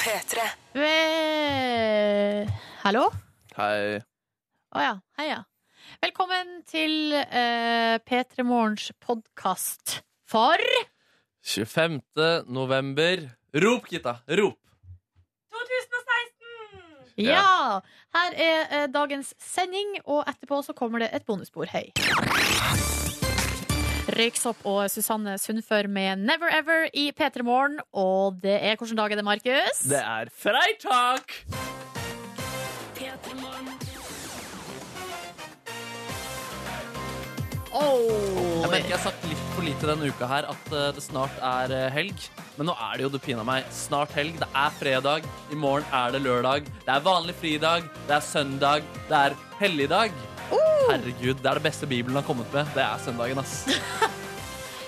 P3. Eh, Hallo? Å Hei. ja, heia. Velkommen til eh, P3 Morgens podkast for 25. november. Rop, Kita! Rop! Ja! Her er eh, dagens sending, og etterpå så kommer det et bonusbord. Hei. Røyksopp og Susanne Sundfør med Never Ever i P3 Morgen. Og det er Hvilken dag er det, Markus? Det er freitag! Oh. Jeg merker jeg har sagt litt for lite denne uka her at eh, det snart er eh, helg. Men nå er det jo du pina meg. Snart helg. Det er fredag. I morgen er det lørdag. Det er vanlig fridag. Det er søndag. Det er helligdag. Uh! Herregud, det er det beste Bibelen har kommet med. Det er søndagen, ass.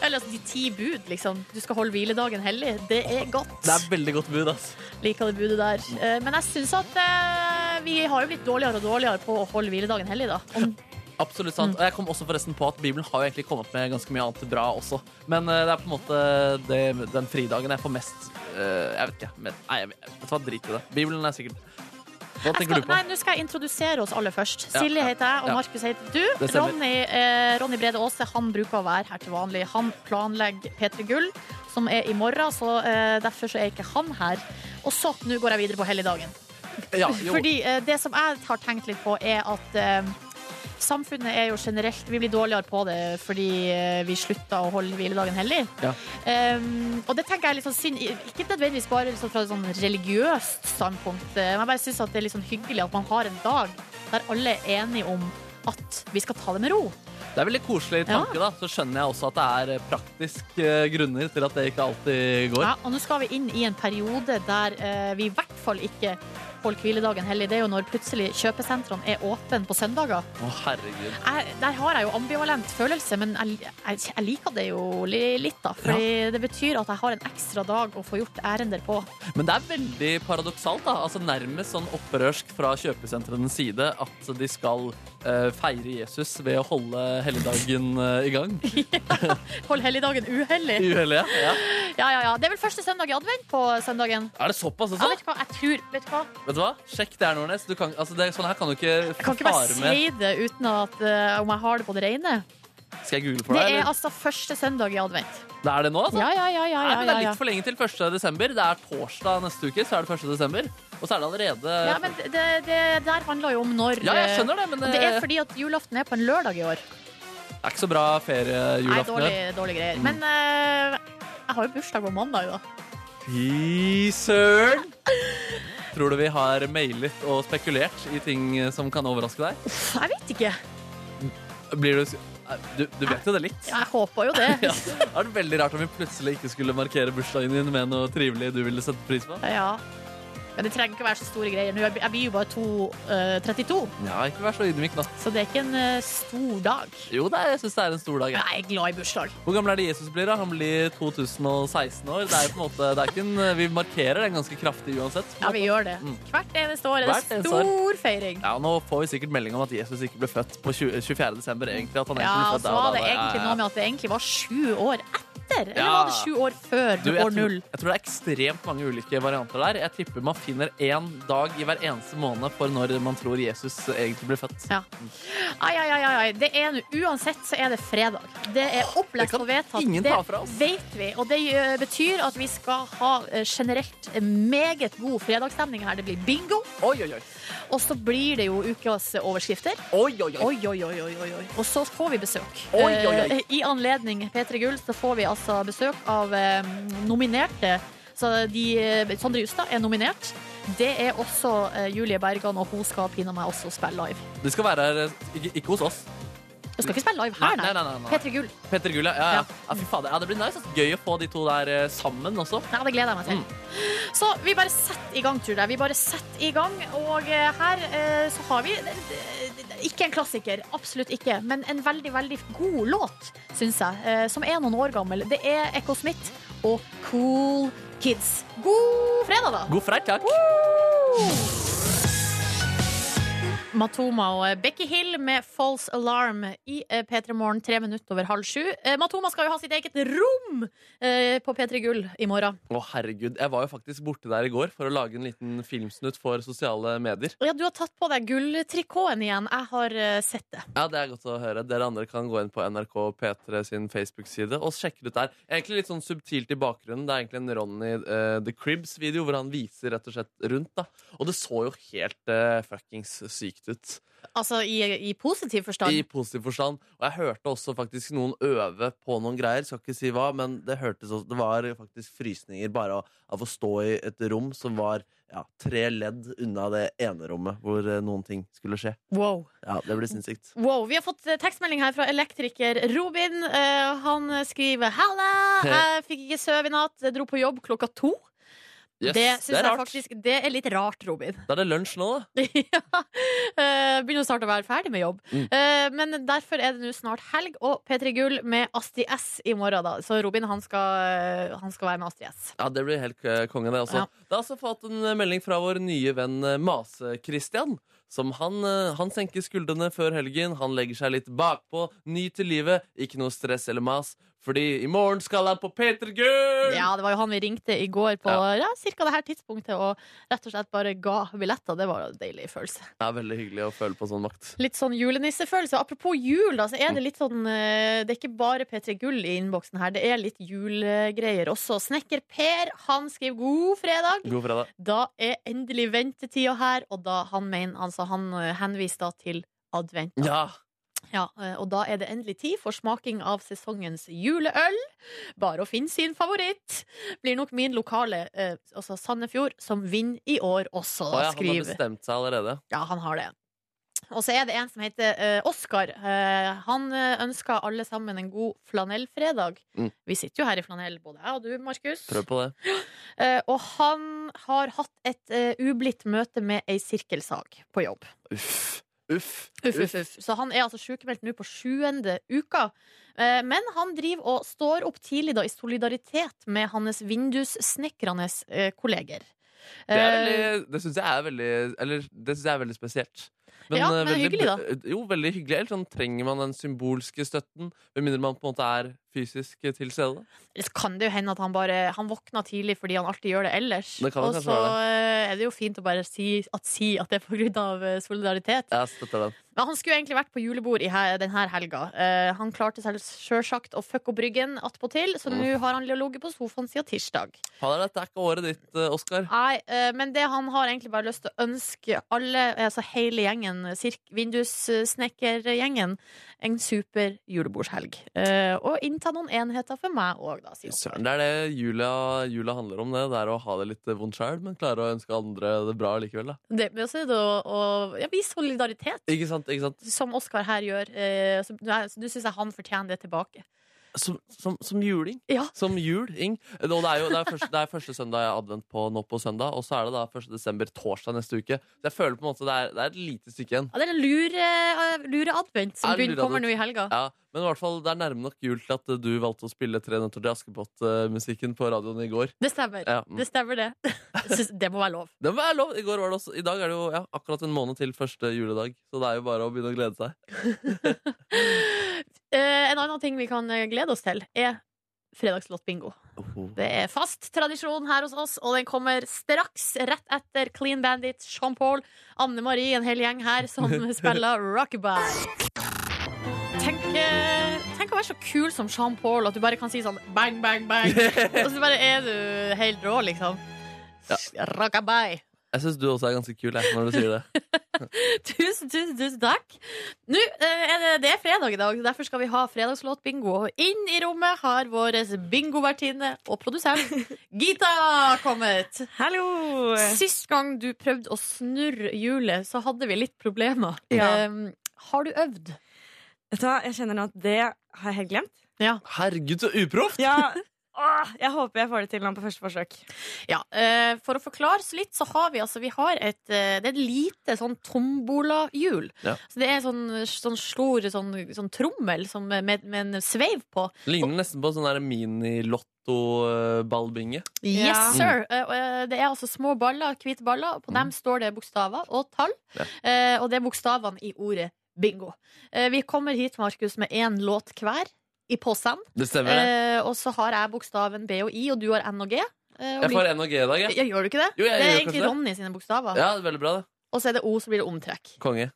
Eller altså, de ti bud, liksom. Du skal holde hviledagen hellig. Det er godt. Det er veldig godt bud, ass. Liker det budet der. Eh, Men jeg syns at eh, vi har jo blitt dårligere og dårligere på å holde hviledagen hellig, da. Om, Absolutt sant. Og jeg kom også forresten på at Bibelen har jo egentlig kommet med ganske mye annet bra også. Men eh, det er på en måte det, den fridagen jeg får mest eh, Jeg vet ikke. Men, nei, jeg vet vet du hva, drit i det. Bibelen er sikkert Hva jeg tenker skal, du på? nei, nå skal jeg introdusere oss alle først. Ja, Silje ja, heter jeg, og ja. Markus heter du. Det stemmer. Ronny, eh, Ronny Brede Aase han bruker å være her til vanlig. Han planlegger P3 Gull, som er i morgen, så eh, derfor så er ikke han her. Og så, nå går jeg videre på helligdagen. Ja, jo. Fordi eh, det som jeg har tenkt litt på, er at eh, samfunnet er jo generelt Vi blir dårligere på det fordi eh, vi slutta å holde hviledagen hellig. Ja. Um, og det tenker jeg er litt sånn synd Ikke nødvendigvis bare liksom fra et sånn religiøst standpunkt, eh, men jeg bare syns det er litt sånn hyggelig at man har en dag der alle er enige om at vi skal ta det med ro. Det er veldig koselig tanke, da. Så skjønner jeg også at det er praktiske grunner til at det ikke alltid går. Ja, og nå skal vi inn i en periode der eh, vi i hvert fall ikke holder hviledagen hellig. Det er jo når plutselig kjøpesentrene er åpne på søndager. Å, herregud. jeg, der har jeg jo ambivalent følelse, men jeg, jeg, jeg liker det jo li, litt, da. Fordi det betyr at jeg har en ekstra dag å få gjort ærender på. Men det er veldig paradoksalt, da. Altså Nærmest sånn opprørsk fra kjøpesentrenes side at de skal eh, feire Jesus ved å holde helligdagen eh, i gang. Hold helligdagen uhellig. Uhellig, ja. ja. Ja, ja, ja. Det er vel første søndag i advent på søndagen. Er det såpass Ja, også? vet du hva, jeg tror Vet du hva? Vet du hva? Sjekk det her, Nordnes. Du kan, altså det, sånn her kan du ikke Jeg kan ikke bare fare med. si det uten at eh, om jeg har det på det rene. Skal jeg google for Det deg? er eller? altså første søndag i advent. Det er det nå, altså? Ja, ja, ja. ja, Nei, ja, men det ja, er ja. litt for lenge til 1. desember. Det er torsdag neste uke, så er det 1. desember. Og så er det allerede ja men det, det der handler jo om når Ja, jeg skjønner det, men eh, det, Det er fordi at julaften er på en lørdag i år. det er ikke så bra Nei, feriejulaften. dårlig, dårlig greier. Men eh, jeg har jo bursdag på mandag, da. Fy søren! Tror du vi har mailet og spekulert i ting som kan overraske deg? Jeg vet ikke. Blir du Du, du vet jo det litt. Jeg håper jo det. Ja. Det hadde vært veldig rart om vi plutselig ikke skulle markere bursdagen din med noe trivelig du ville sette pris på. ja. Men det trenger ikke være så store greier. Nå, jeg jeg blir jo bare to, eh, 32, Ja, ikke vær så ydmyk, da. så det er ikke en eh, stor dag. Jo, det er, jeg syns det er en stor dag. Men Jeg. jeg er glad i bursdag. Hvor gammel er det Jesus blir? da? Han blir 2016 år. Det er jo på en måte, det er ikke en, vi markerer den ganske kraftig uansett. Ja, vi gjør det. Mm. Hvert eneste år er det Hvert eneste år. stor feiring. Ja, Nå får vi sikkert melding om at Jesus ikke ble født på 20, 24. desember. egentlig. At han Ja, egentlig ble og født så der og var liksom da, det da. Ja, egentlig ja, ja. noe med at det egentlig var sju år etter. Eller Ja. var det sju år før Du, jeg, år tror, null? jeg tror det er ekstremt mange ulike varianter der. Jeg tipper man finner én dag i hver eneste måned for når man tror Jesus egentlig ble født. Ja. Ai, ai, ai, ai, ai. Det er nå- uansett så er det fredag. Det er opplest kan og vedtatt. ingen det ta fra oss. vet vi. Og det eh, betyr at vi skal ha eh, generelt meget god fredagsstemning her. Det blir bingo, Oi, oi, oi. og så blir det jo ukas eh, overskrifter. Oi, oi, oi. Oi, oi, oi, oi, oi, oi. Og så får vi besøk. Oi, oi, oi. Eh, I anledning P3 Gull så får vi altså besøk av eh, nominerte. Så de, eh, Sondre Justad er nominert. Det er også eh, Julie Bergan, og hun skal pinadø meg også spille live. Du skal være her eh, ikke, ikke hos oss. Hun skal ikke spille live her, Nei, nei, nei, nei. P3 Gull. Petter Gull, ja. ja, ja. Ja. ja fy fader. Ja, det blir nice. ass. Gøy å få de to der eh, sammen også. Nei, det gleder jeg meg til. Så vi bare setter i gang, tror jeg. Vi bare setter i gang. Og eh, her eh, så har vi det- det- det- ikke en klassiker, absolutt ikke, men en veldig, veldig god låt, syns jeg, eh, som er noen år gammel. Det er Echo Smith og Cool Kids. God fredag, da! God fredag. Woo! Matoma og eh, Becky Hill med False Alarm i eh, P3 Morgen tre minutter over halv sju. Eh, Matoma skal jo ha sitt eget rom eh, på P3 Gull i morgen. Å, herregud. Jeg var jo faktisk borte der i går for å lage en liten filmsnutt for sosiale medier. Ja, du har tatt på deg gulltrikoten igjen. Jeg har eh, sett det. Ja, det er godt å høre. Dere andre kan gå inn på NRK P3 sin Facebook-side og sjekke det ut der. Egentlig litt sånn subtilt i bakgrunnen. Det er egentlig en Ronny eh, The Cribs-video hvor han viser rett og slett rundt. da. Og det så jo helt eh, fuckings sykt ut. Altså i, i positiv forstand. I positiv forstand. Og jeg hørte også faktisk noen øve på noen greier, skal ikke si hva, men det hørtes også Det var faktisk frysninger bare av, av å stå i et rom som var ja, tre ledd unna det ene rommet hvor eh, noen ting skulle skje. Wow. Ja, det ble sinnssykt. Wow, Vi har fått eh, tekstmelding her fra elektriker Robin. Eh, han skriver 'Halla, jeg fikk ikke sove i natt. Jeg dro på jobb klokka to'. Yes, det synes er jeg rart. faktisk Det er litt rart, Robin. Da er det lunsj nå, da. ja. Eh, begynner snart å være ferdig med jobb. Mm. Eh, men derfor er det nå snart helg og P3 Gull med Asti S i morgen, da. Så Robin, han skal, eh, han skal være med Asti S. Ja, Det blir helt eh, konge, det også. Ja. Det har også fått en eh, melding fra vår nye venn eh, Mase-Christian. Som han, eh, han senker skuldrene før helgen, han legger seg litt bakpå, ny til livet. Ikke noe stress eller mas, fordi i morgen skal han på Peter Gull! Ja, det var jo han vi ringte i går på Ja. ja, cirka det her tidspunktet, og rett og slett bare ga billetter. Det var jo en deilig følelse. Det er veldig hyggelig å føle på sånn makt. Litt sånn julenissefølelse. Apropos jul, da, så er det litt sånn eh, Det er ikke bare P3 Gull i innboksen her, det er litt julegreier også. Snekker Per, han skriver 'God fredag'. God fredag. Da er endelig ventetida her, og da han mener Altså, han eh, henviser da til advent. Ja, Ja, eh, og da er det endelig tid for smaking av sesongens juleøl. Bare å finne sin favoritt. Blir nok min lokale, eh, altså Sandefjord, som vinner i år Å, også, ja, Han har skriver bestemt seg allerede. Ja, han har det. Og så er det en som heter eh, Oskar. Eh, han eh, ønsker alle sammen en god flanellfredag. Mm. Vi sitter jo her i flanell, både jeg og du, Markus. Prøv på det. Eh, og han har hatt et eh, ublidt møte med ei sirkelsag på jobb. Uff. Uff. Uff, uff, uff. Så han er altså sykemeldt nå på sjuende uka. Eh, men han driver og står opp tidlig da, i solidaritet med hans vindussnekrende eh, kolleger. Det, er Eh, veldig- det syns jeg er veldig Eller det syns jeg er veldig spesielt. Ja, eh, men veldig- hyggelig da. eh, Jo, veldig hyggelig. Ellers sånn, trenger man den symbolske støtten. Med mindre man på en måte er fysisk eh, til stede. Ellers kan det jo hende at han bare Han våkna tidlig fordi han alltid gjør det ellers. Det kan jo og kanskje så være eh, er det jo fint å bare si at, si at det er på grunn av eh, solidaritet. Jeg støtter den. Men han skulle egentlig vært på julebord i he denne helga. Eh, han klarte selv sjølsagt å fucke opp ryggen attpåtil, så Mm. nå har han ligget på sofaen siden tirsdag. Fader, dette er ikke året ditt, eh, Oskar. Nei, eh, men det han har egentlig bare lyst til å ønske alle, altså hele gjengen, sirk- vindussnekkergjengen, en super julebordshelg. Eh, og innta noen enheter for meg òg, da, sier Oskar. Søren, det er det jula, jula handler om. Det Det er å ha det litt eh, vondt sjøl, men klare å ønske andre det bra likevel. Da. Det, men også er det å, å ja, vise solidaritet, Ikke sant? ikke sant? som Oskar her gjør. Eh, så, nei, så Nå syns jeg han fortjener det tilbake. Som, som, som juling. Ja. Som jul, Ing. Og det er jo det er første, det er første søndag jeg har advent på nå på søndag, og så er det da 1. desember torsdag neste uke. Så jeg føler på en måte det er, det er et lite stykke igjen. Ja, det er en lure, eh, lure advent som Er det begynner, lure kommer advent? nå i helga. Ja, men i hvert fall, det er nærme nok jul til at eh, du valgte å spille Tre nøtter til Askepott-musikken på radioen i går. Det stemmer. Ja. mm. Det stemmer, det. Jeg synes det må være lov. Det må være lov! I går var det også I dag er det jo ja, akkurat en måned til første juledag, så det er jo bare å begynne å glede seg. Eh, en annen ting vi kan eh, glede oss til, er fredagslåtbingo. Det er fast tradisjon her hos oss, og den kommer straks rett etter Clean Bandit, Jean-Paul, Anne Marie, en hel gjeng her som spiller rockabye. Tenk, eh, tenk å være så kul som Jean-Paul, at du bare kan si sånn bang, bang, bang, og så bare er du helt rå, liksom. Rockabye. Jeg syns du også er ganske kul jeg, når du sier det. Tusen, tusen, tusen takk. Nå eh, er det, det er fredag i dag, så derfor skal vi ha fredagslåt-bingo. Og inn i rommet har vår bingovertinne og produsent Gita kommet. Hallo! Sist gang du prøvde å snurre hjulet, så hadde vi litt problemer. Ja. Eh, har du øvd? Vet du hva, jeg kjenner nå at det har jeg helt glemt. Ja. Herregud, så uproft! Ja, Åh, jeg håper jeg får det til nå på første forsøk. Ja, eh, For å forklare oss litt, så har vi altså vi har et, eh, det er et lite sånn tombolahjul. Ja. Så det er en sånn, sånn stor sånn, sånn trommel som, med, med en sveiv på. Ligner nesten på sånn der mini-lotto-ballbinge. Yes, Ja. sir! Eh, og, eh, Det er altså små baller, hvite baller, og på dem står det bokstaver og tall. Mm. Ja. Eh, Og det er bokstavene i ordet bingo. Eh, Vi kommer hit, Markus, med én låt hver i posen. Det stemmer, det. Eh, Og så har jeg bokstaven B og I, og du har N og G. Eh, og Jeg får NHG i dag, jeg. ja, gjør du ikke det? Jo, jeg det er gjør egentlig kanskje det. Ronny sine bokstaver. Ja, veldig bra, det. Og så er det O, så blir det omtrekk. Konge.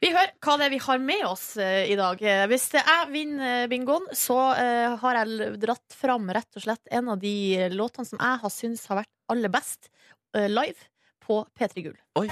Vi hører hva det er vi har med oss eh, i dag. Eh, Hvis det jeg vinner eh, bingoen, så eh, har jeg l- dratt fram rett og slett en av de eh, låtene som jeg har syntes har vært aller best eh, live på P3 Gull. Oi.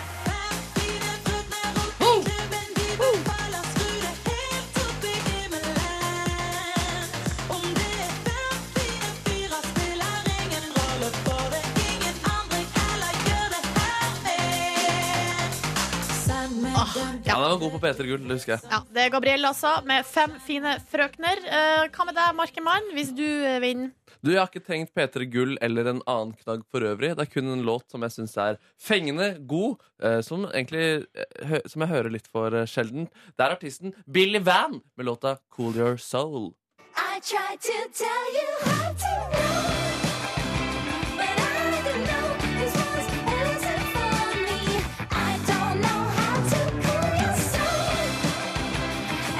Ah, Ja, den var god på P3 Gull, det husker jeg. Ja, det er Gabrielle, altså, med fem fine frøkner. Eh, Hva med deg, Markemann, hvis du eh, vinner? Du, Jeg har ikke tenkt P3 Gull eller en annen knagg for øvrig. Det er kun en låt som jeg syns er fengende god, eh, som egentlig eh, hø Som jeg hører litt for eh, sjelden. Det er artisten Billy Van med låta Cool Your Soul. I tried to tell you how to know, but I don't know. This was isn't for me. I don't know how to cool your soul,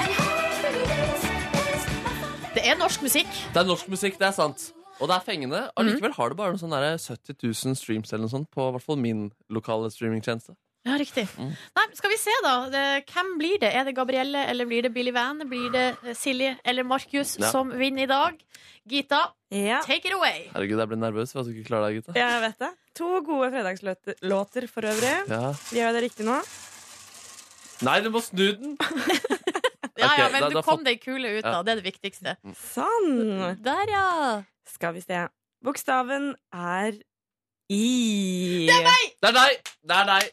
and hopefully this is Det er norsk musikk. Det er norsk musikk, det er sant. Og det er fengende. Allikevel har det bare noen sånne der 70 000 streams eller noe sånt på i hvert fall min lokale streamingtjeneste. Ja, riktig. Nei, skal vi se, da. Det- Hvem blir det? Er det Gabrielle, eller blir det Billy Van? Blir det eh, Silje eller Markus Ja. som vinner i dag? Gita, Ja. take it away! Herregud, jeg ble nervøs for at du ikke klarer deg, gutta. Jeg vet det. To gode fredagslåter for øvrig. Ja. Gjør jeg det riktig nå? Nei, du må snu den! Ja, ja, Ok, men da- du da kom fått- deg kule ut, da. Det er det viktigste. Sånn. Mm. Der, ja. Skal vi se. Bokstaven er I. Det er meg! Det er deg! Det er deg!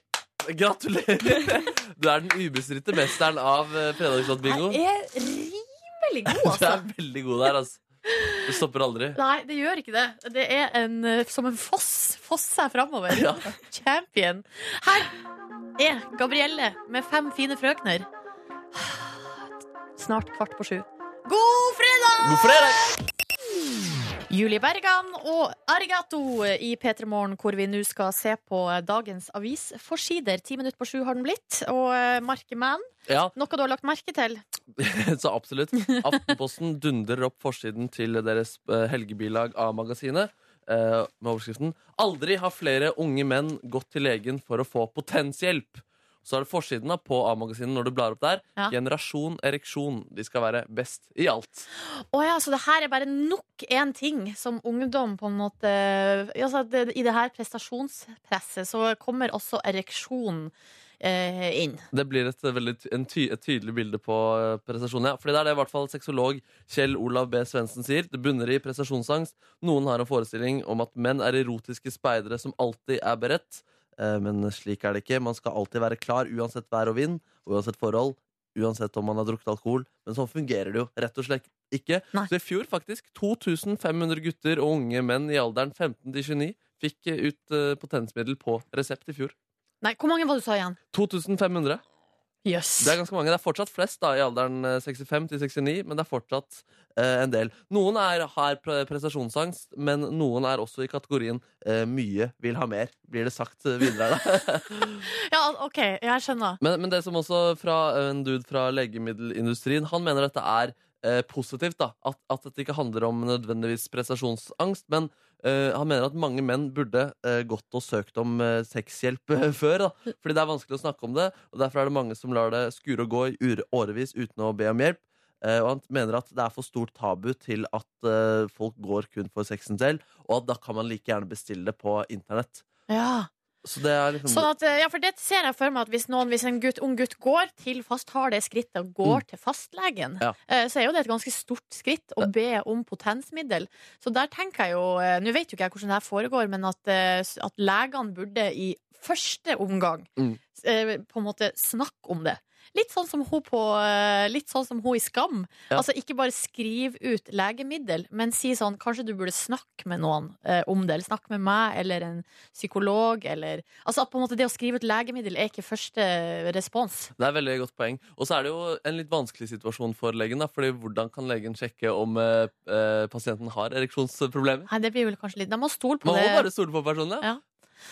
Gratulerer! Du er den ubestridte mesteren av eh, fredagslåtbingo. Jeg er rimelig god, Du altså. er veldig god der, altså. Du stopper aldri. Nei, det gjør ikke det. Det er en, eh, som en foss. Fosser framover. Ja. Champion. Her er Gabrielle med fem fine frøkner. Snart kvart på sju. God fredag! God fredag! Julie Bergan og Arigato i P3 Morgen, hvor vi nå skal se på dagens avisforsider. Ti minutter på sju har den blitt. Og eh, Markeman, Ja, noe du har lagt merke til? så absolutt. Aftenposten dundrer opp forsiden til deres eh, helgebilag A-magasinet. eh, Med overskriften 'Aldri har flere unge menn gått til legen for å få potenshjelp'. Så er det forsiden da, på A-magasinet når du blar opp der. Ja. 'Generasjon ereksjon'. De skal være best i alt. Å ja, så det her er bare nok én ting som ungdom på en måte ja, så at det, I det her prestasjonspresset så kommer også ereksjon eh, inn. Det blir et veldig ty- en ty et tydelig bilde på eh, prestasjonen. Ja. Fordi det er det i hvert fall sexolog Kjell Olav B. Svendsen sier. Det bunner i prestasjonsangst. Noen har en forestilling om at menn er erotiske speidere som alltid er beredt. Eh, Men slik er det ikke. Man skal alltid være klar uansett vær og vind, og uansett forhold. Uansett om man har drukket alkohol. Men sånn fungerer det jo rett og slett ikke. Nei. Så i fjor, faktisk, 2500 gutter og unge menn i alderen 15 til 29 fikk eh, ut eh, potensmiddel på resept i fjor. Nei, hvor mange var det du sa igjen? 2500. Jøss. Det er ganske mange. Det er fortsatt flest da, i alderen eh, 65 til 69, men det er fortsatt eh, en del. Noen er, har pre- prestasjonsangst, men noen er også i kategorien eh, 'mye vil ha mer', blir det sagt eh, videre. her, Da. Ja, OK, jeg skjønner. men, men det som også fra eh, en dude fra legemiddelindustrien, han mener dette er eh, positivt. da, at, at dette ikke handler om nødvendigvis prestasjonsangst, men eh, han mener at mange menn burde eh, gått og søkt om eh, sexhjelp eh, før. da, Fordi det er vanskelig å snakke om det, og derfor er det mange som lar det skure og gå i ure- årevis uten å be om hjelp. Eh, og han mener at det er for stort tabu til at eh, folk går kun for sexen selv, og at da kan man like gjerne bestille det på internett. Ja. Så det er liksom... Sånn at, eh, ja, for det ser jeg for meg at hvis, noen, hvis en gutt, ung gutt går til fast, tar det skrittet og går til fastlegen, Mm. Ja. eh, så er jo det et ganske stort skritt å be om potensmiddel. Så der tenker jeg jo eh, Nå vet jo ikke jeg hvordan det her foregår, men at, eh, s- at legene burde i første omgang Mm. eh, på en måte snakke om det. Litt sånn som hun, på, eh, litt sånn som hun i Skam. Ja. Altså Ikke bare skriv ut legemiddel, men si sånn Kanskje du burde snakke med noen eh, om det. Eller snakke med meg eller en psykolog. Eller, altså at på en måte Det å skrive ut legemiddel er ikke første respons. Det er veldig godt poeng. Og så er det jo en litt vanskelig situasjon for legen. da, fordi hvordan kan legen sjekke om eh, eh, pasienten har ereksjonsproblemer? Nei, det blir vel kanskje litt Da må man stole på Man må det. bare stole på personene. Ja.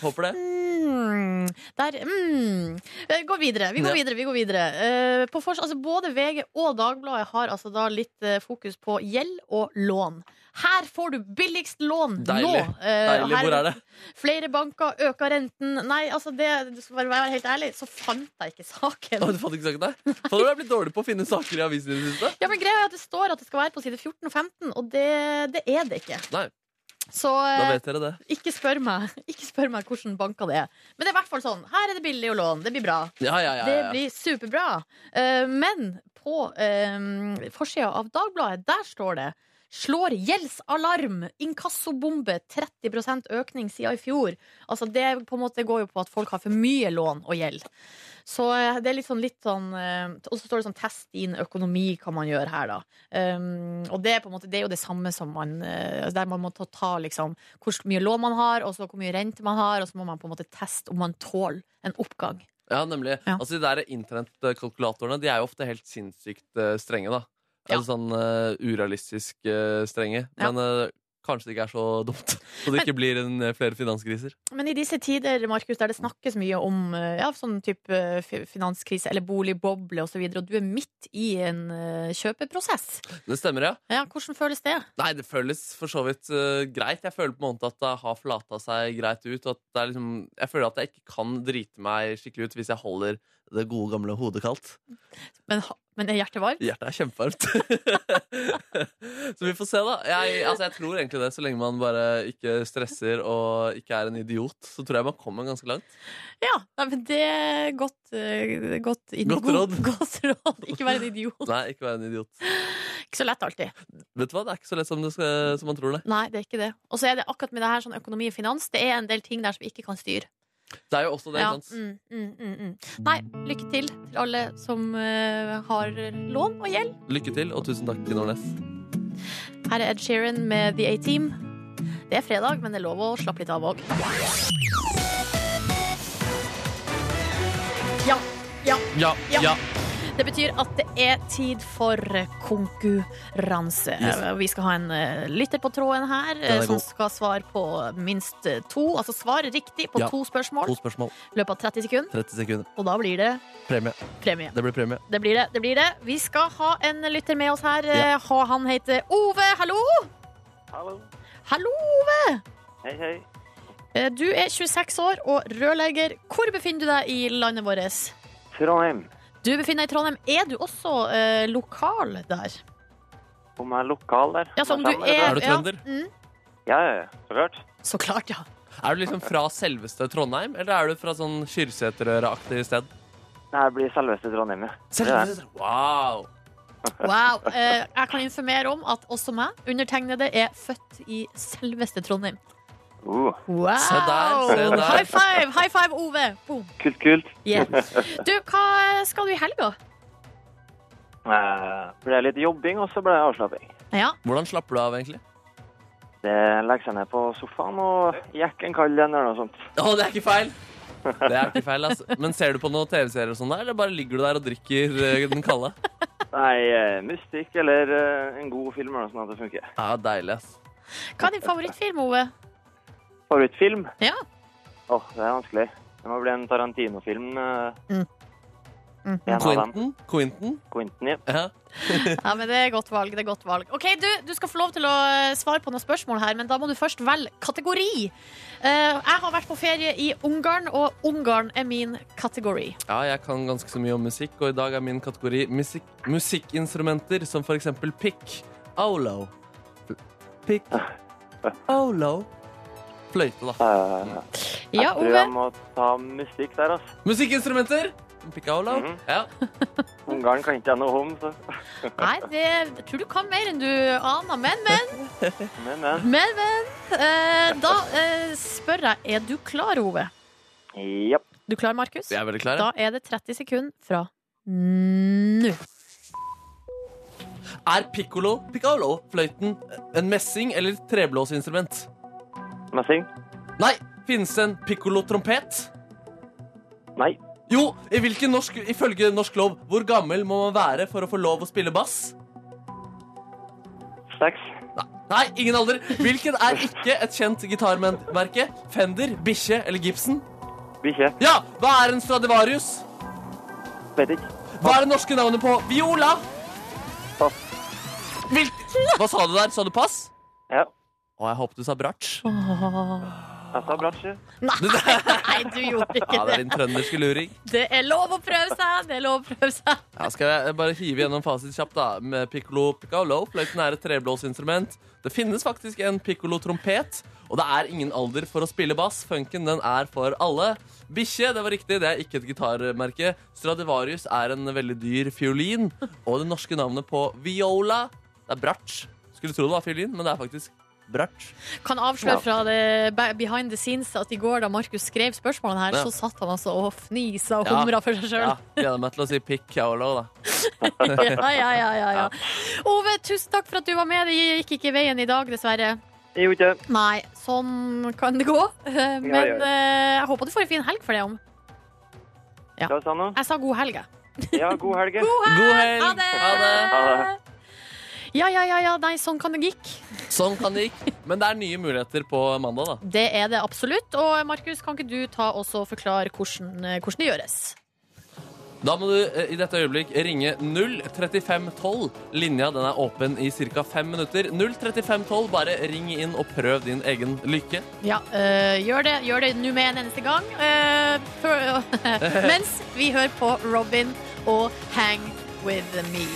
Håper det. Mm, der, mm. Eh, Gå videre, vi går Ja. videre. vi går videre Eh, på fors- altså, Både VG og Dagbladet har altså da litt eh, fokus på gjeld og lån. Her får du billigst lån Deilig. nå! Eh, Deilig. her- Hvor er det? Flere banker øker renten. Nei, altså det, du skal bare være helt ærlig, så fant jeg ikke saken. Å, du fant ikke saken der? Fader, du er blitt dårlig på å finne saker i avisen i det siste. Ja, men greia er at Det står at det skal være på side 14 og 15, og det, det er det ikke. Nei. Så Da eh, vet dere det. ikke, spør meg, ikke spør meg hvordan banker det er. Men det er i hvert fall sånn. Her er det billig å låne. Det blir bra. Ja, ja, ja, ja, Det ja. blir superbra. Eh, men på uh, forsida av Dagbladet, der står det Slår gjeldsalarm! Inkassobombe! 30 økning siden i fjor. Altså Det på en måte går jo på at folk har for mye lån og gjeld. Så eh, det er litt sånn, litt sånn eh, Og så står det sånn 'test din økonomi' kan man gjøre her, da. Um, og det er, på en måte, det er jo det samme som man eh, Der man må ta, ta liksom, hvor mye lån man har, og så hvor mye rente man har, og så må man på en måte teste om man tåler en oppgang. ja nemlig. Ja. Altså, de der internettkalkulatorene de er jo ofte helt sinnssykt eh, strenge, da. Ja. Eller sånn eh, urealistisk eh, strenge. Ja. Men eh, kanskje det ikke er så dumt. Så det ikke blir en, eh, flere finanskriser. Men i disse tider Markus, der det snakkes mye om eh, ja, sånn type eh, fi- finanskrise eller boligboble osv., og, så videre, og du er midt i en eh, kjøpeprosess, Det stemmer, ja. ja, hvordan føles det? Nei, det føles for så vidt eh, greit. Jeg føler på en måte at det har flata seg greit ut. Og at det er liksom, jeg føler at jeg ikke kan drite meg skikkelig ut hvis jeg holder det gode, gamle hodet kaldt. Men, ha- men er hjertet varmt? Hjertet er kjempevarmt. så vi får se, da. Jeg, altså, jeg tror egentlig det. Så lenge man bare ikke stresser og ikke er en idiot, så tror jeg man kommer ganske langt. Ja, nei, men det er godt, eh, godt, inn- Godt god- råd. godt råd. Ikke være en idiot. Nei, ikke være en idiot. Ikke så lett alltid. Vet du hva, det er ikke så lett som, det skal, som man tror det. Nei, det er ikke det. Og så er det akkurat med det her sånn økonomi og finans, det er en del ting der som vi ikke kan styre. Det er jo også det, Ja, ikke sant. mm, mm, mm, mm. Nei, lykke til til alle som eh, har lån og gjeld. Lykke til, og tusen takk, Nordnes. Her er Ed Sheeran med The A-Team. Det er fredag, men det er lov å slappe litt av òg. Ja, Ja, Ja. ja. det betyr at det er tid for konkurranse. Yes. Eh, Vi skal ha en eh, lytter på tråden her er eh, som god. skal svare på minst eh, to. Altså svare riktig på Ja. to spørsmål To spørsmål. i løpet av 30 sekunder. 30 sekunder. Og da blir det Premie. premie. Det blir premie. Det blir det. det blir det. Vi skal ha en lytter med oss her. eh, og Han heter Ove. Hallo! Hallo. Hallo! Hei, hei. Eh, Du er 26 år og rørlegger. Hvor befinner du deg i landet vårt? Trondheim. Du befinner deg i Trondheim. Er du også eh, lokal der? Om jeg er lokal der? Ja, så om du Kommer det er, Er du trønder? Ja, mm, bra? Ja, ja, ja. Så klart. så klart, ja. Er du liksom fra selveste Trondheim, eller er du fra sånn Kyrseterøra-aktig sted? Nei, jeg blir selveste Trondheim, ja. Selveste Trondheim. Wow! Wow. Eh, jeg kan informere om at også meg, undertegnede, er født i selveste Trondheim. Uh, Wow! Se der, se der. High five, high five, Ove! Boom. kult, kult. Yeah. Du, hva skal du i helga? Eh, ble det litt jobbing, og så ble det avslapping. Ja, Hvordan slapper du av, egentlig? Det legger seg ned på sofaen og jekker en kald en eller noe sånt. Å, det er ikke feil! Det er ikke feil, altså. Men ser du på noen TV-serier og sånn der, eller bare ligger du der og drikker eh, den kalde? Nei, eh, mystikk eller eh, en god film eller noe sånt at det funker. Ja, deilig, ass. Hva er din favorittfilm, Ove? Favorittfilm? Ja. Åh, det er vanskelig. Det må bli en Tarantino-film. eh, Mm. Mhm. en av dem. Quentin? Quentin? Quentin, ja. Ja. Ja, men Det er godt valg. det er godt valg Ok, Du, du skal få lov til å eh, svare på noen spørsmål, her men da må du først velge kategori. Eh, jeg har vært på ferie i Ungarn, og Ungarn er min kategori. ja, jeg kan ganske så mye om musikk, og i dag er min kategori musikk, musikkinstrumenter, som for eksempel pick, aulo, pick, aulo, fløyte, da. Eh, Ja, Jeg tror Ove. jeg må ta mystikk der, altså. Musikkinstrumenter! Pick, aulo. Mhm. Ja. Ungarn kan ikke jeg noe om, så. Nei, det, jeg tror du kan mer enn du aner. Men, men. Men, men. men, men. Eh, da eh, spør jeg er du klar, Ove. Ja. Du klar, Markus? Vi er veldig klare. Da er det 30 sekunder fra nå. Er piccolo, piccolo, fløyten eh, en messing eller treblåsinstrument? Messing? Nei, finnes det en piccolo-trompet? Nei. Jo, i hvilken norsk, ifølge norsk lov, hvor gammel må man være for å få lov å spille bass? Seks? Nei, nei ingen alder. Hvilken er ikke et kjent gitarmerke? Fender, Bikkje eller Gibson? Bikkje? Ja, hva er en Stradivarius? Vet ikke. Hva er det norske navnet på viola? Pass. Hvil hva sa du der? Sa du pass? Ja. Å, jeg håpet du sa bratsj. Jeg sa bratsje. Nei, du gjorde Ja, det ikke det. er din trønderske luring. Det er lov å prøve seg. Det er lov å prøve seg. Ja, skal jeg bare hive gjennom fasit kjapt, da. Med piccolo piccolo. Fløyten er et treblåsinstrument. Det finnes faktisk en piccolo-trompet, og det er ingen alder for å spille bass. Funken, den er for alle. Bikkje, det var riktig, det er ikke et gitarmerke. Stradivarius er en veldig dyr fiolin, og det norske navnet på viola, det er bratsj. Skulle tro det var fiolin, men det er faktisk bratsj. Kan avsløre fra det be- behind the scenes at i går da Markus skrev spørsmålene her, Ja. så satt han altså og fnisa og Ja. humra for seg sjøl. Ja, gleder meg til å si piccolo, da. Ja, ja, ja, ja, ja. Ove, tusen takk for at du var med. Det gikk ikke veien i dag, dessverre. Jo, ikke. Nei, sånn kan det gå. Eh, Men Ja, ja, ja. eh, jeg håper du får en fin helg for det om. Hva sa du nå? Jeg sa god helg, jeg. Ja, god helg. God helg! Ha det! Ha det! Ha Ja, ja, ja, ja, nei, sånn kan det gikk. Sånn kan det gikk. Men det er nye muligheter på mandag, da. Det er det absolutt. Og Markus, kan ikke du ta og så forklare hvordan, eh, hvordan det gjøres? Da må du eh, i dette øyeblikk ringe 03512. Linja den er åpen i ca. fem minutter. 03512, bare ring inn og prøv din egen lykke. Ja, øh, gjør det Gjør det nå med en eneste gang. øh, for, mens vi hører på Robin og Hang With Me.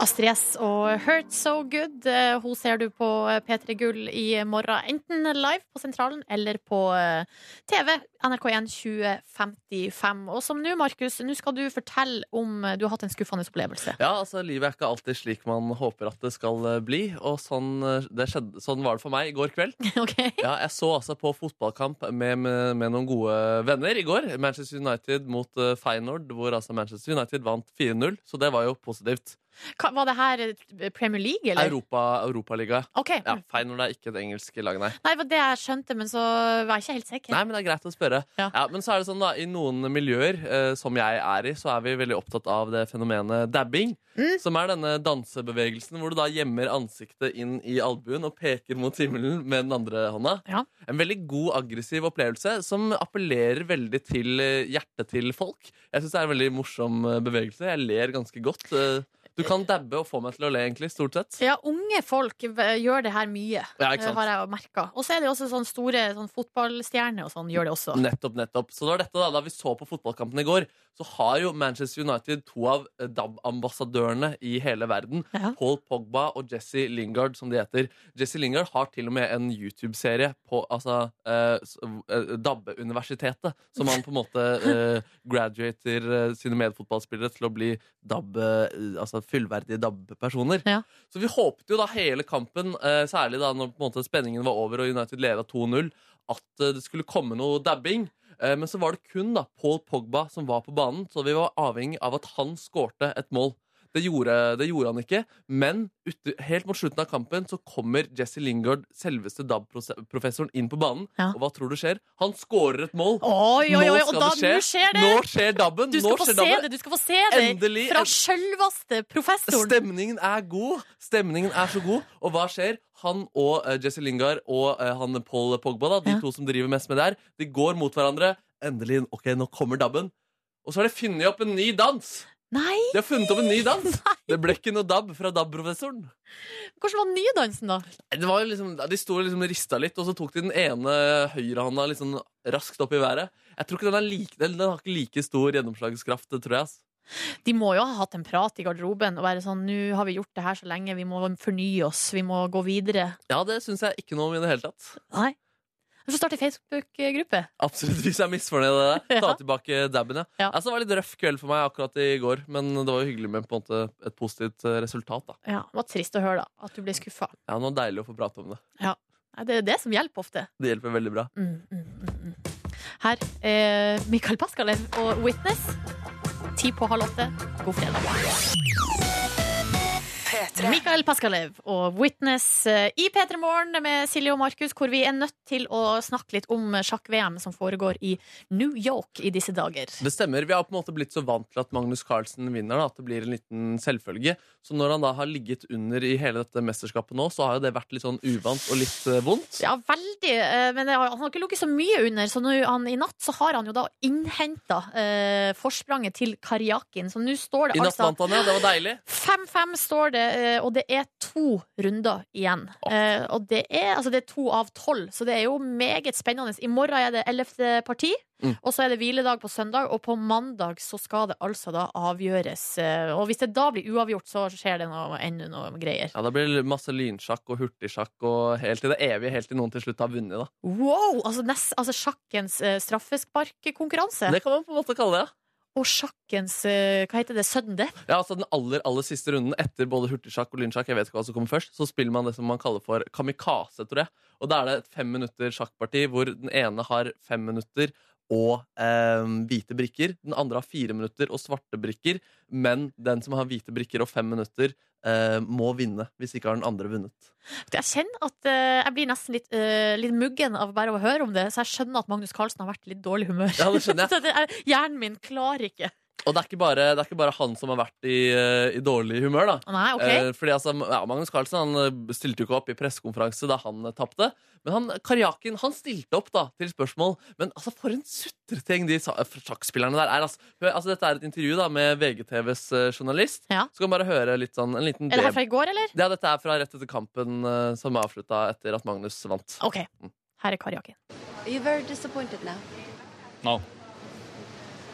Astrid S og Hurt So Good. øh, Hun ser du på P3 Gull i morgen. Enten live på Sentralen eller på øh, TV. NRK1 2055. Og som nå, Markus, nå skal du fortelle om øh, du har hatt en skuffende opplevelse. Ja, altså Livet er ikke alltid slik man håper at det skal eh, bli. Og sånn, eh, det skjedde, sånn var det for meg i går kveld. OK? Ja, jeg så altså på fotballkamp med, med, med noen gode venner i går. Manchester United mot eh, Feyenoord, hvor altså Manchester United vant 4-0. Så det var jo positivt. Hva- Var det her øh, Premier League, eller? Europa, Europaliga. OK. Ja, Feyenoord er ikke et engelsk lag, nei. Nei, det var det jeg skjønte, men så var jeg ikke helt sikker. Nei, men det er greit å spørre. Ja. Ja. men så er det sånn da, I noen miljøer eh, som jeg er i, så er vi veldig opptatt av det fenomenet dabbing. Mm. Som er denne dansebevegelsen hvor du da gjemmer ansiktet inn i albuen og peker mot himmelen med den andre hånda. Ja. En veldig god, aggressiv opplevelse som appellerer veldig til eh, hjertet til folk. Jeg syns det er en veldig morsom eh, bevegelse. Jeg ler ganske godt. eh. Du kan dabbe og få meg til å le, egentlig, stort sett. Ja, unge folk eh, gjør det her mye, Ja, eh, har jeg merka. Og så er det også sånn store sånn fotballstjerner og sånn gjør det også. Nettopp, nettopp. Så det var dette da, da vi så på fotballkampen i går, så har jo Manchester United to av eh, DAB-ambassadørene i hele verden. Ja. Paul Pogba og Jesse Lingard, som de heter. Jesse Lingard har til og med en YouTube-serie på altså, eh, s- eh, DAB-universitetet, som han på en måte eh, graduater eh, sine medfotballspillere til å bli DAB, eh, altså fullverdige DAB-personer. Ja. Så vi håpet jo da hele kampen, eh, særlig da når på en måte spenningen var over og United leda 2-0, at eh, det skulle komme noe dabbing. Eh, Men så var det kun da Paul Pogba som var på banen, så vi var avhengig av at han skårte et mål. Det gjorde, det gjorde han ikke, men ute, helt mot slutten av kampen så kommer Jesse Lingard, selveste DAB-professoren, inn på banen. Ja. Og hva tror du skjer? Han skårer et mål! Oi, oi, oi, Nå og skal da, det skje. nå skjer det! Nå skjer dabben! Du skal Nå få skjer se dabben. det! du skal få se det Endelig Fra en- sjølveste professoren! Stemningen er god! Stemningen er så god. Og hva skjer? Han og eh, Jesse Lingard og eh, han Paul Pogba, da, de Ja. to som driver mest med det her, de går mot hverandre. Endelig. Ok, nå kommer dabben. Og så har de funnet opp en ny dans! Nei! De har funnet opp en ny dans! Det ble ikke noe dab fra dab-professoren. Hvordan var nydansen, da? Nei, Det var jo liksom, De sto og liksom og rista litt, og så tok de den ene høyrehånda litt sånn raskt opp i været. Jeg tror ikke Den, er like, den, den har ikke like stor gjennomslagskraft, det tror jeg. ass. De må jo ha hatt en prat i garderoben og være sånn 'Nå har vi gjort det her så lenge, vi må fornye oss, vi må gå videre'. Ja, Det syns jeg ikke noe om i det hele tatt. Nei. Vi får starte Facebook-gruppe. Absolutt, Hvis jeg er misfornøyd med det. der. Ta Ja. tilbake dabben, ja. Ja. Altså, det var litt røff kveld for meg akkurat i går, men det var jo hyggelig med på en måte et positivt eh, resultat. da Ja, det var trist å høre, da. At du ble skuffa. Ja, Noe deilig å få prate om det. Nei, Det er det som hjelper ofte. Det hjelper veldig bra. eh, Mm, mm, mm, mm. Her er Mikael Paskalev og Witness. Ti på halv åtte. God fredag. Mikael Paskalev og Witness eh, i P3 Morgen med Silje og Markus, hvor vi er nødt til å snakke litt om sjakk-VM som foregår i New York i disse dager. Det stemmer. Vi har på en måte blitt så vant til at Magnus Carlsen vinner, da, at det blir en liten selvfølge. Så når han da har ligget under i hele dette mesterskapet nå, så har jo det vært litt sånn uvant og litt eh, vondt. Ja, veldig, eh, men det har, han har ikke ligget så mye under, så nå, han, i natt så har han jo da innhenta eh, forspranget til Karjakin, så nå står I det natt altså vant han, ja. Det var deilig. 5-5 står det, eh, og det er to runder igjen. Eh, Og det er, altså det er to av tolv, så det er jo meget spennende. I morgen er det 11. parti, Mm. og så er det hviledag på søndag, og på mandag så skal det altså da avgjøres. eh, Og hvis det da blir uavgjort, så skjer det noe, enda noe greier. Ja, Det blir det masse lynsjakk og hurtigsjakk og helt til det evige, helt til noen til slutt har vunnet. da. Wow! Altså, nest, altså sjakkens eh, straffesparkkonkurranse. Det kan man på en måte kalle det. ja. Og sjakkens eh, Hva heter det? Sudden death? Ja, altså Den aller aller siste runden etter både hurtigsjakk og lynsjakk, jeg vet ikke hva som kommer først, så spiller man det som man kaller for kamikaze, tror jeg. Og da er det et fem minutter sjakkparti hvor den ene har fem minutter og eh, hvite brikker. Den andre har fire minutter og svarte brikker. Men den som har hvite brikker og fem minutter, eh, må vinne. Hvis ikke har den andre vunnet. Jeg kjenner at eh, jeg blir nesten litt, eh, litt muggen av bare å høre om det, så jeg skjønner at Magnus Carlsen har vært i litt dårlig humør. Ja, det skjønner jeg. Så det er, hjernen min klarer ikke. Og det er ikke bare, det er ikke bare han som har vært i, eh, i dårlig humør, da. Nei, ok. Eh, Fordi altså, ja, Magnus Carlsen han eh, stilte jo ikke opp i pressekonferanse da han eh, tapte. Men han, Karjakin han stilte opp da, til spørsmål. Men altså, for en sutreting de sa- eh, sjakkspillerne der er. Altså, Hør, altså, dette er et intervju da, med VGTVs eh, journalist. Ja. Så kan vi bare høre litt sånn, en liten er det dev. her fra i går, eller? Ja, dette er fra rett etter kampen eh, som er avslutta etter at Magnus vant. Ok. Her er Karjakin. Are you very disappointed now? No,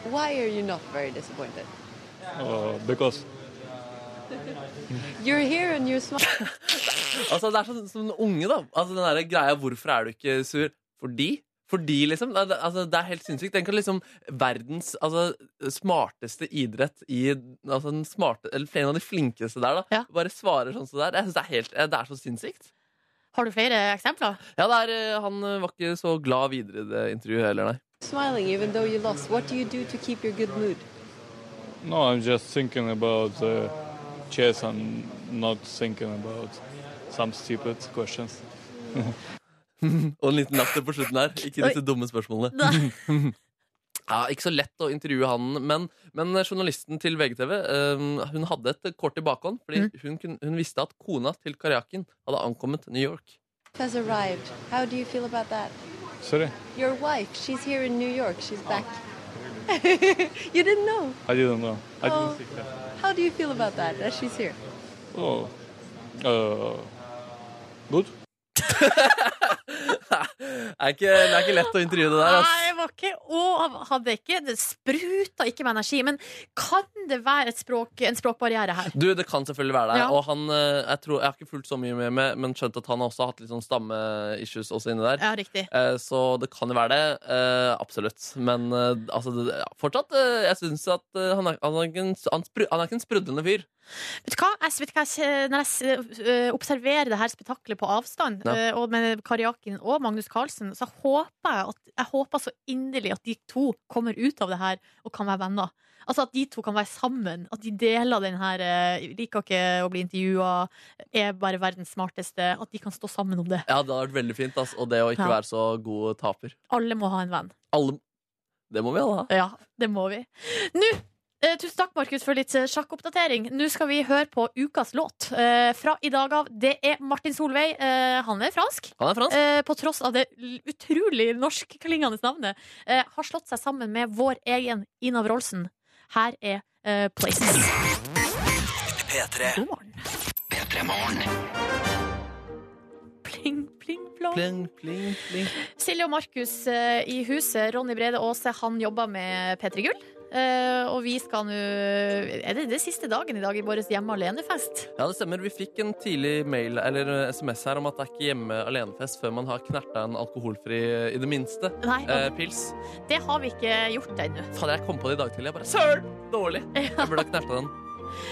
Why are you not very disappointed? uh, because You're here and you're smiling. Altså, det er sånn som en unge, da. Altså, den der greia 'hvorfor er du ikke sur'? Fordi? Fordi, liksom. Det, er- altså, det er helt sinnssykt. Tenk at liksom verdens altså, smarteste idrett i altså, den smarte, eller En av de flinkeste der, da. Ja. Bare svarer sånn som det er. Jeg synes det er, helt, det er så sinnssykt. Har du flere eksempler? Ja, det er, eh, han eh, var ikke så glad videre i det intervjuet heller, nei. smiling even though you lost. What do you do to keep your good mood? no, I'm just thinking about uh, chess and not thinking about some stupid questions. Og en liten latter på slutten der. Ikke disse dumme spørsmålene. Nei. Ja, Ikke så lett å intervjue han, men, men journalisten til VGTV eh, Hun hadde et kort i bakhånd, fordi Mm. hun, kun- hun visste at kona til Karjakin hadde ankommet New York. Has arrived. How do you feel about that? Sorry, Your wife, she's here in New York. She's back. you didn't know. I didn't know. I Oh. didn't think that. How do you feel about that? That she's here. Oh, uh, good. Det er ikke, det er ikke lett å intervjue det der. Nei, Ass. det var ikke Å, hadde ikke Det spruta ikke med energi. Men kan det være et språk, en språkbarriere her? Du, Det kan selvfølgelig være det. Ja. Og han, eh, jeg, tror, jeg har ikke fulgt så mye med, med men skjønt at han også har hatt litt sånn stammeissues også inni der. Ja, riktig. Eh, Så det kan jo være det. eh, absolutt. Men eh, altså, det, ja, fortsatt eh, Jeg syns at eh, han er, han, er ikke en, han, spru, han er ikke en sprudlende fyr. Vet du hva? Jeg, vet du hva? Jeg, når jeg s- øh, observerer det her spetakkelet på avstand, Ja. øh, og med Karjakin og Magnus Carlsen, så håper jeg, at, jeg håper så inderlig at de to kommer ut av det her og kan være venner. Altså At de to kan være sammen. At de deler den her øh, 'liker ikke å bli intervjua', 'er bare verdens smarteste'. At de kan stå sammen om det. Ja, Det hadde vært veldig fint. Ass. Og det å ikke Ja. være så god taper. Alle må ha en venn. Alle Det må vi alle ha. Ja, det må vi. Nå, eh, tusen takk, Markus, for litt eh, sjakkoppdatering. Nå skal vi høre på ukas låt eh, fra i dag av. Det er Martin Solveig. Eh, han er fransk. Han er fransk. Eh, på tross av det l- utrolig norskklingende navnet. Eh, har slått seg sammen med vår egen Ina Wroldsen. Her er eh, Places. God morgen. Pling, pling, plong. Pling, pling, pling. Silje og Markus eh, i huset. Ronny Brede Aase han jobber med P3 Gull. Eh, og vi skal nå Er det det er siste dagen i dag i vår hjemme alene-fest? Ja, det stemmer. Vi fikk en tidlig mail eller eh, SMS her om at det er ikke hjemme alenefest før man har knerta en alkoholfri, eh, i det minste, Nei, eh, pils. det har vi ikke gjort ennå. Fader, jeg kom på det i dag tidlig. Jeg bare Søren! Dårlig. Jeg burde ha knerta den.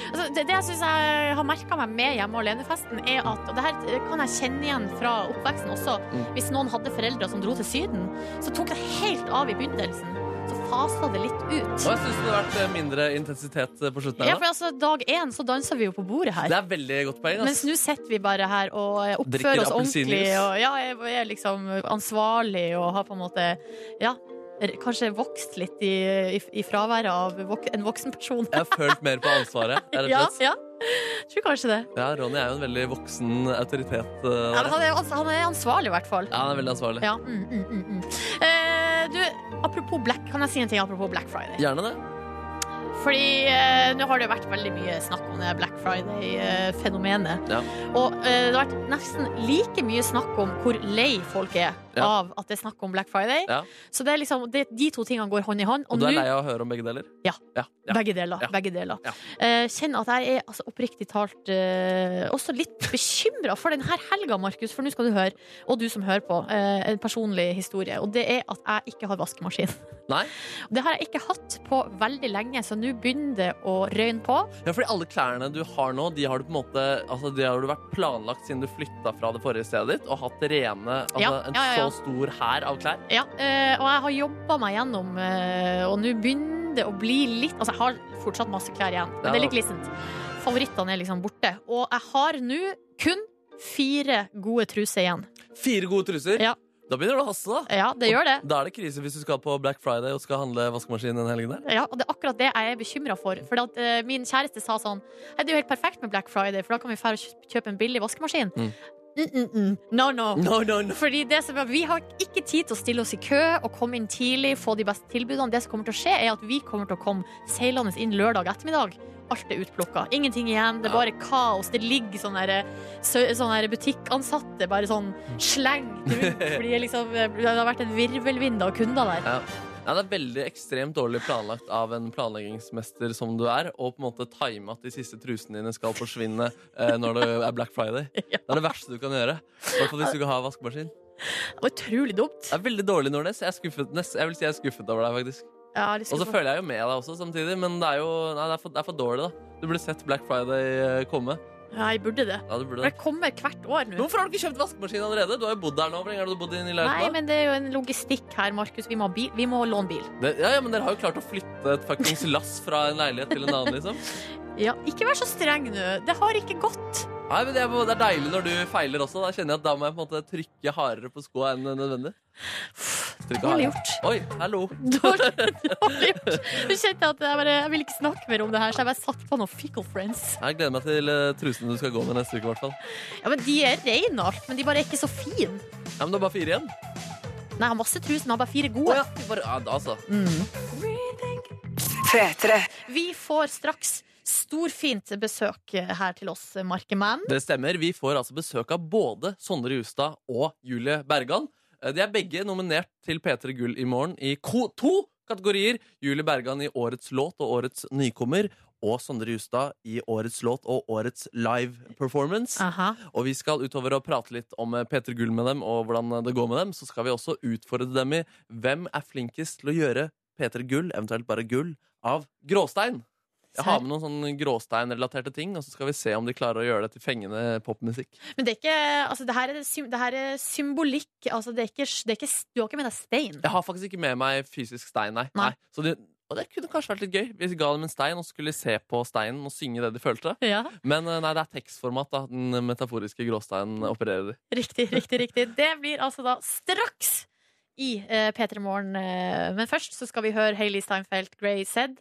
Altså, det, det jeg syns jeg har merka meg med hjemme alene-festen, er at Og det her kan jeg kjenne igjen fra oppveksten også. Mm. Hvis noen hadde foreldre som dro til Syden, så tok det helt av i begynnelsen. Så fasa det litt ut. Og jeg syns det hadde vært eh, mindre intensitet eh, på slutten. Ja, her for nå. altså, dag én så dansa vi jo på bordet her. Det er veldig godt poeng. Mens ass. nå sitter vi bare her og eh, altså. Drikker oppfører oss ordentlig appelsinjuice. og ja, er- er liksom ansvarlig og har på en måte ja, r- kanskje vokst litt i, i, i fraværet av vok en voksen person. Jeg har følt mer på ansvaret. Rett og Ja, slett. ja. Tror kanskje det. Ja, Ronny er jo en veldig voksen autoritet. eh, Ja, men der. han, er, ans- han er ansvarlig, i hvert fall. Ja, han er veldig ansvarlig. Ja. Mm, mm, mm, mm. Eh, du, apropos Black, kan jeg si en ting apropos Black Friday? Gjerne det. Fordi eh, nå har det vært veldig mye snakk om det Black Friday-fenomenet. Ja. Og eh, det har vært nesten like mye snakk om hvor lei folk er Ja. av at det er snakk om Black Friday. Ja. Så det er liksom, det, de to tingene går hånd i hånd. Og, Og du nå er lei av å høre om begge deler? Ja. ja, ja. begge deler. Ja. Begge deler. Ja. Eh, kjenn at jeg er altså, oppriktig talt eh, også litt bekymra for denne helga, Markus. For nå skal du høre, og du som hører på, eh, en personlig historie. Og det er at jeg ikke har vaskemaskin. Nei? Det har jeg ikke hatt på veldig lenge, så nå begynner det å røyne på. Ja, fordi alle klærne du har nå, de har du på en måte altså, De har du vært planlagt siden du flytta fra det forrige stedet ditt, og hatt rene altså, Ja, en ja, ja, ja. så stor hær av klær. Ja, eh, og jeg har jobba meg gjennom, eh, og nå begynner det å bli litt Altså, jeg har fortsatt masse klær igjen, men det er litt glissent. Favorittene er liksom borte. Og jeg har nå kun fire gode truser igjen. Fire gode truser. Ja. Da begynner det å haste, da. Ja, det gjør det. Da er det krise hvis du skal på Black Friday og skal handle vaskemaskin den helgen der. Ja, og det er akkurat det jeg er bekymra for. For at, eh, min kjæreste sa sånn «Hei, Det er jo helt perfekt med Black Friday, for da kan vi fære og kjø- kjøpe en billig vaskemaskin. Mm. Mm, mm, mm. No, no. No, no, no. Fordi det som er, Vi har ikke tid til å stille oss i kø og komme inn tidlig, få de beste tilbudene. Det som kommer til å skje, er at vi kommer til å komme seilende inn lørdag ettermiddag. Alt er utplukka. Ingenting igjen. Det er bare kaos. Det ligger sånne, der, sø- sånne der butikkansatte bare sånn Mm. slengt rundt. Fordi det liksom, det har vært en virvelvind av kunder der. Ja, det er veldig ekstremt dårlig planlagt av en planleggingsmester som du er, og på en måte time at de siste trusene dine skal forsvinne eh, når det er Black Friday. Det er det verste du kan gjøre. I hvert fall hvis du ikke har vaskemaskin. Det var utrolig dumt. Det er veldig dårlig, Nordnes. Jeg er skuffet, nest, jeg vil si jeg er skuffet over deg, faktisk. Jeg har lyst Og til så å- føler jeg jo med deg også samtidig, men det er jo nei, det er for, det er for dårlig, da. Du burde sett Black Friday eh, komme. Ja, jeg burde det. Ja, du burde For det. det kommer hvert år Men nå. Hvorfor har du ikke kjøpt vaskemaskin allerede? Du har jo bodd der nå. Hvor lenge har du bodd i Nei, Nilautna? men det er jo en logistikk her, Markus. Vi må, ha bil. Vi må låne bil. Ja, ja, men dere har jo klart å flytte et fuckings lass fra en leilighet til en annen, liksom. Ja, ikke vær så streng nå. Det har ikke gått. Nei, men det er, det er deilig når du feiler også. Da kjenner jeg at da må jeg på en måte trykke hardere på skoa enn nødvendig. Trykke Dårlig hardere. gjort. Oi, hallo. Dårlig, dårlig gjort. Du kjente at jeg bare Jeg vil ikke snakke mer om det her, så jeg bare satt på noen Fickle Friends. Jeg gleder meg til eh, trusene du skal gå med neste uke. i hvert fall Ja, men De er reine alt, men de bare er ikke så fine. Ja, Men det er bare fire igjen. Nei, jeg har masse trus, men jeg har bare fire Å gode. Mm. ja. vi Bare, ja da, altså. Vi får straks storfint besøk her til oss, Markeman. Det stemmer. Vi får altså besøk av både Sondre Justad og Julie Bergan. Eh, De er begge nominert til P3 Gull i morgen i ko to kategorier. Julie Bergan i Årets låt og Årets nykommer. Og Sondre Justad i Årets låt og Årets live performance. Aha. Og vi skal utover å prate litt om eh, Peter Gull med dem og hvordan eh, det går med dem. Så skal vi også utfordre dem i hvem er flinkest til å gjøre Peter Gull, eventuelt bare gull, av gråstein. Jeg har med noen sånne gråsteinrelaterte ting, og så skal vi se om de klarer å gjøre det til fengende popmusikk. Men det er ikke Altså, det her er, sym- det her er symbolikk. Altså, det er ikke, det er ikke Du har ikke med deg stein. Jeg har faktisk ikke med meg fysisk stein, nei. Nei. nei. Så det, og det kunne kanskje vært litt gøy hvis vi ga dem en stein, og så skulle de se på steinen og synge det de følte. Ja, Men eh, nei, det er tekstformat da, den metaforiske gråsteinen opererer i. Riktig, riktig, riktig. Det blir altså da straks i eh, P3 Morgen. eh, men først så skal vi høre Hayley Steinfeld, Grey Zed.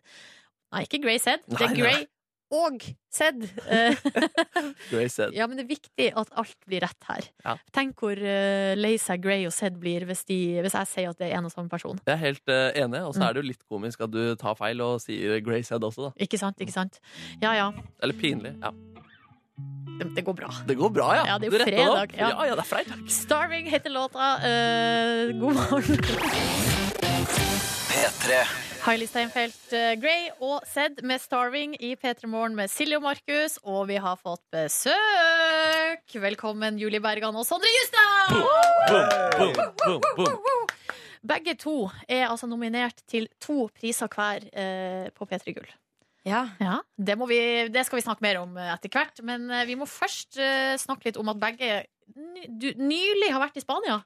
Nei, ikke Grey Zed. Det Nei, er nei. Grey og Zed. Eh, Grey said. ja, men det er viktig at alt blir rett her. Ja. Tenk hvor eh, lei seg Grey og Zed blir hvis, de, hvis jeg sier at det er en og samme person. Jeg er helt eh, enig, og så Mm. er det jo litt komisk at du tar feil og sier Grace Head også, da. Ikke sant? ikke sant? Ja ja, Eller pinlig. Ja. det, det går bra. Det går bra, ja. Ja, det er jo Du retter det opp. fredag, ja. Ja, ja, det er fredag. Starving heter låta. Eh, god morgen. Hailey Steinfeld, eh, Grey og Zed med Starving i P3 Morgen med Silje og Markus. Og vi har fått besøk! Velkommen, Julie Bergan og Sondre Justad! Boom, boom, boom. Begge to er altså nominert til to priser hver eh, på P3 Gull. Ja. Ja, det, må vi, det skal vi snakke mer om eh, etter hvert. Men eh, vi må først eh, snakke litt om at begge ny, du, nylig har vært i Spania.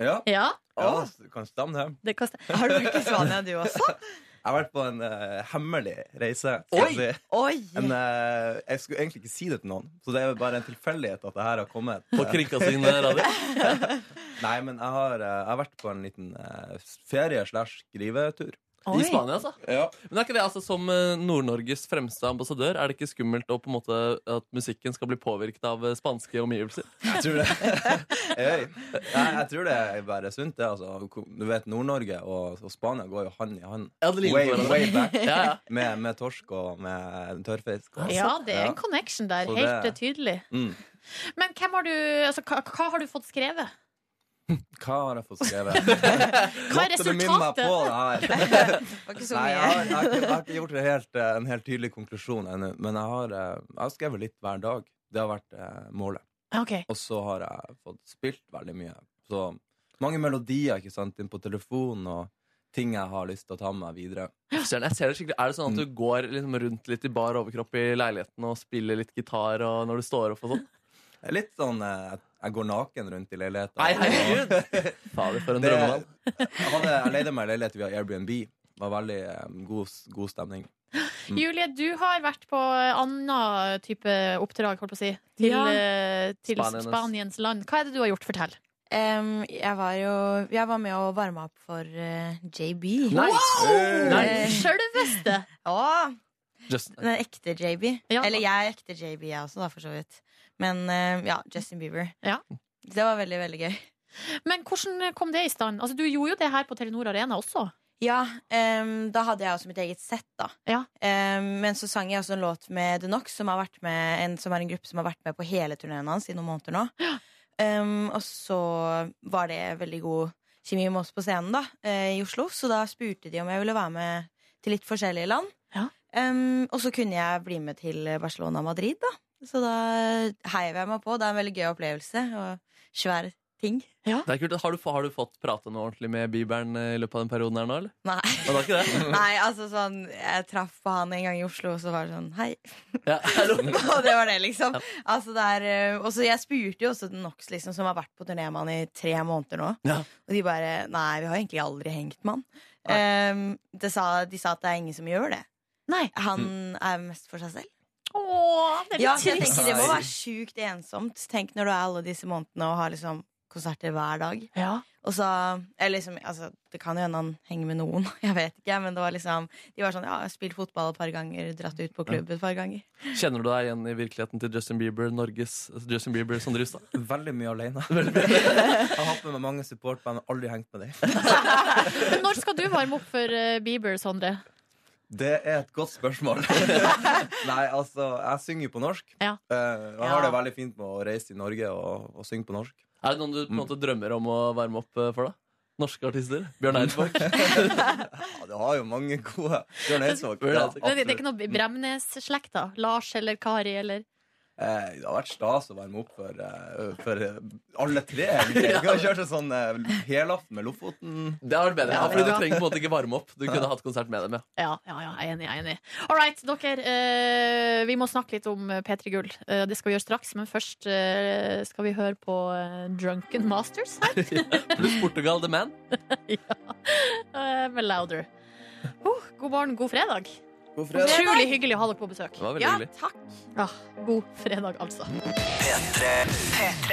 Ja, Ja, ja det kan stemme det. det kan stemme. Har du vært i Spania, du også? Jeg har vært på en eh, hemmelig reise. skal Oi! jeg si. Oi! En, eh, jeg skulle egentlig ikke si det til noen, så det er jo bare en tilfeldighet at det her har kommet. På eh, kringkastingradio. Nei, men jeg har, eh, jeg har vært på en liten eh, ferie slash skrivetur. I Spania, altså. Ja. Men er ikke det altså som eh, Nord-Norges fremste ambassadør? Er det ikke skummelt å på en måte at musikken skal bli påvirket av eh, spanske omgivelser? Jeg tror det. Oi. Nei, jeg tror det er bare sunt, det. Altså. Du vet, Nord-Norge og, og Spania går jo hand i hand. Ja, det ligner Way, på hverandre. way back. Ja, ja. Med, med torsk og med tørrfisk. Ja, det er altså. Ja. en connection der. Så Helt det- eh, tydelig. Mm. Men hvem har du, altså, hva, hva har du fått skrevet? Hva har jeg fått skrevet? Hva er Måtte du minne meg på resultatet? det her? Var ikke så Nei, jeg mye. har, jeg har, ikke, jeg har ikke gjort det helt, eh, en helt tydelig konklusjon ennå, men jeg har, eh, jeg har skrevet litt hver dag. Det har vært eh, målet. Ok, Og så har jeg fått spilt veldig mye. Så mange melodier ikke sant, inn på telefonen, og ting jeg har lyst til å ta med meg videre. Jeg ser det skikkelig. Er det sånn Mm. at du går liksom rundt litt i bar overkropp i leiligheten og spiller litt gitar og når du står opp og sånn? Det er Litt sånn eh, jeg går naken rundt i leiligheten. Nei, herregud! Fader, for en Det- drømmemann. Jeg, hadde, jeg leide meg leilighet via Airbnb. Det var veldig eh, god, god stemning. Julie, du har vært på annen type oppdrag, holdt på å si, til, Ja. eh, til Spaniens. Spaniens. land. Hva er det du har gjort? Fortell. Em, jeg var jo Jeg var med og varma opp for eh, JB. Nei. Eh, Sjølveste! Å, Just, den ekte JB. Ja. Eller jeg er ekte JB, jeg også, da, for så vidt. Men eh, ja, Justin Bieber. Ja. Det var veldig, veldig gøy. Men hvordan kom det i stand? Altså, du gjorde jo det her på Telenor Arena også. Ja, em, da hadde jeg også mitt eget sett, da. Ja. Em, men så sang jeg også en låt med The Knox, som, har vært med, en, som er en gruppe som har vært med på hele turneen hans i noen måneder nå. Em, og så var det veldig god kjemi med oss på scenen da, eh, i Oslo, så da spurte de om jeg ville være med til litt forskjellige land. Ja. Em, og så kunne jeg bli med til Barcelona og Madrid, da. Så da heiv jeg meg på. Det er en veldig gøy opplevelse, og svær ting. det er kult. Har du, har du fått prate noe ordentlig med Bibelen eh, i løpet av den perioden her nå, eller? Nei. Og det er ikke det? Nei, altså sånn Jeg traff på han en gang i Oslo, og så var det sånn Hei. Ja, hallo. Og det var det, liksom. Altså, det er, eh, og så jeg spurte jo også den Knox, liksom, som har vært på turné med han i tre måneder nå. Ja. Og de bare Nei, vi har egentlig aldri hengt med han. Ehm, det sa, de sa at det er ingen som gjør det. Nei. Han er mest for seg selv. Åh, det er litt Ja, så jeg trist. tenker Det må være sjukt ensomt. Tenk når du er alle disse månedene og har liksom konserter hver dag. Ja. Og så, eller liksom, altså, det kan jo hende han henger med noen, jeg vet ikke. Men det var liksom, de var sånn ja, jeg har spilt fotball et par ganger, dratt ut på klubb et par ganger. Kjenner du deg igjen i virkeligheten til Justin Bieber, Norges Justin Bieber som Drustad? Veldig mye alene. jeg har hatt med meg mange supportband, men aldri hengt med dem. Men når skal du varme opp for eh, Bieber, Sondre? Det er et godt spørsmål. Nei, altså, jeg synger jo på norsk. Ja. Eh, og jeg har det Ja. veldig fint med å reise i Norge og, og synge på norsk. Er det noen du på Mm. en måte drømmer om å varme opp eh, for, da? Norske artister? Mm. Bjørn Eidsvåg? Ja, du har jo mange gode Bjørn Eidsvåg. Bjørn Ja, Eidsvåg. Det, det er absolutt. ikke noe mm. Bremnes-slekt, da? Lars eller Kari eller Eh, det har vært stas å være med opp for, eh, for eh, alle tre. egentlig. Vi kan kjøre en sånn eh, helaften med Lofoten. Det har vært bedre. Ja, fordi du trenger på en måte ikke varme opp. Du kunne hatt konsert med dem, ja. Ja, ja, ja, jeg er enig. jeg er enig All right, dere. eh, vi må snakke litt om eh, P3 Gull. Eh, det skal vi gjøre straks, men først eh, skal vi høre på eh, Drunken Masters her Pluss Portugal The Man. eh, med Louder. Oh, god morgen, god fredag. God fredag. Utrolig hyggelig å ha dere på besøk. Det var veldig Ja, hyggelig. takk. Ah, god fredag, altså.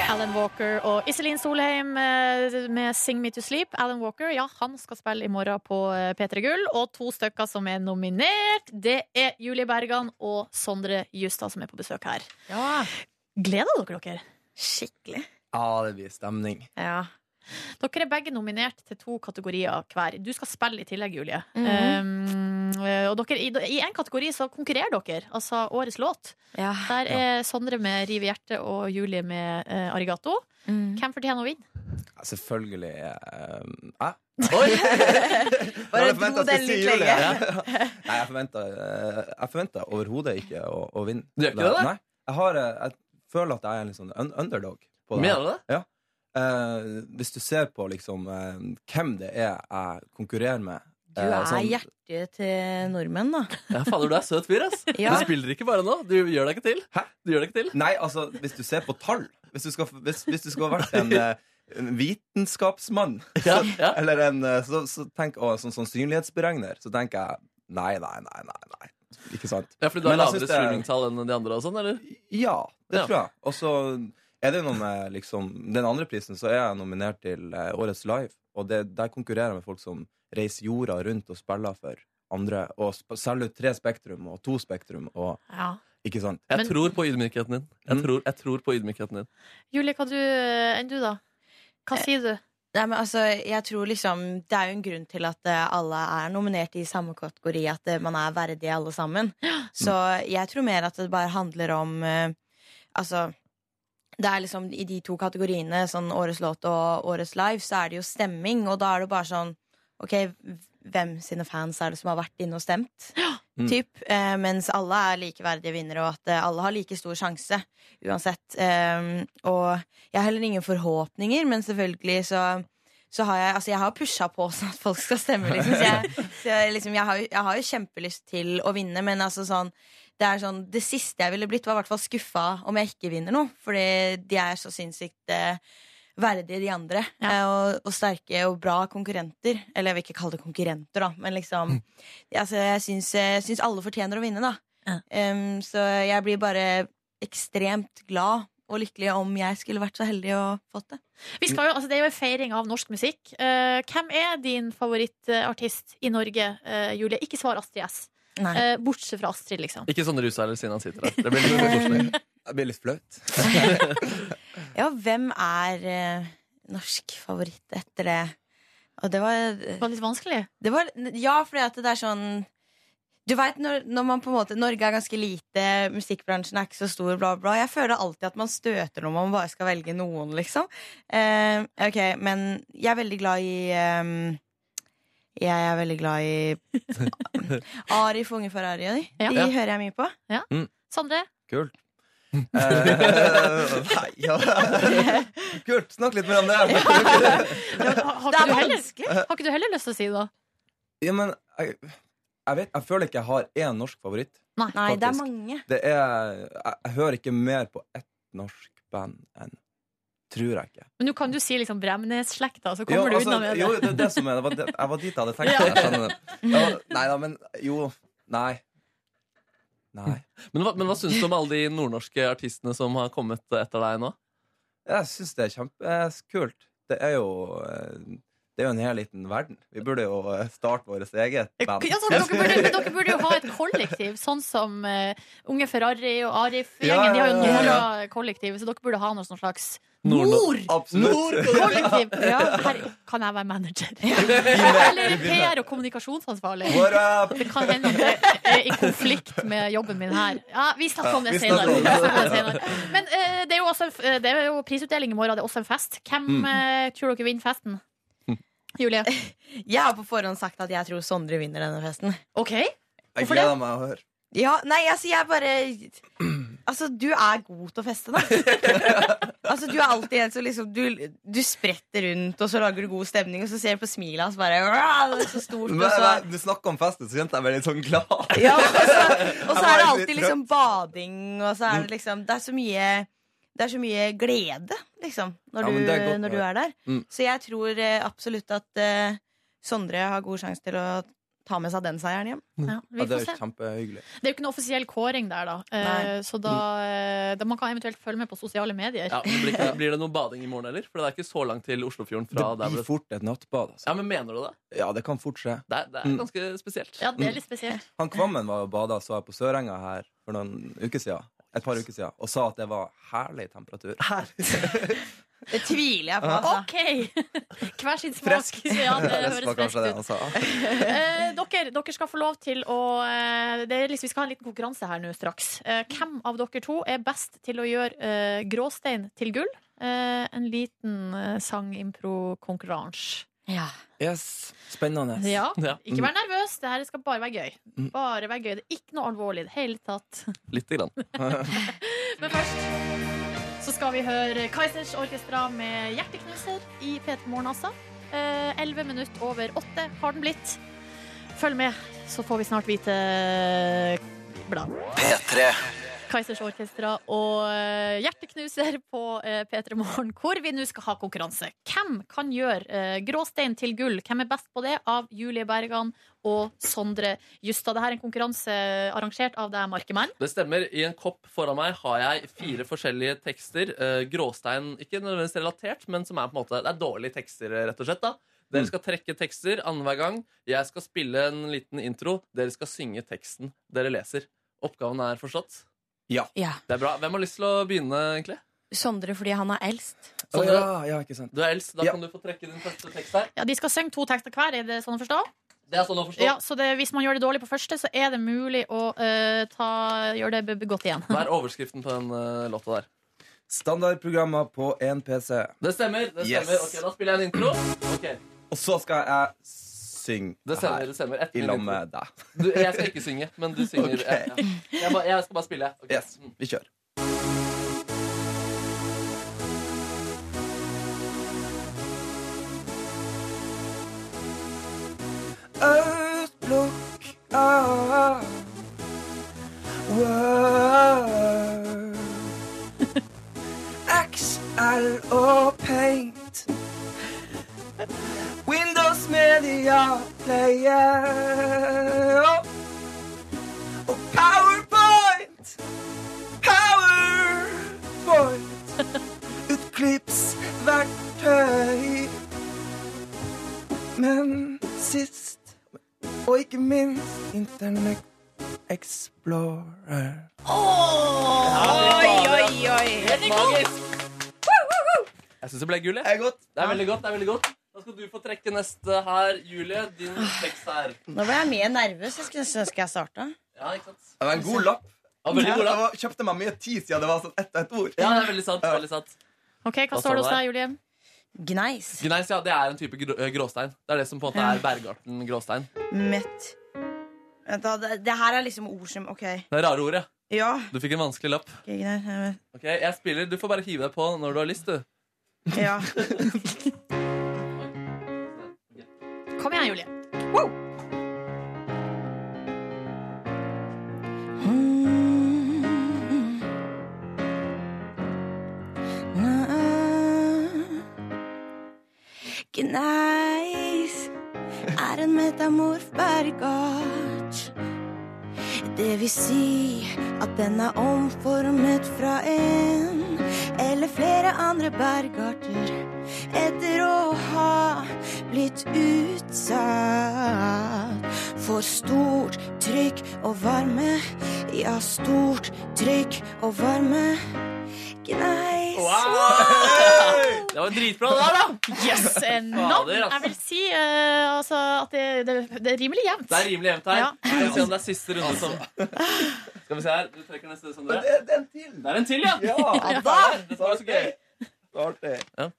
Alan Walker og Iselin Solheim eh, med 'Sing Me To Sleep'. Alan Walker ja, han skal spille i morgen på eh, P3 Gull. Og to stykker som er nominert, det er Julie Bergan og Sondre Justad, som er på besøk her. Gleder dere dere? Skikkelig. Ja, det blir stemning. Ja. Dere er begge nominert til to kategorier hver. Du skal spille i tillegg, Julie. um, og dere, I én kategori så konkurrerer dere, altså årets låt. ja. Der er Sondre med 'Riv i hjertet' og Julie med eh, 'Arigato'. Mm. Hvem fortjener å vinne? Ja, selvfølgelig eh, Hæ? Bare Jeg hadde dro forventet at den jeg litt skulle si lenge. Julie. Nei, jeg forventa, jeg forventa overhodet ikke å, å vinne. Du gjør ikke det, da? Nei, jeg, har, eh, jeg føler at jeg er en litt sånn un underdog. På det. her. Mener du det? Eh, hvis du ser på liksom eh, hvem det er jeg konkurrerer med Du eh, er sånn- hjertet til nordmenn, da. Ja, fader, du er søt fyr, ass. Ja. Du spiller ikke bare nå. Du gjør deg ikke til. Hæ? Du gjør deg ikke til. Nei, altså, hvis du ser på tall Hvis du skal, hvis, hvis du skal ha vært en eh, en vitenskapsmann, Ja, ja. eller en eh, så, så tenk, å, en sånn sannsynlighetsberegner, så tenker jeg nei, nei, nei, nei. nei. Ikke sant? ja fordi du har Men jeg lavere synes det er- streamingtall enn de andre og sånn, eller? Ja, Ja. det tror jeg. Og så er det jo noe med liksom, Den andre prisen så er jeg nominert til eh, Årets Live, og det, der konkurrerer jeg med folk som reiser jorda rundt og spiller for andre, og sp selger ut tre Spektrum og to Spektrum og Ja. Ikke sant? Jeg Men- tror på ydmykheten din. Jeg Mm. tror, jeg tror på ydmykheten din. Julie, hva du, eh, enn du, da? Hva sier du? Nei, men altså, jeg tror liksom Det er jo en grunn til at eh, alle er nominert i samme kategori, at eh, man er verdig alle sammen. Så jeg tror mer at det bare handler om eh, Altså det er liksom I de to kategoriene, sånn Årets låt og Årets live, så er det jo stemming. Og da er det bare sånn OK, hvem sine fans er det som har vært inne og stemt? Mm. Typ, eh, mens alle er likeverdige vinnere, og at eh, alle har like stor sjanse uansett. Eh, og jeg har heller ingen forhåpninger, men selvfølgelig så så har jeg, altså jeg har pusha på sånn at folk skal stemme. Liksom. Så jeg, så jeg, liksom, jeg, har, jo- jeg har jo kjempelyst til å vinne, men altså sånn, det, er sånn, det siste jeg ville blitt, var i hvert fall skuffa om jeg ikke vinner noe. Fordi de er så sinnssykt eh, verdige, de andre. Eh, og, og sterke og bra konkurrenter. Eller jeg vil ikke kalle det konkurrenter, da, men liksom altså, Jeg syns, jeg syns alle fortjener å vinne, da. Em, så jeg blir bare ekstremt glad og lykkelig om jeg skulle vært så heldig og fått det. Vi skal jo, altså det er jo en feiring av norsk musikk. Eh, hvem er din favorittartist i Norge, eh, Julie? Ikke svar Astrid S. Nei. Eh, bortsett fra Astrid, liksom. Ikke sånn rusa eller siden han sitter der. Det blir litt koselig. Jeg blir litt flaut. Ja, hvem er eh, norsk favoritt etter det? Og det var, Det var litt vanskelig. det var Ja, fordi at det er sånn Du veit når, når man på en måte Norge er ganske lite, musikkbransjen er ikke så stor, bla, bla. Jeg føler alltid at man støter når man bare skal velge noen, liksom. Eh, ok, men jeg er veldig glad i eh, jeg er veldig glad i Arif og Unge Ferrari. og De, Ja. de hører jeg mye på. Sondre? Kult. Eh, nei, ja. Kult. Snakk litt mer om det. Har, har, Det ikke er du heller, vanskelig! har ikke du heller lyst til å si det? da? Ja, men jeg, jeg, vet, jeg føler ikke jeg har én norsk favoritt. Nei, det er Faktisk. mange. Det er, jeg, jeg hører ikke mer på ett norsk band enn Tror jeg ikke. Men nå kan du si liksom Bremnes-slekta, så Jo, kommer du altså, unna med det. Jo, det, er det som er, det var, det, jeg var dit jeg hadde tenkt. Jeg skjønner det. Ja, nei da, men jo. Nei. Nei. Men hva, men hva syns du om alle de nordnorske artistene som har kommet etter deg nå? Jeg syns det er kjempekult. Det er jo eh, Det er jo en hel liten verden. Vi burde jo eh, starte vårt eget band. Ja, sånn, dere, burde, men dere burde jo ha et kollektiv, sånn som eh, Unge Ferrari og Ja, Arif-gjengen. De har ja, jo ja, ja, ja. Nora-kollektiv, så dere burde ha noe sånn slags Nord- Absolutt. Kollektiv! Her, kan jeg være manager? Eller PR- og kommunikasjonsansvarlig? What up? Det kan hende at det er i konflikt med jobben min her. Ja, Vi snakker om det Vi snakker senere. om Vi det. snakker om det senere. Men eh, det, er jo også, en f- eh, det er jo prisutdeling i morgen, det er også en fest. Hvem Mm. eh, tror dere vinner festen? Hm. Julie? Jeg har på forhånd sagt at jeg tror Sondre vinner denne festen. OK. Jeg Hvorfor det? gleder meg å høre. Ja, nei, altså jeg bare Altså, du er god til å feste, da. altså, du er alltid en som liksom du, du spretter rundt, og så lager du god stemning, og så ser du på smilet hans bare «Åh, Det er så stort, Men, og så men, du snakka om festen, så kjente jeg meg litt sånn glad. ja, og så, og så Jeg er det var Mm. litt alltid liksom bading, og så er det liksom Det er så mye det er så mye glede, liksom, når Ja, du, men det er godt når å du er der. Mm. Så jeg tror eh, absolutt at eh, Sondre har god sjanse til å ta med seg den seieren hjem. Ja, Ja, vi det får er se. jo kjempehyggelig. Det er jo ikke noe offisiell kåring der, da. Eh, så da, eh, da man kan eventuelt følge med på sosiale medier. Ja, men blir, ikke, blir det noe bading i morgen, eller? For det er ikke så langt til Oslofjorden fra der det hvor blir det fort et nattbad. Altså. Ja, men mener du det? Ja, det kan fort skje. Det er, det er ganske spesielt. Ja, det er litt spesielt. Han Kvammen var og bada, så jeg på Sørenga her for noen uker siden. Et par uker siden, og sa at det var herlig temperatur. Det tviler jeg på. altså. OK! Hver sin smak. Ja, det høres Fresk var freskt kanskje det ut. han sa. Eh, dere, dere skal få lov til å eh, det er liksom, Vi skal ha en liten konkurranse her nå straks. Eh, hvem av dere to er best til å gjøre eh, gråstein til gull? Eh, en liten eh, sangimpro-konkurranse. Yes, Spennende. Ja. Ja. Ikke vær nervøs, det her skal bare være gøy. Bare være gøy, Det er ikke noe alvorlig i det hele tatt. Mm, Lite grann. Men først så skal vi høre Kaizers Orkestra med 'Hjerteknuser' i P3 Morgen, altså. Elleve minutter over åtte har den blitt. Følg med, så får vi snart vite bla. P3 Kaizers eh, Orkestra og eh, Hjerteknuser på eh, P3 Morgen, hvor vi nå skal ha konkurranse. Hvem kan gjøre eh, gråstein til gull? Hvem er best på det? Av Julie Bergan og Sondre Justad. Dette er en konkurranse eh, arrangert av deg, Markemann. Det stemmer. I en kopp foran meg har jeg fire forskjellige tekster. Eh, gråstein, ikke nødvendigvis relatert, men som er på en måte Det er dårlige tekster, eh, rett og slett. da Mm. Dere skal trekke tekster annenhver gang. Jeg skal spille en liten intro. Dere skal synge teksten dere leser. Oppgaven er forstått. Ja. Det er bra. Hvem har lyst til å begynne, egentlig? Sondre fordi han er eldst. Å Sondre, ja, ja, ikke sant. Du er eldst, da Ja. kan du få trekke din første tekst her. Ja, de skal synge to tekster hver, er det sånn å forstå? Det er sånn å forstå. Ja, så det, hvis man gjør det dårlig på første, så er det mulig å eh, ta, gjøre det b- b- godt igjen. Hva er overskriften på den eh, låta der? Standardprogrammer på én PC. Det stemmer. det Yes. stemmer Ok, Da spiller jeg en intro. Ok, Og så skal jeg synge Det her stemmer. det stemmer Etter i min lag intro. med deg. Du, jeg skal ikke synge, men du synger. Ok. Ja, ja. Jeg, ba, jeg skal bare spille. ok. Yes, Mm. vi kjører. Outlook ah, Word XL og Paint Windows Media Player Og Powerpoint Powerpoint Utklippsverktøy Men sist Og ikke minst Internet Explorer Helt magisk! Jeg syns det ble gull. jeg. Det er godt Det er veldig godt. det er veldig godt Da skal du få trekke neste her, Julie. Din tekst her. Nå ble jeg mye nervøs. Jeg skulle nesten ønske jeg starta. Ja, ikke sant? Det var en god lapp Ja, veldig god, da. Jeg var- kjøpte meg mye tid siden det var sånn ett og ett ord Ja, det er veldig sant. veldig sant Ok, Hva Hva står det står hos det deg, Julie? Gneis. Gneis, ja, det er en type grå- gråstein. Det er det som på en måte er bergarten gråstein. Mett. Vent, da. Det, det her er liksom ord som OK. Det er rare ordet. Ja. Du fikk en vanskelig lapp. ok, Gneis. jeg vet. Ok, jeg spiller, Du får bare hive deg på når du har lyst, du. Ja. Kom igjen, Julie. Gneis er en metamorf bergart. Det vil si at den er omformet fra en eller flere andre bergarter etter å ha blitt utsatt for stort trykk og varme. Ja, stort trykk og varme. Gneis. Det var dritbra, det der, da! Yes, eh, navn. Fader, altså. Jeg vil si eh, altså, at det, det, det er rimelig jevnt. Det er rimelig jevnt her. Ja. Skal vi se om det er siste runde som Skal vi se her. Du trekker neste, Sondre. Men det, det er en til Det er en til, ja! Ja, Dette var så gøy. Så artig. Ja.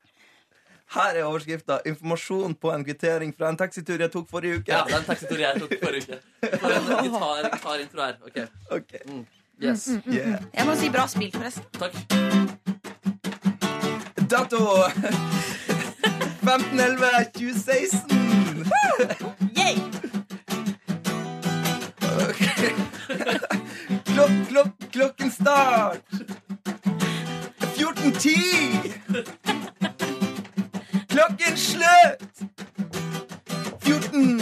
Her er overskrifta 'Informasjon på en kvittering fra en taxitur jeg tok forrige uke'. Ja, det er en taxitur jeg tok forrige uke. For en gitar, gitarintro her. Ok, Ok, yes. Mm, yeah. Jeg må si bra spilt, forresten. Takk. Dato 15.11.2016. Ok. Klok, klok, klokken start 14.10. Klokken slutt 14.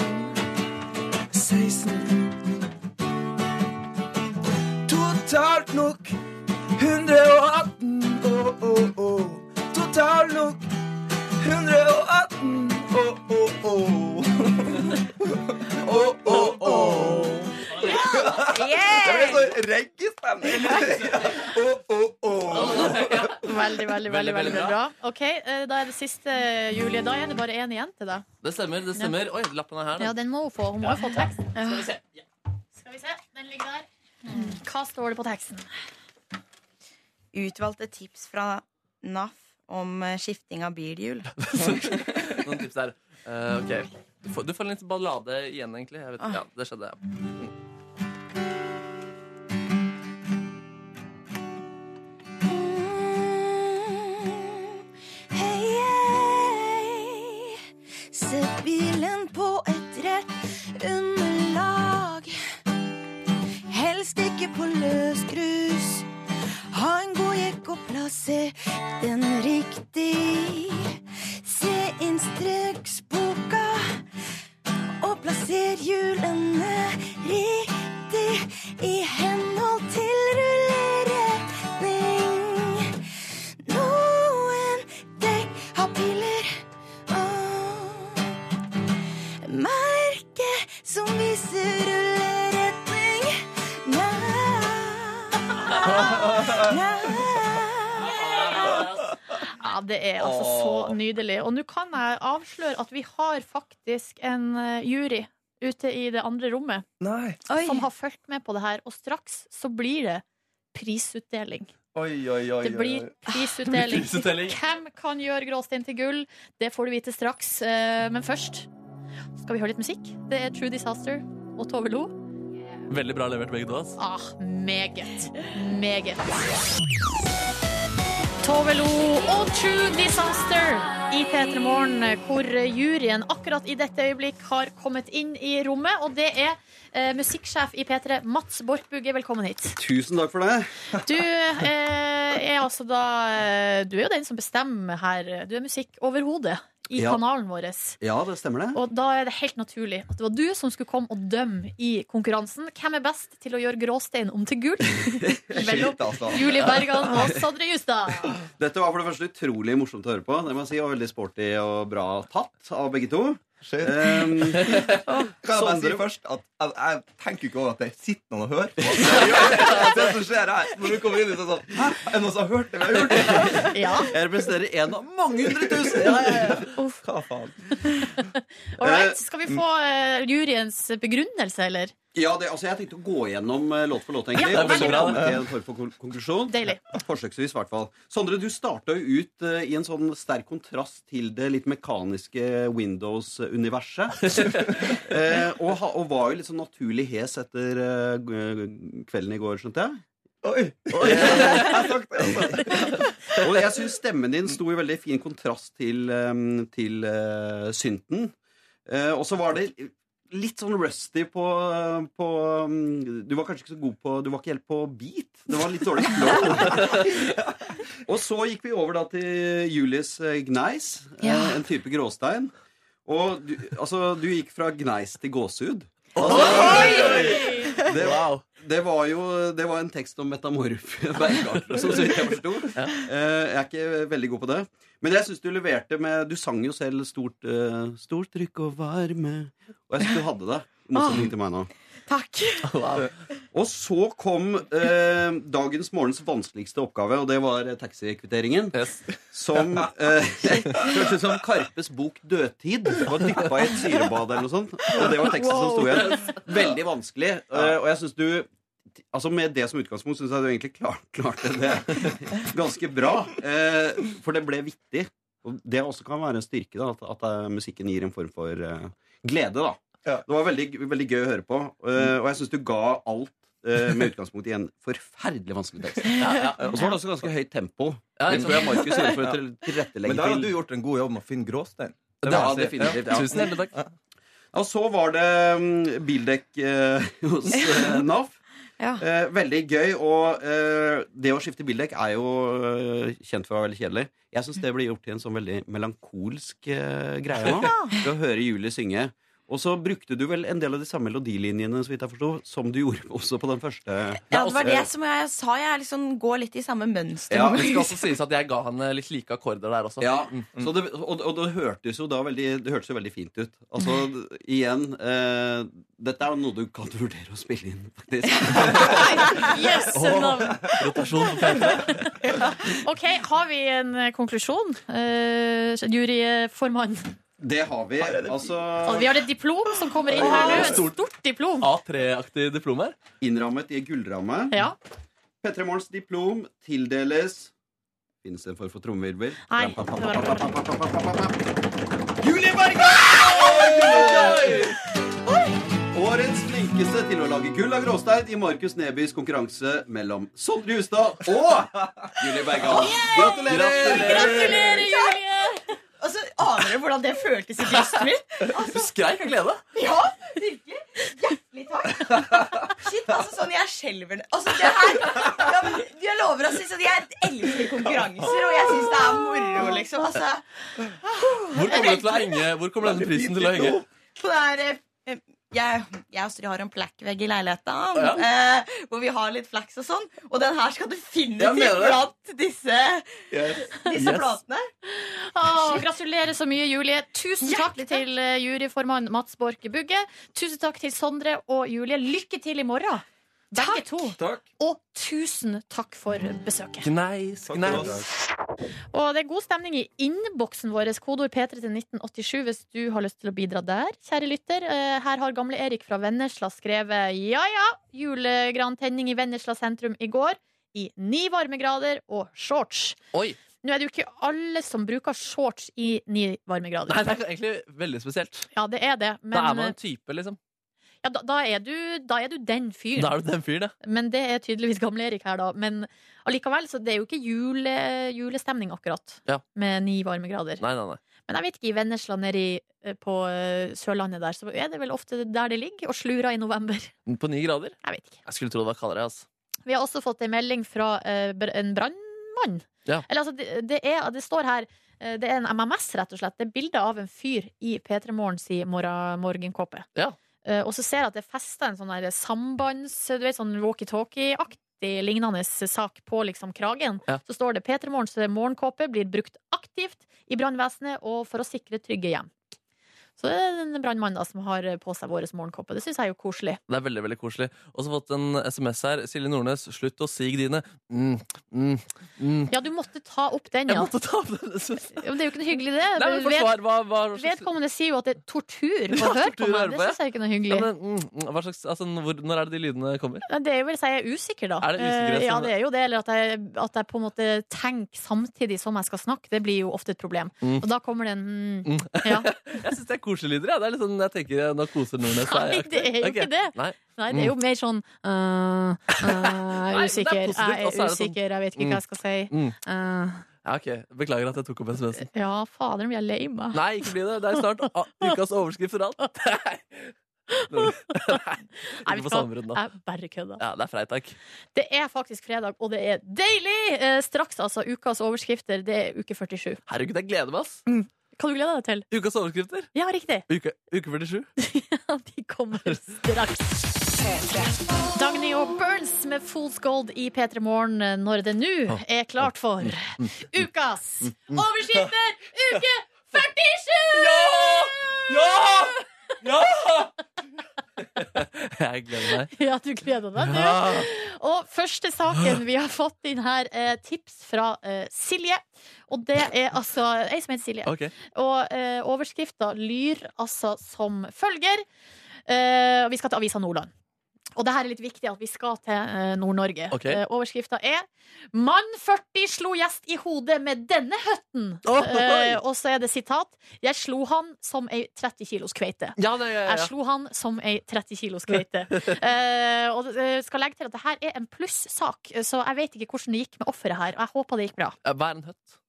16. Totalt nok 118. Åh, åh, åh. Totalt nok 118. Åh, åh, åh. Åh, åh, åh. Det ble sånn reggae-stemning. Åh, åh, åh. Veldig, veldig, veldig, Veldig, veldig, veldig bra. Ok, eh, Da er det siste, Julie. Da er det bare én igjen til deg. Det stemmer. det stemmer Oi, lappen er her. Ja, Da. den må hun få. Hun må jo få tekst. Skal vi se. Ja. Skal vi se, den ligger der. Mm. Hva står det på teksten? Utvalgte tips fra NAF om eh, skifting av bilhjul. Noen tips der. Eh, ok. Du får, du får en litt ballade igjen, egentlig. Jeg vet, Ah. ja, det skjedde. ja. Hei, hei. Sett bilen på et rett underlag. Helst stikke på løs grus. Ha en god jekk og plasser den riktig. Se instruksboka og plasser hjulene riktig i henhold til rulleretning. Noen dekk har piler. Åh. Merke som viser rulleretning. Na, na. Ja, det er altså så nydelig. Og nå kan jeg avsløre at vi har faktisk en eh, jury ute i det andre rommet Nei. Oi. som har fulgt med på det her, og straks så blir det prisutdeling. Oi, oi, oi. Det blir prisutdeling. Prisutdeling. Hvem kan gjøre gråstein til gull? Det får du vite straks. eh, Men først skal vi høre litt musikk. Det er True Disaster og Tove Lo. Veldig bra levert, begge to. ass. Ah, meget. Meget. Tove Lo og True Disaster i P3 Morgen, hvor juryen akkurat i dette øyeblikk har kommet inn i rommet. Og det er eh, musikksjef i P3, Mats Bortbugge. Velkommen hit. Tusen takk for det. Du eh, er altså da eh, Du er jo den som bestemmer her. Du er musikkoverhodet i Ja. kanalen vår. Ja, det stemmer det. Og da er det helt naturlig at det var du som skulle komme og dømme i konkurransen. Hvem er best til å gjøre gråstein om til gull? Mellom Shit, altså. Julie Bergan og Sondre Justad. Dette var for det første utrolig morsomt å høre på. Det må jeg si, og veldig sporty og bra tatt av begge to. Eh, Shit. Um, Kan jeg bare si Sondre- først at jeg, jeg tenker jo ikke over at det sitter noen og hører på. Det er det som skjer her. Når du kommer inn så er det sånn Hæ, er det noen som har hørt det vi har gjort? Ja. jeg representerer en av mange hundre tusen! Ja, ja, ja. Hva faen? All right. Skal vi få eh, juryens begrunnelse, eller? ja det, altså, jeg tenkte å gå gjennom eh, låt for låt, egentlig. Ja, og så veldig bra. komme til en form for kon- konklusjon. Deilig. Forsøksvis, i hvert fall. Sondre, du starta jo ut eh, i en sånn sterk kontrast til det litt mekaniske Windows-universet. Eh, og, ha- og var jo litt sånn naturlig hes etter eh, g- kvelden i går, skjønte jeg. Oi. Oi. Jeg har sagt det, altså. Og jeg syns stemmen din sto i veldig fin kontrast til, eh, til eh, synten. Eh, og så var det litt sånn rusty på, på mm, Du var kanskje ikke så god på Du var ikke helt på beat. Det var litt dårlig flow. og så gikk vi over da til Julies eh, gneis, eh, Ja. en type gråstein. Og du, altså, du gikk fra gneis til gåsehud. Det, Wow. det var jo det var en tekst om metamorfe bergarter, som så vidt jeg forsto. Eh, Jeg er ikke veldig god på det. Men jeg syns du leverte med Du sang jo selv stort, eh, stort trykk og varme. Og jeg syns du hadde det. i Motsetning til meg nå. Eh, Takk. Og så kom eh, dagens morgens vanskeligste oppgave, og det var eh, taxikvitteringen. Yes. Som eh, hørtes ut som Karpes bok 'Dødtid'. Det var dyppa i et syrebad eller noe sånt. Og det var teksten som sto igjen. Veldig vanskelig. eh, og jeg syns du Altså Med det som utgangspunkt syns jeg du egentlig klar, klarte det ganske bra. eh, for det ble vittig. Og det også kan være en styrke, da, at, at eh, musikken gir en form for eh, glede. da Ja. Det var veldig, veldig gøy å høre på, eh, og jeg syns du ga alt eh, med utgangspunkt i en forferdelig vanskelig tekst. Eh, Og så var det også ganske høyt tempo. Ja, sånn. Det tror jeg Markus gjorde for å til- tilrettelegge Men der har du til. gjort en god jobb med å finne gråstein. Det Ja, må jeg si. definitivt. Ja. Tusen hjertelig takk. Og så var det mm, bildekk eh, hos eh, NAF. Ja. Eh, veldig gøy, og eh, det å skifte bildekk er jo eh, kjent for å være veldig kjedelig. Jeg syns det blir gjort til en sånn veldig melankolsk eh, greie nå. Ved å høre Julie synge. Og så brukte du vel en del av de samme melodilinjene så vidt jeg forstod, som du gjorde også på den første. Ja, det var det som jeg sa. Jeg liksom går litt i samme mønster. Ja, Det skal også sies at jeg ga han eh, litt like akkorder der også. Mm. Ja, så det, og, og det hørtes jo da veldig, det hørtes jo veldig fint ut. Altså, d- igjen eh, Dette er jo noe du kan vurdere å spille inn, faktisk. Yes, Åh. navn. Rotasjon på P3. OK, har vi en eh, konklusjon? Uh, Juryformann. Det har vi. Altså Altså, vi har et diplom som kommer inn her nå. Et stort diplom. Ah. A3-aktig diplom her. innrammet i en gullramme. Ja. P3 Morgens diplom tildeles Finnes det en form for trommevirvel? Nei. Julie Berge! Årets flinkeste til å lage gull av gråstein i Markus Nebys konkurranse mellom Sondre Justad og Julie Bergan. Gratulerer! Gratulerer, Julie! Og så aner du hvordan det føltes i brystet mitt. Du skreik av glede. Ja, virkelig. Hjertelig takk. Shit, altså sånn Jeg skjelver det Altså, det her ja, men Jeg lover, altså. liksom, Jeg elsker konkurranser, og jeg syns det er moro, liksom. Altså, Hvor kommer, det til å henge, hvor kommer denne prisen til å henge? på det her eh, eh, jeg, jeg og Astrid har en plakkvegg i leiligheten Ja. eh, hvor vi har litt flaks og sånn. Og den her skal Ja, definitivt mener du det? blant disse, disse Yes. platene. Å, gratulerer så mye, Julie. Tusen takk til eh, juryformann Mats Borch Bugge. Tusen takk til Sondre og Julie. Lykke til i morgen, begge to. Og tusen takk for besøket. Gneis, gneis. Og det er god stemning i innboksen vår. Kodeord P3 til 1987 hvis du har lyst til å bidra der, kjære lytter. Eh, Her har gamle Erik fra Vennesla skrevet ja ja, julegrantenning i Vennesla sentrum i går. I ni varmegrader og shorts. Nå er det jo ikke alle som bruker shorts i ni varmegrader. Nei, det er egentlig veldig spesielt. Ja, det er det. Men, eh, Da er eh, man en type, liksom. ja, da, da, er du, da er du den fyren. Da er du den fyren, ja. Men det er tydeligvis gamle Erik her, da. Men allikevel, så det er jo ikke jule, julestemning akkurat. ja. Med ni varmegrader. Nei, nei, nei. Men jeg vet ikke, i Vennesla nede i, eh, på eh, Sørlandet der, så er det vel ofte der det ligger, og slura i november. På ni grader? Jeg vet ikke. Jeg skulle tro det var kaldere, altså. Vi har også fått en melding fra eh, br- en brannmann. Ja. Eller altså, det, det, er, det står her eh, Det er en MMS, rett og slett. Det er bilde av en fyr i P3 Morgens morgenkåpe. Ja. Eh, og så ser jeg at det er festa en sånn der sambands... Du vet, sånn walkietalkie-aktig lignende sak på liksom kragen. Ja. Så står det P3 Morgens morgenkåpe blir brukt aktivt i brannvesenet og for å sikre trygge hjem. Så det er en brannmann da som har på seg vår morgenkåpe. Det syns jeg er jo koselig. Det er veldig veldig koselig. Og så har jeg fått en SMS her. Silje Nordnes, slutt å sige dine. Mm, mm, mm. Ja, du måtte ta opp den, ja. Jeg måtte ta opp den. jeg Ja, men det er jo ikke noe hyggelig, det. Nei, men Ved- forsvar, hva, hva, hva slags Vedkommende sier jo at det er tortur å Ja, høre på tortur å høre meg. på, Det ja. syns jeg ikke er noe ja, hyggelig. men, mm, mm, hva slags, altså, hvor, Når er det de lydene kommer? Nei, Det er jo vel så jeg er usikker, da. Er det altså? usikkerhet Eh, ja, som- det er jo det. Eller at jeg, at jeg på en måte tenker samtidig som jeg skal snakke. Det blir jo ofte et problem. Mm. Og da kommer det en mm. Mm. Ja. jeg syns det er koselige lyder. Ja. Det er litt sånn, jeg tenker, eh, Nå koser Nordnes seg. Nei, det er jo Ok. ikke det. Nei. Nei, det er jo Mm. mer sånn øh, øh, Nei, det er Usikker. positivt, Jeg og så er det er sånn- usikker, jeg vet ikke hva jeg skal si. Mm. Øh, Ja, ok, Beklager at jeg tok opp SMS-en. ja, fader, nå blir jeg lei meg. Nei, ikke bli det. Det er snart ah, ukas overskrift for alt. Nei. Nei, Nei. vet Ikke du på hva? samrundt nå. Jeg bare kødder. Ja, det er freitag. Det er faktisk fredag, og det er deilig! Eh, straks, altså. Ukas overskrifter, det er uke 47. Herregud, jeg gleder meg, ass. Kan du glede deg til? Ukas overskrifter. Ja, riktig. Uke, uke 47. De kommer straks. Dagny og Burns med Fools Gold i P3 Morgen eh, når det nå er klart for mm. ukas overskrifter uke 47! Ja! Ja! Jeg gleder meg. Ja, du gleder deg, du. Ja. Og første saken vi har fått inn her, er tips fra eh, Silje. Og det er altså ei som heter Silje. Ok. Og eh, overskrifta lyr altså som følger. Eh, og vi skal til Avisa Nordland. Og det her er litt viktig at vi skal til eh, Nord-Norge. Ok. Eh, overskrifta er 'Mann 40 slo gjest i hodet med denne høtten'. Eh, og så er det sitat 'Jeg slo han som ei 30 kilos kveite'. Ja, det, ja, ja. Jeg slo han som ei 30 kilos kveite. Eh, og eh, skal legge til at det her er en plussak, så jeg vet ikke hvordan det gikk med offeret her. Og jeg håper det gikk bra. Ja, Hva er en høtt?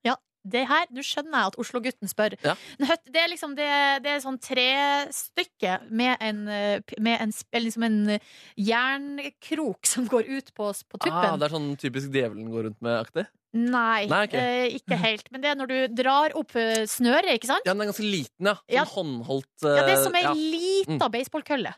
Ja, det her, Nå skjønner jeg at Oslo-gutten spør. Ja. En høtt, det er liksom det, det er sånn trestykke med en, eh, p- med en, sp- eller liksom en eh, jernkrok som går ut på, s- på Ah, tuppen. det er sånn typisk djevelen går rundt med-aktig? Nei, Nei, ok. eh, ikke helt. Men det er når du drar opp eh, snøret, ikke sant? Ja, den er ganske liten, ja. Sånn Ja. håndholdt Ja, det er eh, som ei ja. Mm. lita baseballkølle.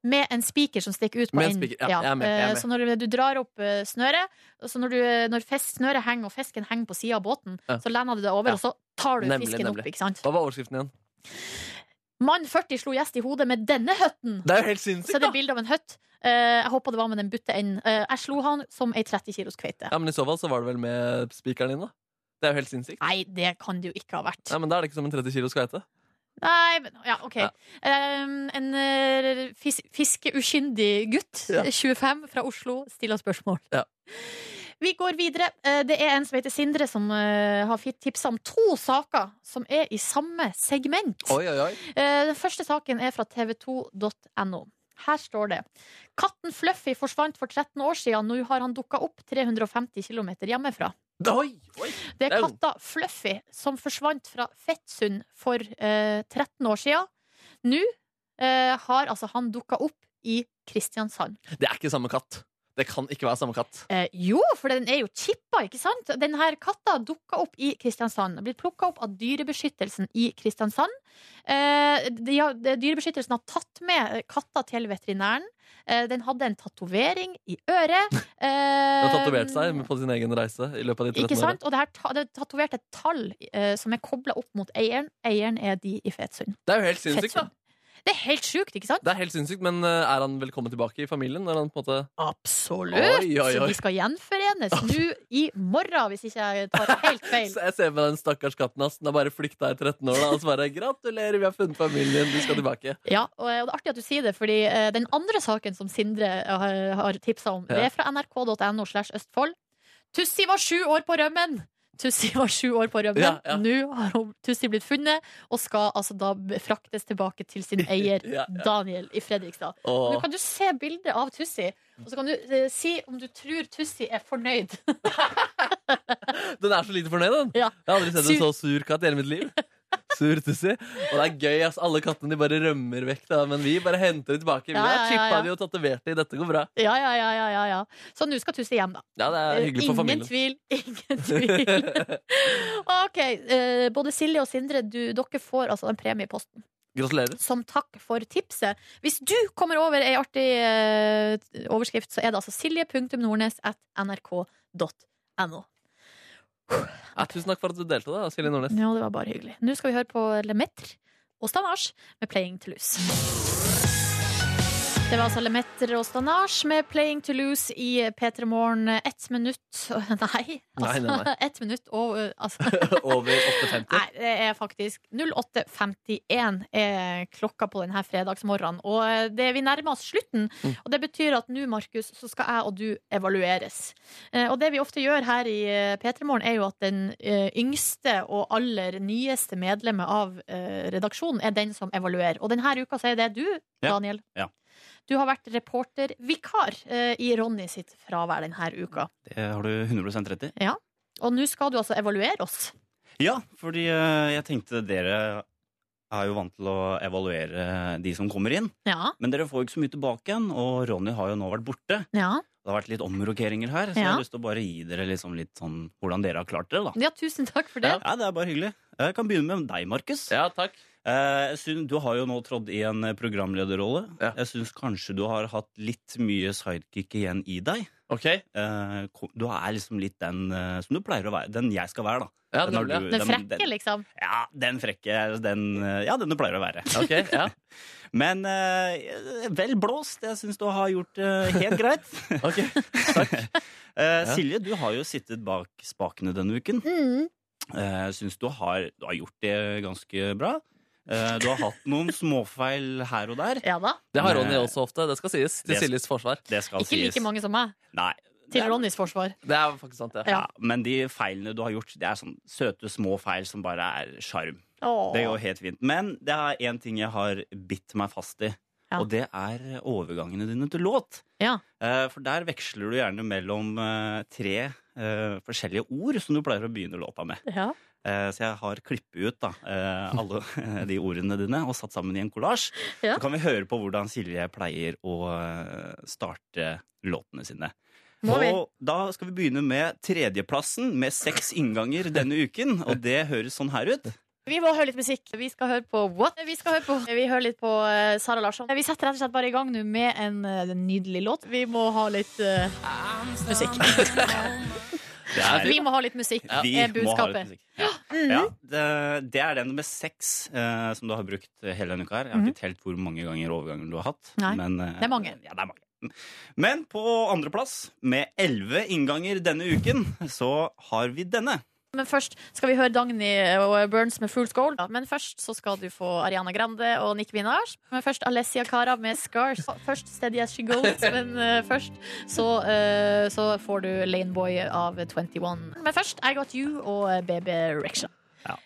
Med en spiker som stikker ut på Med en enden. spiker, ja, jeg er med, jeg er Eh, med. Så når du drar opp eh, snøret, og så når, du, eh, når fest, snøret henger og fisken henger på sida av båten, Ja. så lener du deg over, Ja. og så tar du Nemlig, fisken nemlig. opp. ikke sant? Hva var overskriften igjen? Mann 40 slo gjest i hodet med denne høtten! Det er jo helt Så sinnssykt, er det da! bilde av en høtt. Eh, jeg håper det var med den butte enden. Eh, jeg slo han som ei 30 kilos kveite. Ja, men I så fall så var det vel med spikeren din, da. Det er jo helt sinnssykt. Nei, det kan det jo ikke ha vært. Nei, men Da er det ikke som en 30 kilos kveite. Nei, men ja, OK. Ja. Um, en eh, fis fiskeuskyndig gutt, Ja. 25, fra Oslo, stiller spørsmål. Ja. Vi går videre. Eh, det er en som heter Sindre, som eh, har tipsa om to saker som er i samme segment. Oi, oi, oi. Eh, Den første saken er fra tv2.no. Her står det Katten Fluffy forsvant for 13 år siden. Nå har han dukka opp 350 km hjemmefra. Oi, oi. Det Det er er katta Fluffy som forsvant fra Fettsund for eh, 13 år siden. Nå eh, har altså han dukka opp i Kristiansand. Det er ikke samme katt. Det kan ikke være samme katt. Eh, jo, for den er jo chippa, ikke sant? Den her katta dukka opp i Kristiansand. Den Blitt plukka opp av Dyrebeskyttelsen i Kristiansand. Eh, de, har- de- dyrebeskyttelsen har tatt med eh, katta til veterinæren. Eh, den hadde en tatovering i øret. Den Eh, har tatovert seg på sin egen reise i løpet av de Ikke 13 sant? årene. Og det her ta- det er tatovert et tall eh, som er kobla opp mot eieren. Eieren er de i Fetsund. Det er jo helt sinnssykt, da. Det er helt sjukt, ikke sant? Det er helt sinnssykt, Men eh, er han velkommen tilbake i familien? Er han på en måte Absolutt! Oi, oi, Så oi. de skal gjenforenes nå i morgen, hvis ikke jeg tar helt feil. Så jeg ser for meg den stakkars katten hans. Den har bare flykta i 13 år da, og så bare 'Gratulerer, vi har funnet familien, du skal tilbake'. Ja, og og det er artig at du sier det, fordi eh, den andre saken som Sindre eh, har- har tipsa om, Ja. det er fra nrk.no slash Østfold. Tussi var sju år på rømmen! Tussi var sju år på rømmen. Ja, ja. Nå har hun- Tussi blitt funnet, og skal altså da b- fraktes tilbake til sin eier, Ja, ja. Daniel i Fredrikstad. Åh. Nå kan du se bildet av Tussi, og så kan du eh, si om du tror Tussi er fornøyd. Den er så lite fornøyd, den. Ja. Jeg har aldri sett en Sur. så sur katt i hele mitt liv. Sur tussi. Og det er gøy, ass. Alle kattene de bare rømmer vekk, da. men vi bare henter det tilbake. Vi Ja, har ja, ja, chippa ja. de og tatovert de. Dette går bra. Ja, ja, ja, ja, ja, ja. Så nå skal Tussi hjem, da. Ja, det er hyggelig for familien. Ingen tvil, ingen tvil. Ok, eh, både Silje og Sindre, du, dere får altså en premie i posten Gratulerer. som takk for tipset. Hvis du kommer over ei artig eh, overskrift, så er det altså silje.nordnes at nrk.no. Ja, Eh, tusen takk for at du delte, da, Silje Nordnes. Ja, det var bare hyggelig. Nå skal vi høre på Lemaitre og Stanage med 'Playing to Lose'. Det var altså Lemaitre og Stanage med 'Playing to Lose' i P3 Morgen ett minutt Nei, Nei, altså, nei, nei. ett minutt og eh, altså, Over 8,50. Nei, det er faktisk 08.51 er klokka på denne fredagsmorgenen. Og eh, det, vi nærmer oss slutten. Mm. Og det betyr at nå, Markus, så skal jeg og du evalueres. Eh, Og det vi ofte gjør her i eh, P3 Morgen, er jo at den eh, yngste og aller nyeste medlemmet av eh, redaksjonen er den som evaluerer. Og denne uka så er det du, Ja. Daniel. Ja. Du har vært reportervikar eh, i Ronny sitt fravær denne uka. Det har du 100 rett i. Ja. Og nå skal du altså evaluere oss. Ja, fordi eh, jeg tenkte dere er jo vant til å evaluere de som kommer inn. Ja. Men dere får jo ikke så mye tilbake igjen, og Ronny har jo nå vært borte. Ja. Det har vært litt omrokeringer her, så jeg Ja. har lyst til å bare gi dere liksom litt sånn hvordan dere har klart dere, da. Ja, tusen takk for det. Ja, det er bare hyggelig. Jeg kan begynne med deg, Markus. Ja, takk. Eh, Du har jo nå trådd i en eh, programlederrolle. Jeg syns kanskje du har hatt litt mye sidekick igjen i deg. Eh, ko- Du er liksom litt den eh, som du pleier å være. Den jeg skal være, da. Ja, Den har nemlig, ja. du- Den frekke, liksom. ja, den frekke. Den, eh, ja, den du pleier å være. Men eh, vel blåst. Jeg syns du har gjort det helt greit. Eh, Silje, du har jo sittet bak spakene denne uken. Eh, Mm. Jeg syns du har, du har gjort det ganske bra. Eh, Du har hatt noen småfeil her og der. Ja da. Det har Ronny også ofte. Det skal sies. Til Siljes forsvar. Det skal Ikke like sies. mange som meg. Nei. Til Ronnys forsvar. Det er faktisk sant, Ja. Ja, men de feilene du har gjort, det er sånn søte små feil som bare er sjarm. Åh. Det går helt fint. Men det er én ting jeg har bitt meg fast i, Ja. og det er overgangene dine til låt. Ja. Eh, For der veksler du gjerne mellom eh, tre eh, forskjellige ord som du pleier å begynne låta med. Ja. Eh, Så jeg har klippet ut da, eh, alle de ordene dine og satt sammen i en kollasj. Ja. Så kan vi høre på hvordan Silje pleier å eh, starte låtene sine. Må vi? Og da skal vi begynne med tredjeplassen med seks innganger denne uken. Og det høres sånn her ut. Vi må høre litt musikk. Vi skal høre på What? Vi skal høre på Vi hører litt på eh, Sara Larsson. Vi setter rett og slett bare i gang nå med en eh, nydelig låt. Vi må ha litt eh, musikk. er- Vi må ha litt musikk, Vi må ha litt er eh, budskapet. musikk. Ja. Mhm. Ja, det, det er den med seks eh, som du har brukt hele denne uka her. Jeg har Mhm. ikke telt hvor mange ganger overganger du har hatt. Nei, men, eh, det er mange. Ja, det er mange. Men på andreplass, med elleve innganger denne uken, så har vi denne. Men først skal vi høre Dagny og Burns med Fool's Gold. Men først så skal du få Ariana Grande og Nicki Minaj. Men først Alessia Cara med Scars. Først Steady As She Goes, men eh, først så, eh, så får du Laneboy av 21. Men først I Got You og eh, Baby Rexha.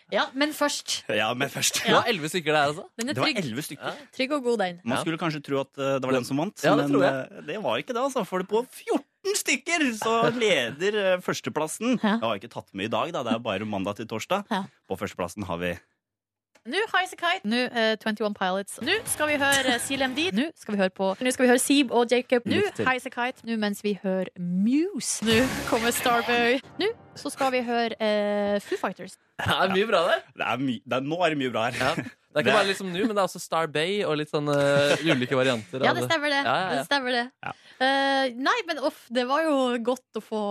Ja. men først. Ja, men først. Det var elleve stykker der, altså? Den er Det var trygg. elleve stykker. Trygg og god, den. Man skulle kanskje tro at eh, det var den som vant, Ja, det men tror jeg. eh, det var ikke det. altså. For det på 14 stykker så leder eh, førsteplassen. Jeg har ikke tatt med i dag, da. det er bare mandag til torsdag. På førsteplassen har vi Nå Highasakite, nå eh, 21 Pilots. Nå skal vi høre eh, CLMD, nå skal vi høre på Nå skal vi høre Seeb og Jacob. Nå Lykke til. Highasakite, nå mens vi hører Muse. Nå kommer Starboy. Nå så skal vi høre eh, Foo Fighters. Det er mye bra der. Det er my det er, nå er det mye bra her. Det er ikke bare liksom nå, men det er også Star Bay og litt sånn eh, ulike varianter. Ja, av det stemmer det. Ja, ja, ja. det, stemmer det. Eh, nei, men off, det var jo godt å få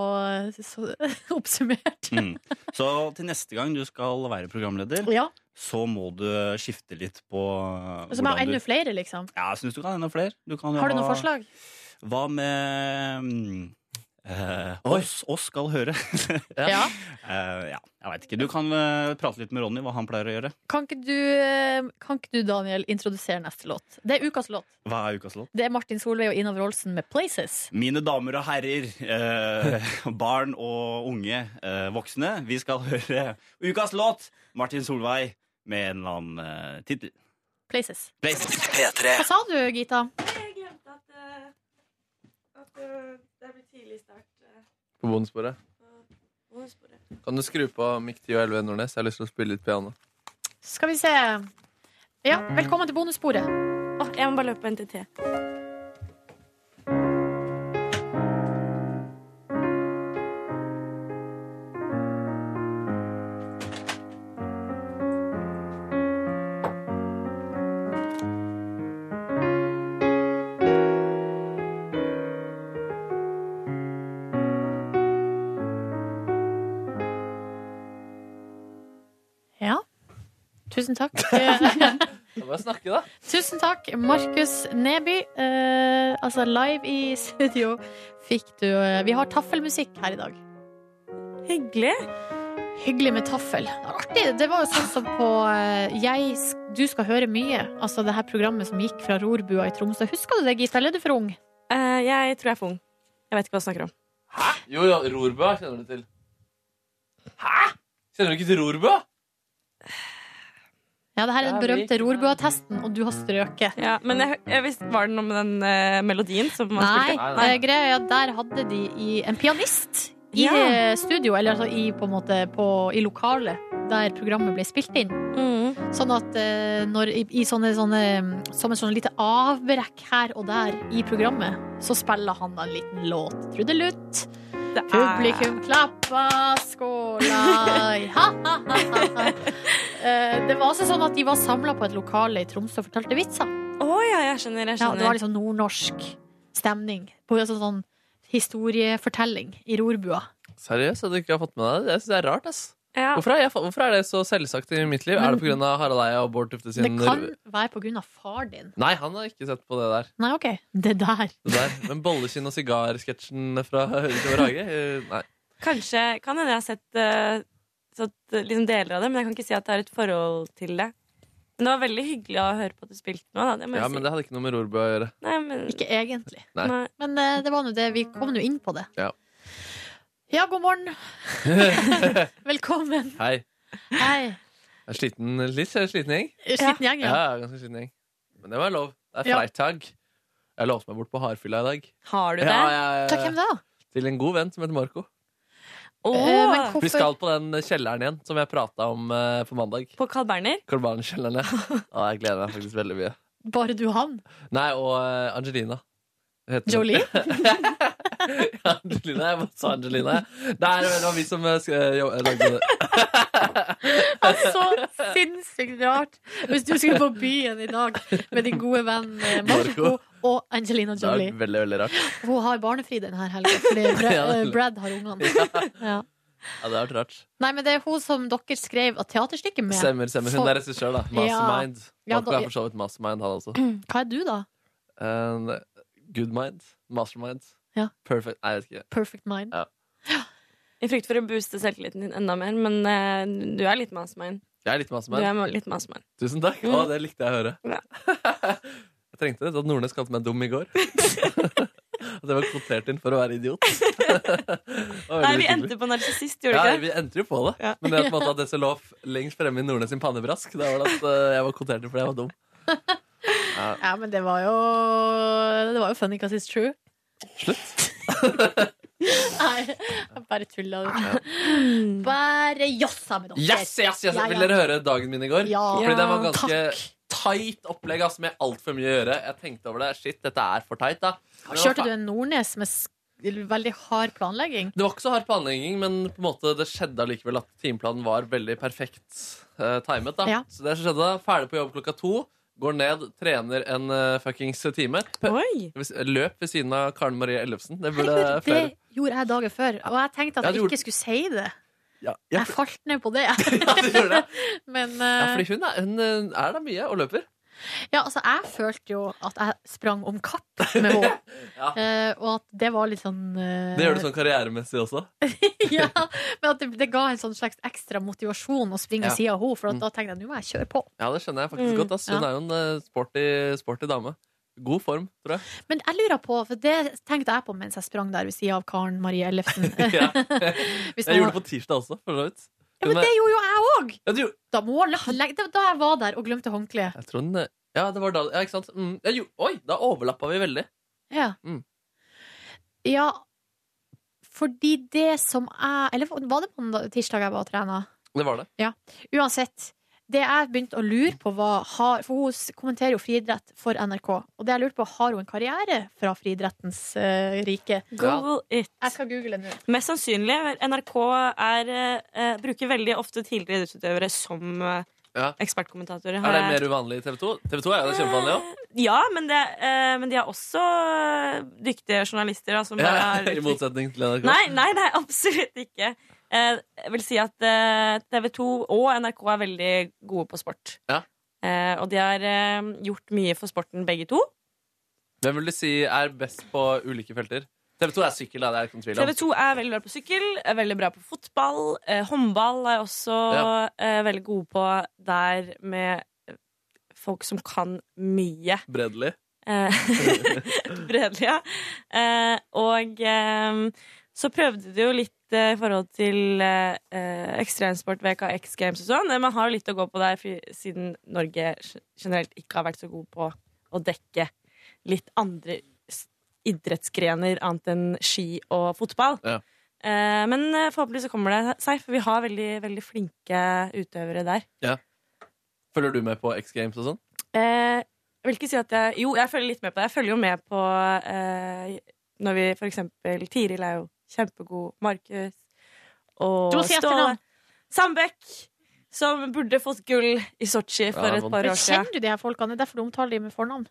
eh, så, oppsummert. Mm. Så til neste gang du skal være programleder, Ja. så må du skifte litt på eh, Og så må jeg ha hvordan du- enda flere, liksom. Ja, jeg syns du kan ha enda flere. Du kan jo Har du noen ha- forslag? Hva med mm, eh, oss, oss skal høre. Ja. Eh, ja, jeg veit ikke. Du kan eh, prate litt med Ronny, hva han pleier å gjøre. Kan ikke, du, eh, kan ikke du, Daniel, introdusere neste låt? Det er ukas låt. Hva er ukas låt? Det er Martin Solveig og Ina Wroldsen med 'Places'. Mine damer og herrer, eh, barn og unge, eh, voksne, vi skal høre ukas låt, Martin Solveig, med en eller annen eh, tittel. Places. Places. Hva sa du, Gita? Jeg glemte at, eh, det blir tidlig start. eh, På bonusbordet. Kan du skru på Mikk 10 og 11 Nordnes? Jeg har lyst til å spille litt piano. Skal vi se. Ja, velkommen til bonussporet. jeg må bare løpe på NTT. Ja. Tusen takk. Eh, Bare snakke, da. Tusen takk, Markus Neby. Eh, altså, live i studio fikk du eh, Vi har taffelmusikk her i dag. Hyggelig. Hyggelig med taffel. Det var Artig. Det var jo sånn som på eh, jeg, sk- Du skal høre mye. Altså det her programmet som gikk fra rorbua i Tromsø. Husker du det, Gita? Eller er du for ung? Eh, jeg tror jeg er for ung. Jeg vet ikke hva jeg snakker om. Jo, jo, Rorbø kjenner du til. Hæ? Kjenner du ikke til Rorbø? Ja, det her er den Jeg vet berømte rorbua-testen, og du har strøket. Ja, men jeg, jeg visste, var det noe med den eh, melodien som man Nei, spilte? eh, greia er at der hadde de i, en pianist i Ja. eh, studio, eller altså i, på en måte, på, i lokalet der programmet ble spilt inn. Mm. Sånn at eh, når, i, i sånne, sånne, mm, som et sånn lite avbrekk her og der i programmet, så spiller han da en liten låt. Trudelutt. Publikum klappa, skåla i ha, ha, ha, ha, ha. Eh, Det var altså sånn at de var samla på et lokale i Tromsø og fortalte vitser. Å ja, jeg skjønner. Jeg Ja, skjønner. det var liksom nordnorsk stemning. På altså sånn historiefortelling i rorbua. Seriøst, at du ikke har fått med deg det? Jeg synes det er rart, ass. Ja. Hvorfor, er jeg, hvorfor er det så selvsagt i mitt liv? Men- er det pga. Harald Eia og Bård Tufte Det sin kan være på grunn av far din. Nei, han har ikke sett på det der. Nei, OK. Det der. Det der. Men bollekinn og sigarsketsjen fra Høyre til vår hage? Eh, Nei. Kanskje kan hende jeg har sett, eh, sett eh, liksom deler av det, men jeg kan ikke si at jeg har et forhold til det. Men det var veldig hyggelig å høre på at du spilte noe. Da. Det må Ja, jeg si. men det hadde ikke noe med Rorbø å gjøre. Nei, men... Ikke egentlig. Nei. Nei. Men eh, det var nå det. Vi kom nå inn på det. Ja. Ja, god morgen. Velkommen. Hei. Hei. Jeg er sliten, litt sliten gjeng. Sliten gjeng, ja. ja. ganske sliten gjeng. Men det var lov. Det er Ja. freitag. Jeg låste meg bort på hardfylla i dag. Har du det? Til hvem da? Til en god venn som heter Marco. Eh, men hvorfor- Vi skal på den kjelleren igjen som jeg prata om eh, på mandag. På Carl Berner? Carl Berner-kjelleren, ja. Å, Jeg gleder meg faktisk veldig mye. Bare du og han? Nei, og eh, Angelina. Heter hun. Jolie? Angelina, jeg bare sa Angelina. jeg. Nei, det var vi som eh, sk- eh, jo- eh, lagde det. Så sinnssykt rart! Hvis du skulle på byen i dag med din gode venn eh, Marco Marco. og Angelina Det var Jolie. veldig, veldig rart. Hun har barnefri denne helga, fordi Brad, Ja, det er- eh, Brad har ungene. Ja. Ja, det har vært rart. Nei, men det er hun som dere skrev et teaterstykke med. Stemmer, stemmer. Hun For- er regissør, da. Mastermind. Ja, Marco da- er for så vidt mastermind, han også. Hva er du, da? En good mind. Mastermind. Ja. Perfect. Nei, jeg vet ikke. Perfect mind. Ja. I frykt for å booste selvtilliten din enda mer, men eh, du er litt mastermind. Jeg er litt Du er mastermind. litt mastermind. Tusen takk. Mm. Å, det likte jeg å høre. jeg trengte det. Da Nordnes kalte meg dum i går. At jeg var kvotert inn for å være idiot. Nei, vi endte på narsissist, gjorde ja, vi vi ikke det? endte jo på det. Ja. Men det at, på en måte at det som lå f- lengst fremme i Nordnes sin pannebrask, det var at eh, jeg var kvotert inn fordi jeg var dum. Ja. Ja, men det var jo Det var jo funny because it's true. Slutt. Nei, jeg bare tulla. Bare jassa med dere. Yes, yes, yes. Ja, ja. Vil dere høre dagen min i går? Ja. Fordi det var Ja, ganske tight opplegg ass, med altfor mye å gjøre. Jeg tenkte over det. Shit, dette er for tight, da. Men det var Kjørte du en Nordnes med sk- veldig hard planlegging? Det var ikke så hard planlegging, men på en måte det skjedde allikevel at timeplanen var veldig perfekt eh, timet. da. Ja. Så det skjedde da. Ferdig på jobb klokka to. Går ned, trener en eh, fuckings time. P- hvis- Løp ved siden av Karen Marie Ellefsen. Det burde Herregud, det flere gjorde jeg dagen før, og jeg tenkte Ja, at du jeg gjorde- ikke skulle si det. ja, ja. Jeg falt ned på det. Men ja, eh, fordi hun er, hun eh, er da mye og løper. ja, altså, jeg følte jo at jeg sprang om kapp med henne, Ja. eh, og at det var litt sånn eh, Det gjør du sånn karrieremessig også. ja, men at det, det ga en sånn slags ekstra motivasjon å springe Ja. ved siden av henne, for at Mm. da tenkte jeg nå må jeg kjøre på. Ja, det skjønner jeg faktisk Mm. godt. Ass. Hun Ja. er jo en eh, sporty, sporty dame. God form, tror jeg. Men jeg lurer på, for det tenkte jeg på mens jeg sprang der ved siden av Karen Marie Ellefsen. Ja. Jeg Hvis man- gjorde det på tirsdag også, for så vidt. Ja, men Hun er- det gjorde jo jeg òg! Ja, du gjorde- Da, må jeg la- legge- da- da jeg var der og glemte håndkleet. Jeg tror den, eh, ja, det var da Ja, ikke sant? Mm, jeg gjorde- oi, da overlappa vi veldig. Ja. Mm. ja. Fordi det som jeg Eller var det på mandag- tirsdag jeg var og trena? Det var det. Ja. Uansett. Det jeg begynte å lure på, var har, For hun s- kommenterer jo friidrett for NRK. Og det jeg lurte på, har hun en karriere fra friidrettens eh, rike? Google it. Jeg skal google nå. Mest sannsynlig. NRK er, eh, bruker veldig ofte tidligere idrettsutøvere som eh, Ja. ekspertkommentatorer. Er har jeg- det mer uvanlig i TV 2? TV 2 er jo det kjempevanlig òg. Ja, men, det, eh, men de er også eh, dyktige journalister. Da, som Ja, bare er I motsetning til NRK. Nei, nei, nei, absolutt ikke. Eh, Jeg vil si at eh, TV 2 og NRK er veldig gode på sport. Ja. Eh, Og de har eh, gjort mye for sporten, begge to. Hvem vil du si er best på ulike felter? TV 2 er sykkel, da. Det er ikke noen tvil om. TV 2 er veldig bra på sykkel, er veldig bra på fotball. eh, Håndball er også Ja. eh, veldig gode på der med eh, folk som kan mye. Bredelig. Eh, Bredelig, ja. Eh, og eh, så prøvde du jo litt eh, i forhold til eh, eh, ekstremsport, VKX Games og sånn. Eh, Man har jo litt å gå på der, for- siden Norge g- generelt ikke har vært så god på å dekke litt andre s- idrettsgrener annet enn ski og fotball. Ja. Eh, men eh, forhåpentlig så kommer det seg, for vi har veldig, veldig flinke utøvere der. Ja. Følger du med på X Games og sånn? Eh, jeg vil ikke si at jeg Jo, jeg følger litt med på det. Jeg følger jo med på eh, når vi for eksempel Tiril er jo kjempegod. Markus og Du må si etternavn. Sandbekk, som burde fått gull i Sotsji for et par år siden. Kjenner du de her folkene? Det er derfor du omtaler de med fornavn.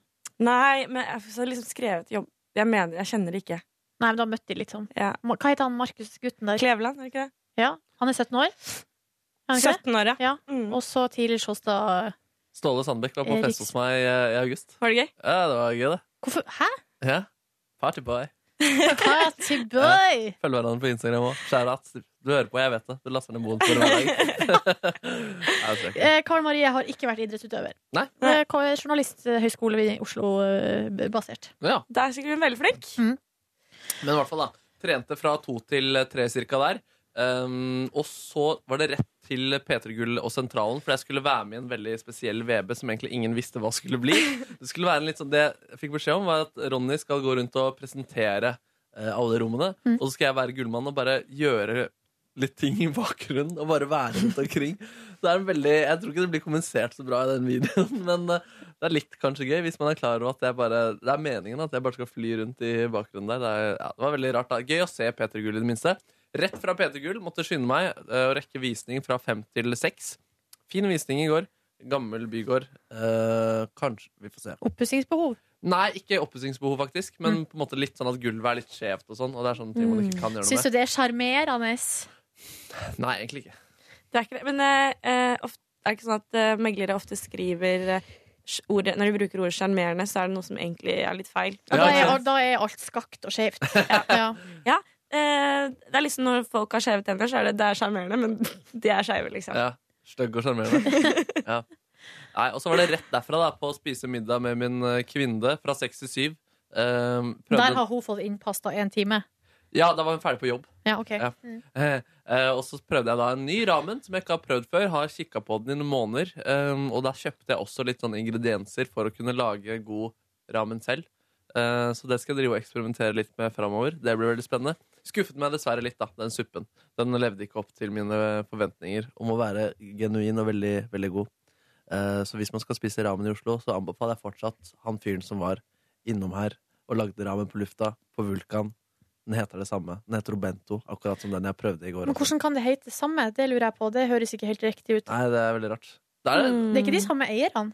Nei, men jeg har liksom skrevet jobb. Jeg mener, jeg kjenner det ikke. Nei, men du har møtt de, liksom. Ja. Ma- Hva heter han Markus-gutten der? Kleveland, er det ikke det? Ja, Han er 17 år? Er han ikke det? 17 år, Mm. ja. Og så Tiril Sjåstad. Ståle Sandbekk var på Erik- fest hos meg eh, i august. Var det gøy? Ja, det var gøy, det. Hvorfor? Hæ? Ja. Partyboy. Party boy! Følg hverandre på Instagram òg. Kjære at du hører på, jeg vet det. Du laster ned moen for hver dag. Ja, det er ikke- Eh, Karl Marie har ikke vært idrettsutøver. Nei. Eh, Ka- Journalisthøgskole i Oslo eh, b- basert. Ja. Der er sikkert hun veldig flink. Men i hvert fall, da. Trente fra to til tre cirka der. Um, og så var det rett til P3 Gull og Sentralen, for jeg skulle være med i en veldig spesiell VB som egentlig ingen visste hva skulle bli. Det skulle være en litt sånn, det jeg fikk beskjed om, var at Ronny skal gå rundt og presentere eh, alle rommene. Mm. Og så skal jeg være gullmann og bare gjøre litt ting i bakgrunnen og bare være rundt omkring. Så det er en veldig, Jeg tror ikke det blir kommunisert så bra i den videoen, men eh, det er litt kanskje gøy hvis man er klar over at jeg bare, det er meningen at jeg bare skal fly rundt i bakgrunnen der. Det, er, ja, det var veldig rart. da. Gøy å se Peter Gull i det minste. Rett fra Peter Gull måtte skynde meg eh, og rekke visning fra fem til seks. Fin visning i går. Gammel bygård. Eh, kanskje Vi får se. Oppussingsbehov. Nei, ikke oppussingsbehov, faktisk, men på en måte litt sånn at gulvet er litt skjevt og sånn. Og det er sånne ting man ikke kan gjøre noe Syns med. du det er sjarmerende? Nei, egentlig ikke. Det er ikke det. Men eh, eh, ofte, er det ikke sånn at eh, meglere ofte skriver eh, sj- ordet, Når de bruker ordet sjarmerende, så er det noe som egentlig er litt feil. Ja, da, er, da er alt skakt og skjevt. Ja, eh, det er liksom når folk har skjeve tenner, så er det det er sjarmerende, men de er skeive, liksom. Ja, Stygg og sjarmerende. Ja. Nei, Og så var det rett derfra, da, på å spise middag med min eh, kvinne fra seks til syv. Ehm, prøvde- Der har hun fått innpass da én time. Ja, da var hun ferdig på jobb. Ja, ok. Ja. Mm. Eh, eh, og så prøvde jeg da en ny ramen som jeg ikke har prøvd før. Har kikka på den i noen måneder. ehm, og da kjøpte jeg også litt sånne ingredienser for å kunne lage god ramen selv. Eh, så det skal jeg drive og eksperimentere litt med framover. Det blir veldig spennende. skuffet meg dessverre litt, da, den suppen. Den levde ikke opp til mine forventninger om å være genuin og veldig, veldig god. Eh, så hvis man skal spise ramen i Oslo, så anbefaler jeg fortsatt han fyren som var innom her og lagde ramen på lufta på Vulkan. Den heter det samme. Den heter Robento, akkurat som den jeg prøvde i går. Men hvordan kan det hete det samme? Det lurer jeg på. Det høres ikke helt riktig ut. Nei, det er veldig rart. Det er, Mm. Det er ikke de samme eierne.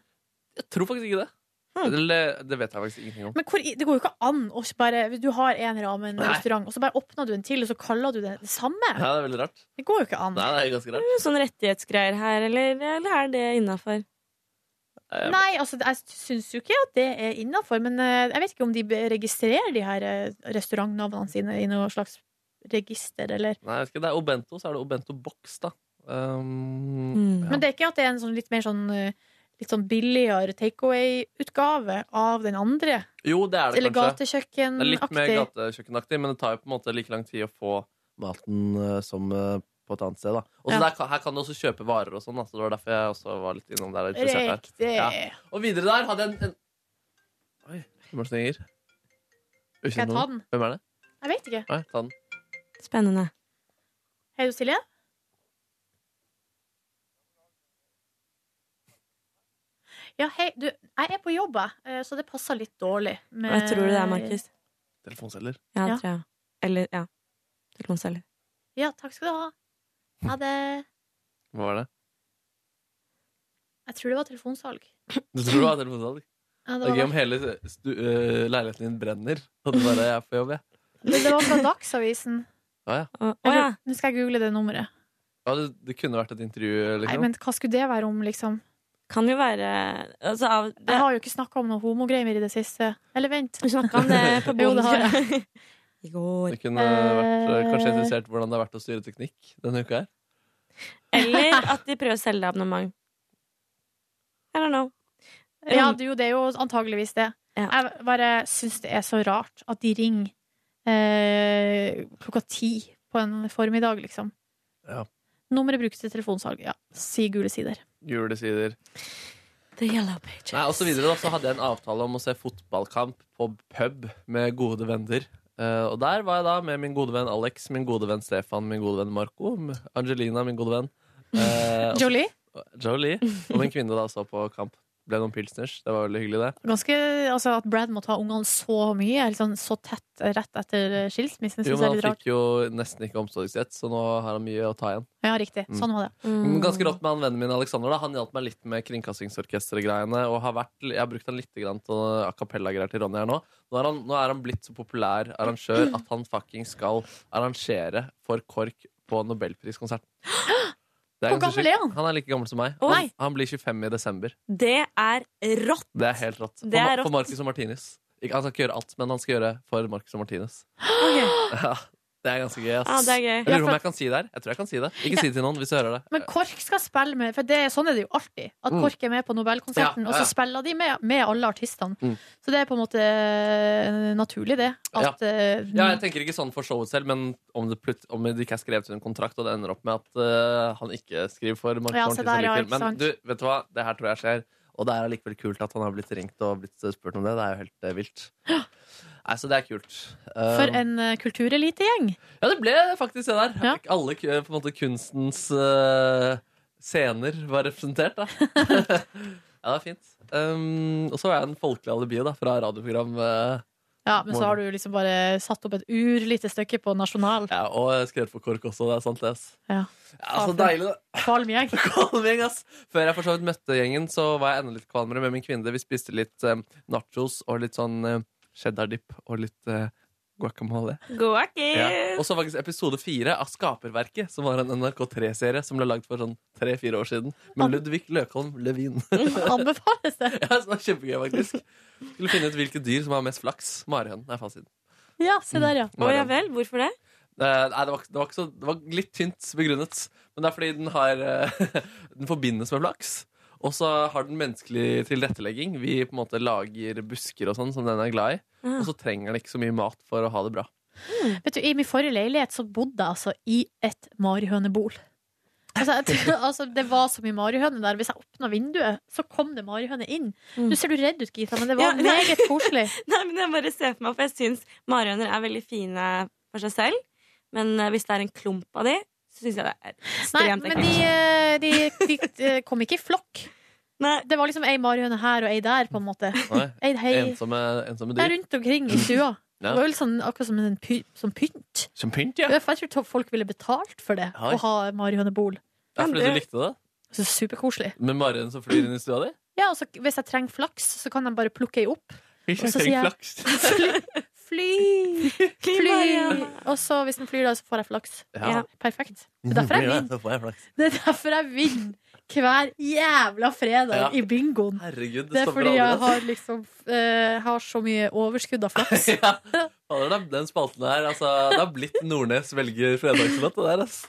Jeg tror faktisk ikke det. Hm. Eller, det vet jeg faktisk ingenting om. Men hvor, det går jo ikke an å bare Du har en ramen-restaurant, og så bare åpner du en til, og så kaller du det det samme. Ja, det er veldig rart. Det går jo ikke an. Nei, det er ganske Er rart. det noen sånne rettighetsgreier her, eller, eller er det innafor? Nei, altså, jeg syns jo ikke at det er innafor, men eh, jeg vet ikke om de be- registrerer de her eh, restaurantnavnene sine i noe slags register, eller Nei, jeg vet ikke, det er Obento, så er det Obento Box, da. Um, Mm. Mm. ja. Men det er ikke at det er en sånn litt mer sånn eh, Litt sånn billigere takeaway-utgave av den andre. Jo, det er det Eller kanskje. Det er litt mer gatekjøkkenaktig. gatekjøkkenaktig, men det tar jo på en måte like lang tid å få maten eh, som eh, på et annet sted. da. Og så Ja. der kan- Her kan du også kjøpe varer og sånn, da, så det var derfor jeg også var litt innom der. og interessert der. Riktig. Ja. Og videre der hadde jeg en, en... Oi, Morten Inger. Ukjent Skal jeg nummer. ta den? Hvem er det? Jeg vet ikke. Nei, ta den. Spennende. Hei, du Silje? Ja, hei, du, jeg er på jobb, jeg, eh, så det passer litt dårlig. med- Hva tror du det er, Markus? Telefonselger. Ja, Ja. tror jeg. Eller, ja. Telefonselger. Ja, takk skal du ha. Ha det. Hva var det? Jeg tror det var telefonsalg. Du tror du har telefonsalg? Ja, det det var er gøy om hele stu, eh, leiligheten din brenner, og du bare er på jobb, jeg. Men det var fra Dagsavisen. Ja, ja. Eller, Nå skal jeg google det nummeret. Ja, det, det kunne vært et intervju, Nei, liksom. men hva skulle det være om, liksom? Kan jo være altså, Jeg har jo ikke snakka om noe homogreier i det siste. Eller vent. Du snakka om det på Jo, det har bonus. jeg. I går. Det kunne vært eh, kanskje interessert hvordan det har vært å styre teknikk denne uka her. Eller at de prøver å selge deg abonnement. I don't know. Ja, du, det er jo antageligvis det. Jeg bare syns det er så rart at de ringer eh, klokka ti på en formiddag, liksom. Ja. Nummeret brukes til telefonsalg. Ja, si gule sider. Julesider. The yellow Nei, og så videre da, så hadde jeg en avtale om å se fotballkamp på pub med gode venner. Eh, og der var jeg da med min gode venn Alex, min gode venn Stefan, min gode venn Marco, med Angelina, min gode venn. Eh, og- Jolie? Jolie. Og min kvinne da så på kamp. Ble noen pilsners. Det var veldig hyggelig, det. Ganske, altså At Brad må ta ungene så mye, eller sånn, så tett eh, rett etter eh, skilsmissen, Jo, syns jeg er men litt han rart. fikk jo nesten ikke omsorgsrett, så nå har han mye å ta igjen. Ja, riktig. Mm. Sånn var det. Men Ganske rått med han vennen min Alexander. Da. Han hjalp meg litt med kringkastingsorkestergreiene. Og har vært, jeg har brukt han litt grann til a cappella-greier til Ronny her nå. Nå er, han, nå er han blitt så populær arrangør at han fucking skal arrangere for KORK på Nobelpriskonserten. Det Hvor ganske gammel sykt. er han? Han er like gammel som meg. Å, Han, nei. han blir 25 i desember. Det er rått! Det er helt rått. Det For, Ma- er rått. for Marcus og Martinez. Ikke, han skal ikke gjøre alt, men han skal gjøre for Marcus og Martinez. Ja, det er ganske gøy. Ass. Ja, det er gøy. Jeg Ja, lurer på for om at- jeg kan si det her. Jeg tror jeg kan si det. Ikke si det til noen hvis du hører det. Men KORK skal spille med, for det, er- sånn er det jo alltid. At Mm. KORK er med på Ja, Nobelkonserten, og ja. så spiller de med, med alle artistene. Mm. Så det er på en måte eh, naturlig, det. At ja. eh, ja, jeg tenker ikke sånn for showet selv, men om, det plut om det ikke er skrevet under kontrakt, og det ender opp med at eh, han ikke skriver for Mark Ja, se Martinez der, ja, allikevel. ikke sant. Men du, vet du hva? Det her tror jeg skjer. Og det er allikevel kult at han har blitt ringt og blitt spurt om det. Det er jo helt eh, vilt. Nei, så det er kult. For Um, en eh, kulturelitegjeng. Ja, det ble faktisk det der. Alle ku- på en måte kunstens eh, scener var representert, da. ja, det var fint. Um, og så var jeg en folkelig alibi da, fra radioprogram. eh, Ja, men så Morgen. har du liksom bare satt opp et urlite stykke på nasjonal. ja, og jeg skrev for KORK også, det er sant, det. ass. Ja. Ja, så deilig, da. Kvalm gjeng. ass. Før jeg for så vidt møtte gjengen, så var jeg enda litt kvalmere med min kvinne. Vi spiste litt eh, nachos og litt sånn eh, cheddar dip og litt eh, guacamole. Guacamole. Ja. Og så faktisk episode fire av Skaperverket, som var en NRK3-serie som ble lagd for sånn tre-fire år siden. Med Ludvig Løkholm Levin. Anbefales det? ja, så det var kjempegøy, faktisk. Skulle finne ut hvilke dyr som har mest flaks. Marihøn er fasiten. Ja, se der, ja. Mm. Å, ja vel, Hvorfor det? Eh, nei, det var, ikke- det, var ikke så, det var litt tynt begrunnet. Men det er fordi den, har, eh, den forbindes med flaks. Og så har den menneskelig tilrettelegging. Vi på en måte lager busker og sånn som den er glad i. Ah. Og så trenger den ikke så mye mat for å ha det bra. Vet du, I min forrige leilighet så bodde jeg altså i et marihønebol. Altså, jeg, tror- altså, det var så mye marihøne der. Hvis jeg åpna vinduet, så kom det marihøne inn. Mm. Nå ser du redd ut, Gita, men det var Ja, nei. meget koselig. Nei, men jeg bare ser for meg, for jeg syns marihøner er veldig fine for seg selv. Men eh, hvis det er en klump av de, så syns jeg det er Nei, ekstremt men de, eh, de, de, eh, kom ikke i flokk. Det var liksom ei marihøne her og ei der, på en måte. Nei, Ei hei. Ensomme, ensomme Det er dyr. rundt omkring i stua. Ja. Det var jo litt sånn, akkurat som en py, som pynt. Som pynt, ja. Jeg tror folk ville betalt for det, Oi. å ha marihønebol. Det er fordi du likte det? Så superkoselig. Med marien som flyr inn i stua di? Ja, og så hvis jeg trenger flaks, så kan de bare plukke ei opp. Hvis Og jeg så trenger sier jeg, flaks. Fly! Fly! Maria. Og så hvis den flyr, da, så får jeg flaks. Ja. Ja, perfekt. Det er derfor jeg vinner. Så får jeg flaks. Det er derfor jeg vinner hver jævla fredag Ja. i bingoen. Herregud, det det er stopper fordi jeg aldri. har liksom eh, har så mye overskudd av flaks. Fader, da- Den spalten her, altså. Det har blitt Nordnes velger fredagsnatt, det der, ass.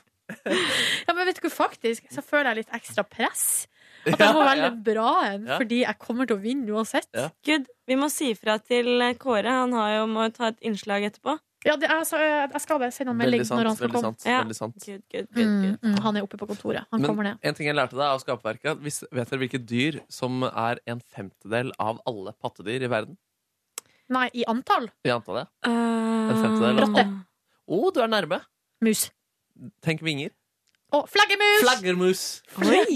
Ja, men vet du hva, faktisk så føler jeg litt ekstra press. Ja, At jeg må velge ja. en bra en, Ja. fordi jeg kommer til å vinne uansett. Gud, vi må si ifra til eh, Kåre. Han har jo, må jo ta et innslag etterpå. Ja, det, jeg, sa- jeg skal bare sende han melding når han skal komme. Ja. veldig sant. Gud, gud, gud, Mm, mm, han er oppe på kontoret. Han kommer Men ned. en ting jeg lærte deg av skaperverket, at hvis- vet dere hvilke dyr som er en femtedel av alle pattedyr i verden? Nei, i antall? I antallet? Eh, En femtedel. av Mm. Rotte. alle. Å, du er nærme. Mus. Tenk vinger. Å, flaggermus! Flaggermus!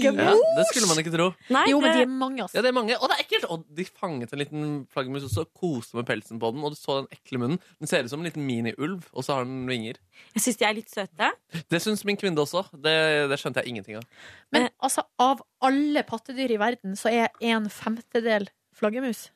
Ja, det skulle man ikke tro. Nei, Jo, men det- de er mange, ass. Ja, det er mange, og det er ekkelt. Og de fanget en liten flaggermus også, koste med pelsen på den, og du så den ekle munnen. Den ser ut som en liten miniulv, og så har den vinger. Jeg syns de er litt søte. Det syns min kvinne også. Det, det skjønte jeg ingenting av. Men altså, av alle pattedyr i verden, så er en femtedel flaggermus.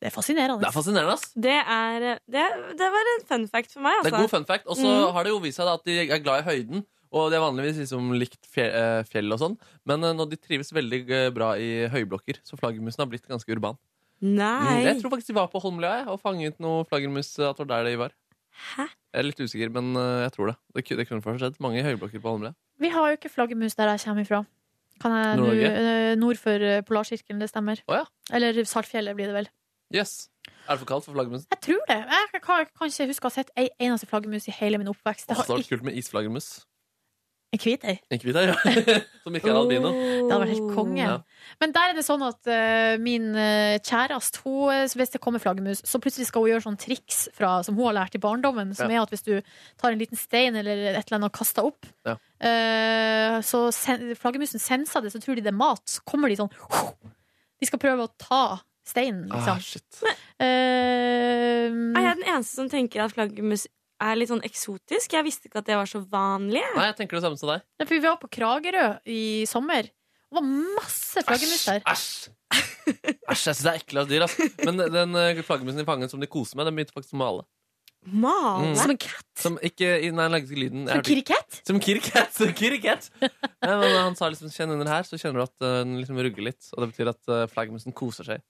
Det er fascinerende. Det er fascinerende, ass. Det, er, eh, det, det var en fun fact for meg. Det Altså. er god fun fact. Og så Mm. har det jo vist seg da at de er glad i høyden. Og de er vanligvis liksom likt fjell, eh, fjell og sånn. Men eh, nå de trives veldig eh, bra i høyblokker, så flaggermusen har blitt ganske urban. Nei. Mm, Jeg tror faktisk de var på Holmlia jeg, og fanget noe flaggermus. eh, At det var der de var. Jeg er litt usikker, men eh, jeg tror det. Det, ku- det kunne faktisk skjedd. Mange høyblokker på Holmlia. Vi har jo ikke flaggermus der jeg kommer ifra. Kan jeg, nå- Nord-Norge? eh, nord for eh, Polarsirkelen, det stemmer. Eller Saltfjellet blir det vel. Yes. Er det for kaldt for flaggermusen? Jeg tror det. Jeg kan, kan- kan ikke huske å ha sett ei eneste flaggermus i hele min oppvekst. Det Åh, så har hadde det vært kult med isflaggermus. En hvit ei. En hvit ei, ja. Som ikke Oh. er albino. Det hadde vært helt konge. Ja. Men der er det sånn at eh, min eh, kjæreste, hun, eh, hvis det kommer flaggermus, så plutselig skal hun gjøre sånn triks fra, som hun har lært i barndommen, som Ja. er at hvis du tar en liten stein eller et eller annet og kaster opp, Ja. eh, så sen flaggermusen senser det, så tror de det er mat. Så kommer de sånn De skal prøve å ta steinen, liksom. Eh, Ah, shit. er jeg den eneste som tenker at flaggermus er litt sånn eksotisk? Jeg visste ikke at det var så vanlig. Nei, jeg tenker det samme som deg. Ja, for vi var på Kragerø i sommer. Det var masse flaggermus der. Æsj! Æsj, jeg syns det er ekle dyr. ass. Men den eh, flaggermusen i fangen som de koser med, den begynte faktisk å male. Male? Mm. Ah, Som en katt? Som ikke, nei, den lagde ikke lyden. Jeg Som hørte ikke. kirkett? Som kirkett! Som kirkett. Nei, men han sa liksom 'kjenn under her', så kjenner du at eh, den liksom rugger litt. Og det betyr at eh, flaggermusen koser seg.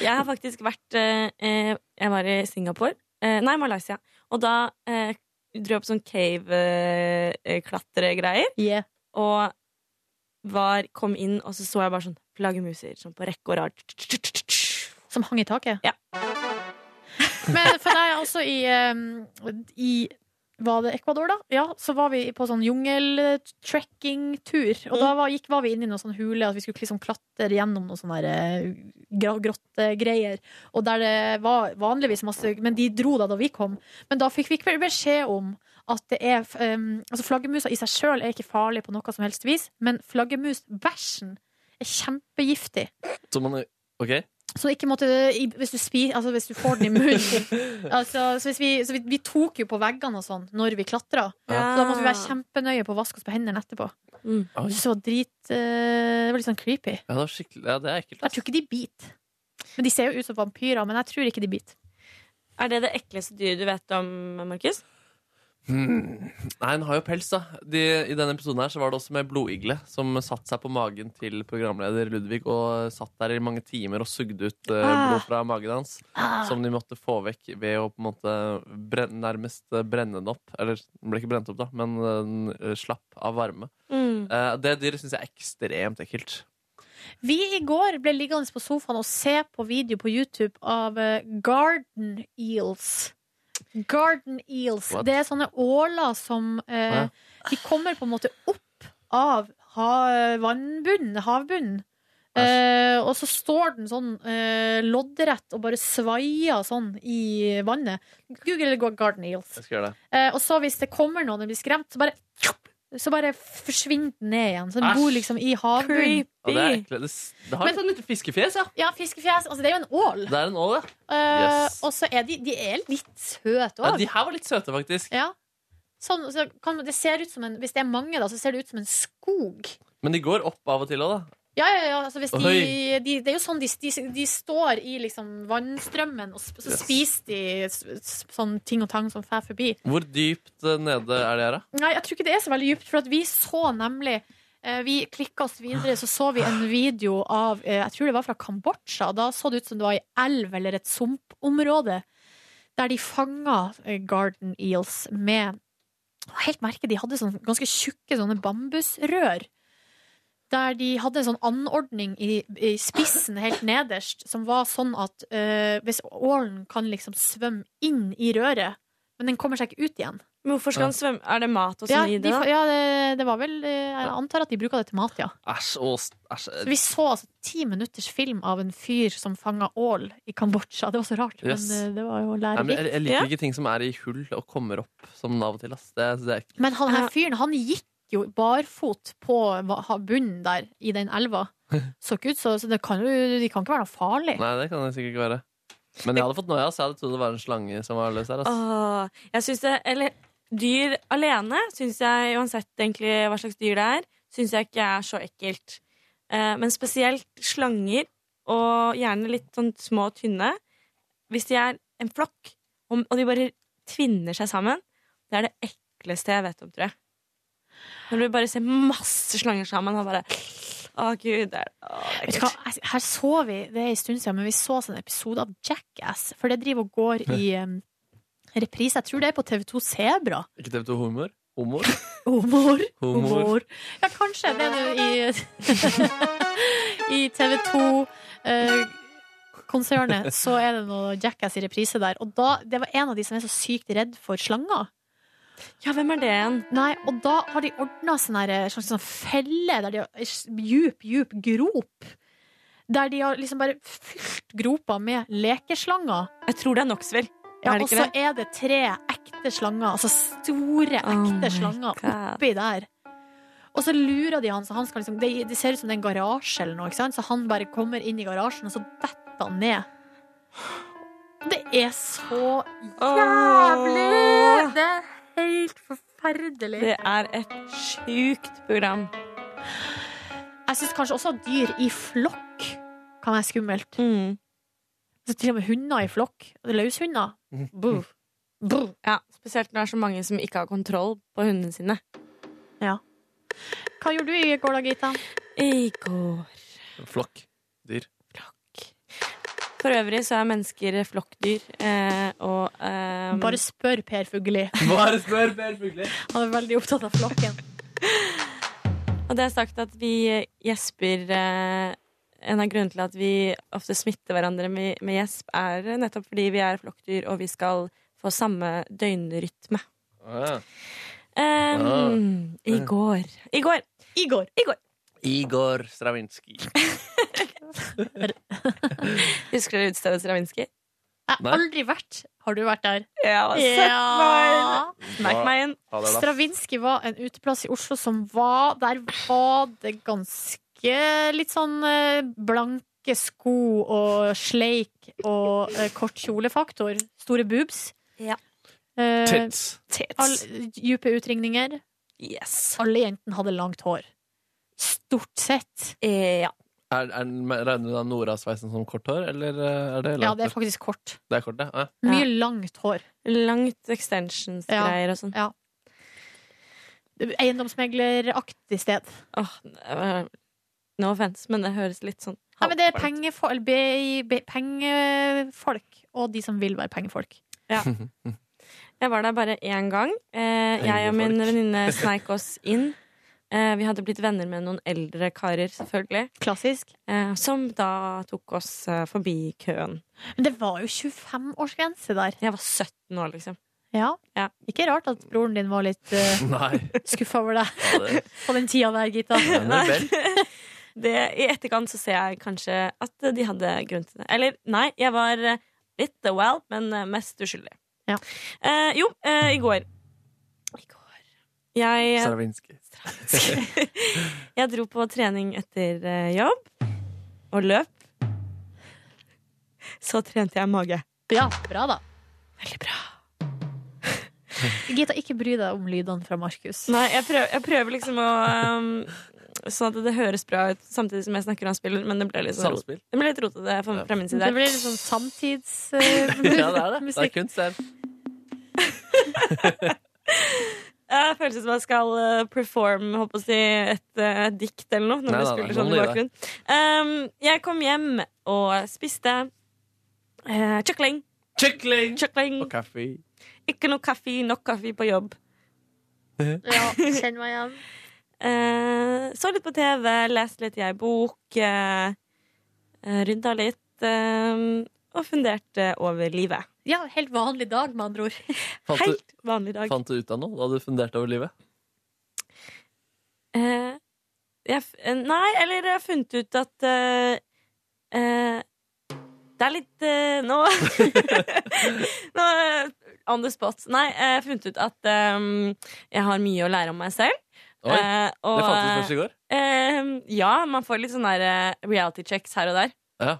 Jeg har faktisk vært eh, eh, Jeg var i Singapore. Eh, nei, Malaysia. Og da eh, dro jeg på sånn cave-klatregreier. Yeah. Og var, kom inn, og så så jeg bare sånn flaggermuser sånn på rekke og rad. Som hang i taket? Men for deg også i, um, i Var det Ecuador, da? Ja, så var vi på sånn jungeltrekking-tur. Og da var, gikk, var vi inn i noen sånn hule, at vi skulle liksom klatre gjennom noen sånne der, eh, gra- grottegreier. Og der det var vanligvis masse Men de dro da da vi kom. Men da fikk vi ikke beskjed om at det er um, Altså flaggermusa i seg sjøl er ikke farlig på noe som helst vis, men flaggermusbæsjen er kjempegiftig. Så man OK? Så ikke måtte, i- hvis, du spi, altså hvis du får den i munnen altså, så hvis vi, så vi, vi tok jo på veggene og sånn når vi klatra. Ja. Så da måtte vi Ah. være kjempenøye på å vaske oss på hendene etterpå. Oi. Så drit eh, Det var litt sånn creepy. Ja, det er skikkelig Ja, det er ekkelt. Jeg tror ikke de biter. Men De ser jo ut som vampyrer, men jeg tror ikke de biter. Er det det ekleste dyret du vet om, Markus? Hmm. Nei, hun har jo pels, da. De, I denne episoden her så var det også med blodigle, som satte seg på magen til programleder Ludvig og satt der i mange timer og sugde ut eh, Ah. blod fra magen hans. Ah. Som de måtte få vekk ved å på en måte bren- nærmest eh, brenne den opp. Eller den ble ikke brent opp, da, men den eh, slapp av varme. Mm. Eh, det dyret syns jeg er ekstremt ekkelt. Vi i går ble liggende på sofaen og se på video på YouTube av eh, garden eels. Garden eels. What? Det er sånne åler som eh, Å, ja. De kommer på en måte opp av ha vannbunnen, havbunnen. Eh, og så står den sånn eh, loddrett og bare svaier sånn i vannet. Google Garden Eels. Jeg skal gjøre det. Eh, og så hvis det kommer noen og blir skremt, så bare, så bare forsvinner den ned igjen. Så den Æsj. bor liksom i havbunnen. Og det er ekkelt. Det, s- det har Men- et sånn lite fiskefjes, ja. Ja, fiskefjes. Altså, det er jo en ål. Det er en ål, ja. Eh, Yes. Og så er de, de er litt søte ja. òg. Eh, De her var litt søte, faktisk. Ja. Sånn, så kan, det ser ut som en, hvis det er mange, da, så ser det ut som en skog. Men de går opp av og til òg, da. Ja, ja, ja. Altså, hvis de, Oi. de, det er jo sånn de, de, de står i liksom, vannstrømmen, og sp- så Yes. spiser de s- s- sånn ting og tang som fer forbi. Hvor dypt eh, nede er de her, da? Nei, jeg tror ikke det er så veldig djupt, for at vi så nemlig eh, Vi klikka oss videre, så så vi en video av eh, Jeg tror det var fra Kambodsja. Da så det ut som det var ei elv eller et sumpområde der de fanga eh, garden eels med Helt merke, de hadde sånn ganske tjukke sånne bambusrør. Der de hadde en sånn anordning i, i spissen helt nederst, som var sånn at eh, hvis ålen kan liksom svømme inn i røret, men den kommer seg ikke ut igjen. Men hvorfor skal han svømme? Er det mat og Ja, sånn i de, det? da? ja det, det var vel eh, Jeg antar at de bruker det til mat, ja. Æsj. Ås- æsj. Så vi så altså ti minutters film av en fyr som fanga ål i Kambodsja. Det var så rart, Yes. men eh, det var jo Nei, men jeg, jeg lærerikt. liker Ja. ikke ting som er i hull og kommer opp som av og til. Ass. Det, det er ekkelt. Men han her fyren, han gikk jo barfot på va- ha- bunnen der, i den elva. Så ikke ut, så, så det kan jo de kan ikke være noe farlig. Nei, det kan det sikkert ikke være. Men jeg hadde fått noia, så jeg hadde trodd det var en slange som var løs her. Ass. Åh, jeg synes det, eller dyr alene, synes jeg, uansett egentlig hva slags dyr det er, synes jeg ikke er så ekkelt. Eh, men spesielt slanger, og gjerne litt sånn små og tynne, hvis de er en flokk, og, og de bare tvinner seg sammen, det er det ekleste jeg vet om, tror jeg. Når du bare ser masse slanger sammen, og bare, å gud, det er, å, det er Vet du hva, ekkelt. jeg- her så vi, det er en stund siden, men vi så en episode av Jackass. For det driver og går i em, reprise. Jeg tror det er på TV2 Sebra. Ikke TV2 Humor? Humor? Humor. Humor. Humor. Ja, kanskje det er nå i I TV 2-konsernet eh, så er det noe Jackass i reprise der. Og da, det var en av de som er så sykt redd for slanger. Ja, hvem er det igjen? Nei, og da har de ordna sånn her- sånn sånn felle der de har eh, djup, djup grop. Der de har liksom bare fylt gropa med lekeslanger. Jeg tror det er Knoxville. Ja, Er det og ikke så det? Oh er det tre ekte slanger, altså store, ekte slanger oppi der. Og så lurer de han, så han skal liksom Det, det ser ut som det er en garasje eller noe, ikke sant? Så han bare kommer inn i garasjen, og så detter han ned. Og Det er så jævlig! Det er helt forferdelig. Det er et sjukt program. Jeg syns kanskje også at dyr i flokk kan være skummelt. Mm. Så til og med hunder i flokk. Løshunder. Mm. Buh. Ja, spesielt når det er så mange som ikke har kontroll på hundene sine. Ja. Hva gjorde du i går da, Gita? I går Flokk. Dyr. For øvrig så er mennesker flokkdyr, eh, og ehm, Bare spør Per Fugelli. Bare spør Per Fugli. Han er veldig opptatt av flokken. Og det er sagt at vi gjesper eh, En av grunnene til at vi ofte smitter hverandre med, med gjesp, er nettopp fordi vi er flokkdyr, og vi skal få samme døgnrytme. Ehm, Ja. I går I går! I går! I går. Igor Stravinskij. Husker dere utestedet Stravinskij? Jeg Nei. har aldri vært Har du vært der? Ja, Ja. søtt meg inn. Smack meg inn. Ha det, da. Stravinskij var en uteplass i Oslo som var Der var det ganske litt sånn eh, blanke sko og sleik og eh, kort kjolefaktor. Store boobs. Eh, Tits. all- Dype utringninger. Alle jentene hadde langt hår. Stort sett. Ja. Er, er, regner du da Nora-sveisen som kort hår, eller eh, er det langt? Ja, det er hår? faktisk kort. Det er kort, ja. Ah. ja. Mye langt hår. Langt extensions-greier og sånn. Ja. Eiendomsmegleraktig sted. Eh, No offense, men det høres litt sånn Nei, men det er pengefol eller be- be- pengefolk og de som vil være pengefolk. Ja. Jeg var der bare én gang. Eh, jeg og min venninne sneik oss inn. Eh, vi hadde blitt venner med noen eldre karer, selvfølgelig. Klassisk. Eh, som da tok oss eh, forbi køen. Men det var jo 25-årsgrense der. Jeg var 17 år, liksom. Ja. Ja. Ikke rart at broren din var litt uh, Nei. skuffa over deg Ja, det- på den tida der, Gita. Nei, vel. det, I etterkant så ser jeg kanskje at de hadde grunn til det. Eller nei, jeg var eh, litt well, men eh, mest uskyldig. Eh, jo, eh, i går I går Jeg eh, Stravinskij. jeg dro på trening etter eh, jobb og løp. Så trente jeg mage. Ja, bra da. Veldig bra. Gita, ikke bry deg om lydene fra Markus. Nei, jeg prøver, jeg prøver liksom å um, Sånn at det høres bra ut samtidig som jeg snakker og han spiller, men det ble litt, sånn, rot- Samspill. det ble litt rotete fra, fra min side. Det blir litt sånn samtids... eh, Ja, det er det. musikk. Det er Jeg føles som jeg skal eh, performe håper jeg å si, et eh, dikt eller noe. Når Nei, du nei, spiller nei, sånn i hold i bakgrunnen. Ehm, jeg kom hjem og spiste eh, kjøkling. Kjøkling! Og kaffe. Ikke noe kaffe, nok kaffe på jobb. Ja, kjenn meg igjen. Eh, så litt på TV, leste litt i ei bok, eh, eh, rydda litt eh, og funderte over livet. Ja, helt vanlig dag, med andre ord. Fant du- Helt vanlig dag. Fant du ut av noe da du funderte over livet? Eh, jeg, f- eh, nei, eller jeg har funnet ut at eh, eh, Det er litt eh, Nå Nå eh, On the spot. Nei, jeg har funnet ut at eh, jeg har mye å lære om meg selv. Oi, det fant du ut først i går? eh, ja, man får litt sånne der, eh, reality checks her og der. Ja.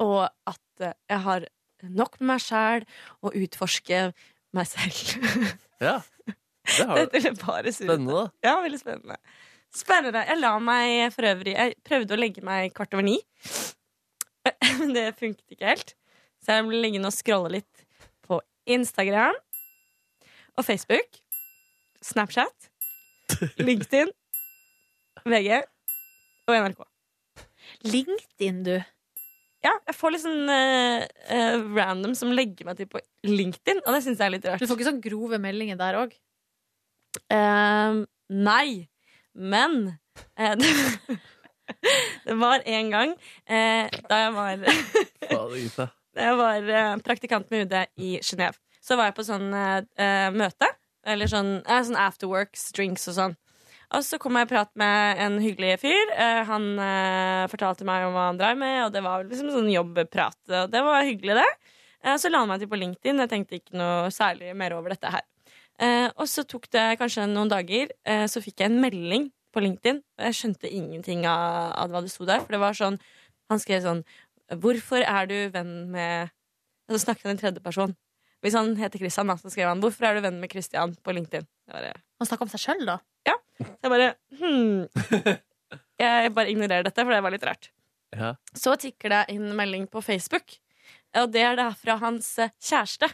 Og at eh, jeg har nok med meg sjæl å utforske meg selv. ja. Det har Dette ble bare surrete. Spennende, da. Ja, veldig spennende. Spennende. Jeg la meg for øvrig Jeg prøvde å legge meg kvart over ni, men det funket ikke helt. Så jeg ble liggende og scrolle litt på Instagram og Facebook, Snapchat, LinkedIn, VG og NRK. LinkedIn, du? Ja, jeg får litt sånn eh, eh, random som legger meg til på LinkedIn, og det syns jeg er litt rart. Du får ikke sånn grove meldinger der òg? Ehm, nei, men eh, det, det var en gang eh, da jeg var Fader, Gita. Da jeg var eh, praktikant med UD i Genéve, så var jeg på sånn eh, eh, møte. Eller sånn, eh, sånn afterworks, drinks og sånn. Og så kom jeg i prat med en hyggelig fyr. Eh, han eh, fortalte meg om hva han drev med, og det var liksom sånn jobbprat. Og det var hyggelig, det. Eh, så la han meg til på LinkedIn. Jeg tenkte ikke noe særlig mer over dette her. Eh, og så tok det kanskje noen dager, eh, så fikk jeg en melding på LinkedIn. Og jeg skjønte ingenting av, av hva det sto der, for det var sånn Han skrev sånn Hvorfor er du venn med Og så snakket han i tredjeperson. Hvis han heter Christian, da, så skrev han Hvorfor er du venn med Christian på LinkedIn? Det var det. Han snakka om seg sjøl, da? Ja. Så jeg bare hmm. Jeg bare ignorerer dette, for det var litt rart. Ja. Så tikker det inn melding på Facebook, og det er da fra hans eh, kjæreste,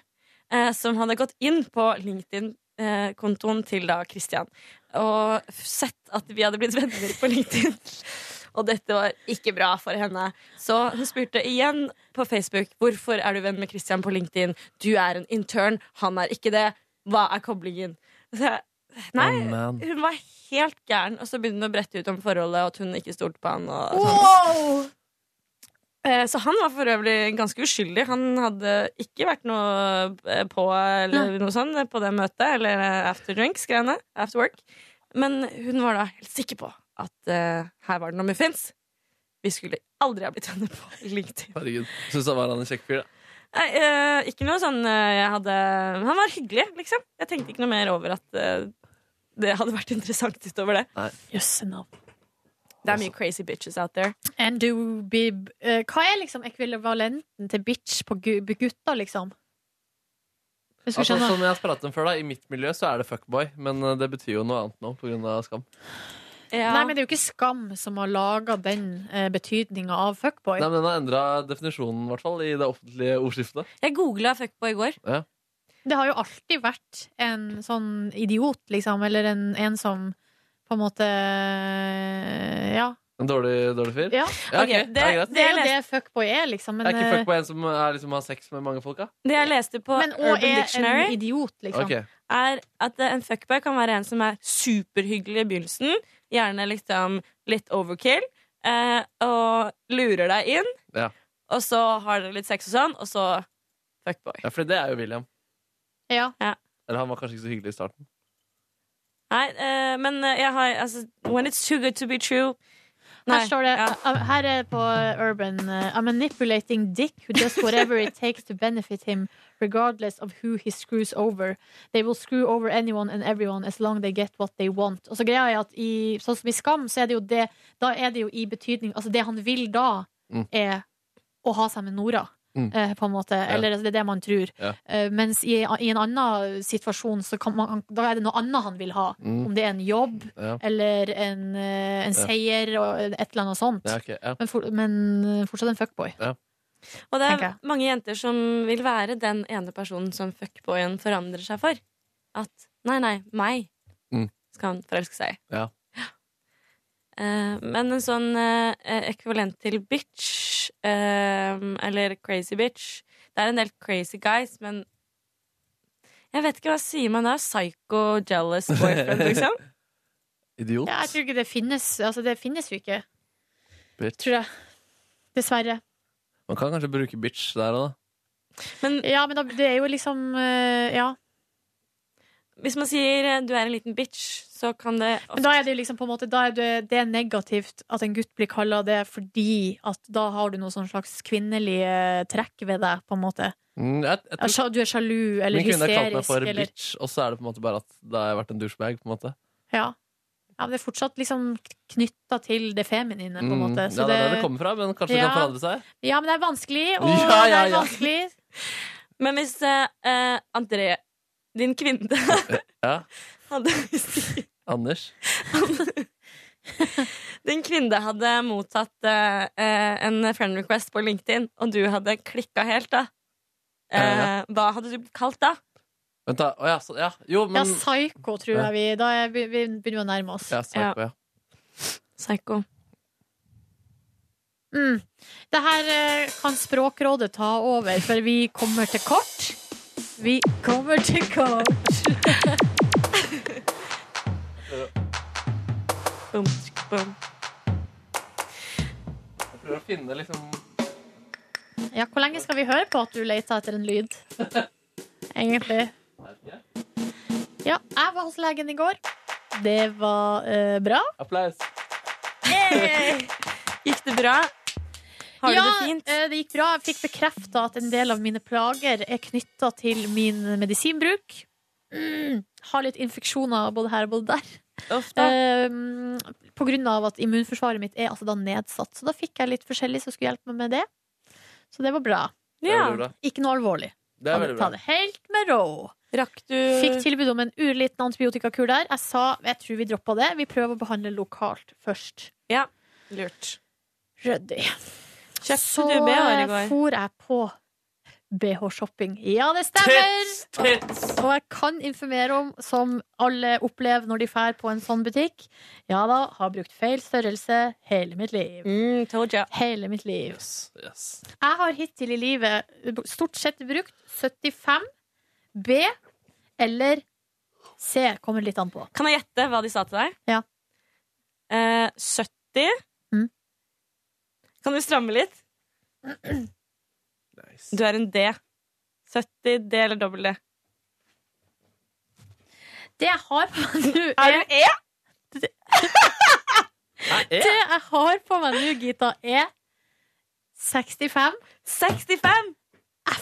eh, som hadde gått inn på LinkedIn-kontoen til da Christian, og f- sett at vi hadde blitt venner på LinkedIn. Og dette var ikke bra for henne. Så hun spurte igjen på Facebook hvorfor er du venn med Christian på LinkedIn. Du er en intern, han er ikke det. Hva er koblingen? Så jeg, nei, Oh, man. hun var helt gæren. Og så begynte hun å brette ut om forholdet og at hun ikke stolte på han. Og sånn. Wow! Eh, Så han var for øvrig ganske uskyldig. Han hadde ikke vært noe eh, på eller noe sånt eh, på det møtet, eller eh, after drinks-greiene. After work. Men hun var da helt sikker på at eh, her var det noe muffins. Vi skulle aldri ha blitt venner på LinkedIn. Herregud. Syns han var han en kjekk fyr, da. Nei, eh, ikke noe sånn eh, jeg hadde Han var hyggelig, liksom. Jeg tenkte ikke noe mer over at eh, det hadde vært interessant utover det. Nei. Jøsse navn. Det er mye crazy bitches out there. And do bib. Eh, hva er liksom ekvivalenten til bitch på gu- gutta, liksom? Hvis du Altså, skjønner. som jeg har pratet om før da, I mitt miljø så er det fuckboy, men eh, det betyr jo noe annet nå pga. skam. Nei, men det er jo ikke Skam som har laga den eh, betydninga av fuckboy. Nei, men Den har endra definisjonen i, hvert fall, i det offentlige ordskiftet. Jeg googla fuckboy i går. Ja. Det har jo alltid vært en sånn idiot, liksom, eller en, en som på en måte Ja. En dårlig, dårlig fyr? ja. ok, ja, det, greit. det er jo det fuckboy er, liksom. Men, jeg er ikke eh, fuckboy en som er, liksom, har sex med mange folk, da? Det jeg leste på Men, og Urban er en Dictionary idiot, liksom. Ok. Er at eh, en fuckboy kan være en som er superhyggelig i begynnelsen Gjerne liksom litt overkill eh, Og lurer deg inn Ja. Og så har dere litt sex og sånn Og så fuckboy ja, for det er jo William. Ja. Eller han var kanskje ikke så hyggelig i starten. Nei, eh, men eh, jeg har altså, When it's too good to be true Her står det uh, Her er på Urban uh, A manipulating dick who does whatever it takes to benefit him, regardless of who he screws over. They will screw over anyone and everyone as long they get what they want. Og så greia er at i, Sånn som i Skam, så er det jo det Da er det jo i betydning Altså, det han vil da, Mm. er å ha seg med Nora. Mm. eh, På en måte, eller det er det man tror. Ja. Eh, Mens i, i en annen situasjon så kan man, da er det noe annet han vil ha. Mm. Om det er en jobb Ja. eller en, eh, en Ja. seier og et eller annet sånt. Ja, ok, ja. Men, for, men eh, fortsatt en fuckboy. Og det Tenker er mange jenter som vil være den ene personen som fuckboyen forandrer seg for. At nei, nei, meg Mm. skal han forelske seg i. Ja. Eh, men en sånn eh, ekvivalent til bitch, eh, eller crazy bitch Det er en del crazy guys, men jeg vet ikke hva sier man da? Psycho jealous boyfriend, liksom? Idiot. Ja, jeg tror ikke det finnes. Altså, det finnes jo ikke, Bitch. tror jeg. Dessverre. Man kan kanskje bruke bitch der òg, da. ja, men da, det er jo liksom eh, Ja. Hvis man sier eh, du er en liten bitch, så kan det Men da er det jo liksom på en måte Da er det, det er negativt at en gutt blir kalla det fordi at da har du noe sånn slags kvinnelige trekk ved deg, på en måte. Mm, jeg, jeg At sja- Du er sjalu Altså, eller Min kvinne har kalt meg hysterisk for eller bitch, og så er det på en måte bare at da har jeg vært en douchebag. på en måte ja. ja, men det er fortsatt liksom knytta til det feminine, på en Mm, måte. Ja, det er der det kommer fra, men kanskje det kan forandre seg? Ja, men det er vanskelig, og Ja, ja, det er ja. vanskelig. Men hvis eh, eh, André, din kvinne, Eh, Ja, hadde Anders? Din kvinne hadde mottatt eh, eh, en friend request på LinkedIn, og du hadde klikka helt, da. Eh, Ja, Hva hadde du blitt kalt da? Vent, da. Å ja, så, ja. Jo, men Ja, psyko, tror jeg vi Da er vi, vi begynner å nærme oss. Mm. Ja, psycho, ja. Psycho. Mm. Det her eh, kan Språkrådet ta over, for vi kommer til kort. Vi kommer til kort. Bum, tsk, bum. Jeg prøver å finne liksom ja, hvor lenge skal vi høre på at du leter etter en lyd? Egentlig. Ja, jeg var hos legen i går. Det var eh, bra. Applaus. Gikk det bra? Har du ja, det fint? eh, det gikk bra. Jeg fikk bekrefta at en del av mine plager er knytta til min medisinbruk. Mm, har litt infeksjoner både her og både der. Ehm, på grunn av at immunforsvaret mitt er altså da nedsatt. Så da fikk jeg litt forskjellig som skulle hjelpe meg med det. Så det var bra. Det er veldig bra. Ikke noe alvorlig. Det er Ta veldig bra. Ta det helt med ro. Fikk tilbud om en urliten antibiotikakur der. Jeg sa jeg tror vi droppa det. Vi prøver å behandle lokalt først. Ja, lurt. Ryddig. Kjøpte Så du BH-er i går? for jeg på BH-shopping. Ja, det stemmer! Og jeg kan informere om, som alle opplever når de drar på en sånn butikk, ja da, har brukt feil størrelse hele mitt liv. Mm, Hele mitt liv. Jeg har hittil i livet stort sett brukt 75 B eller C. Kommer litt an på. Kan jeg gjette hva de sa til deg? Ja. Eh, 70. Mm. Kan du stramme litt? Du er en D. 70, D eller dobbel D? Det jeg har på meg nå Er du E? Det jeg har på meg nå, Gita, er 65. 65? Hæ?!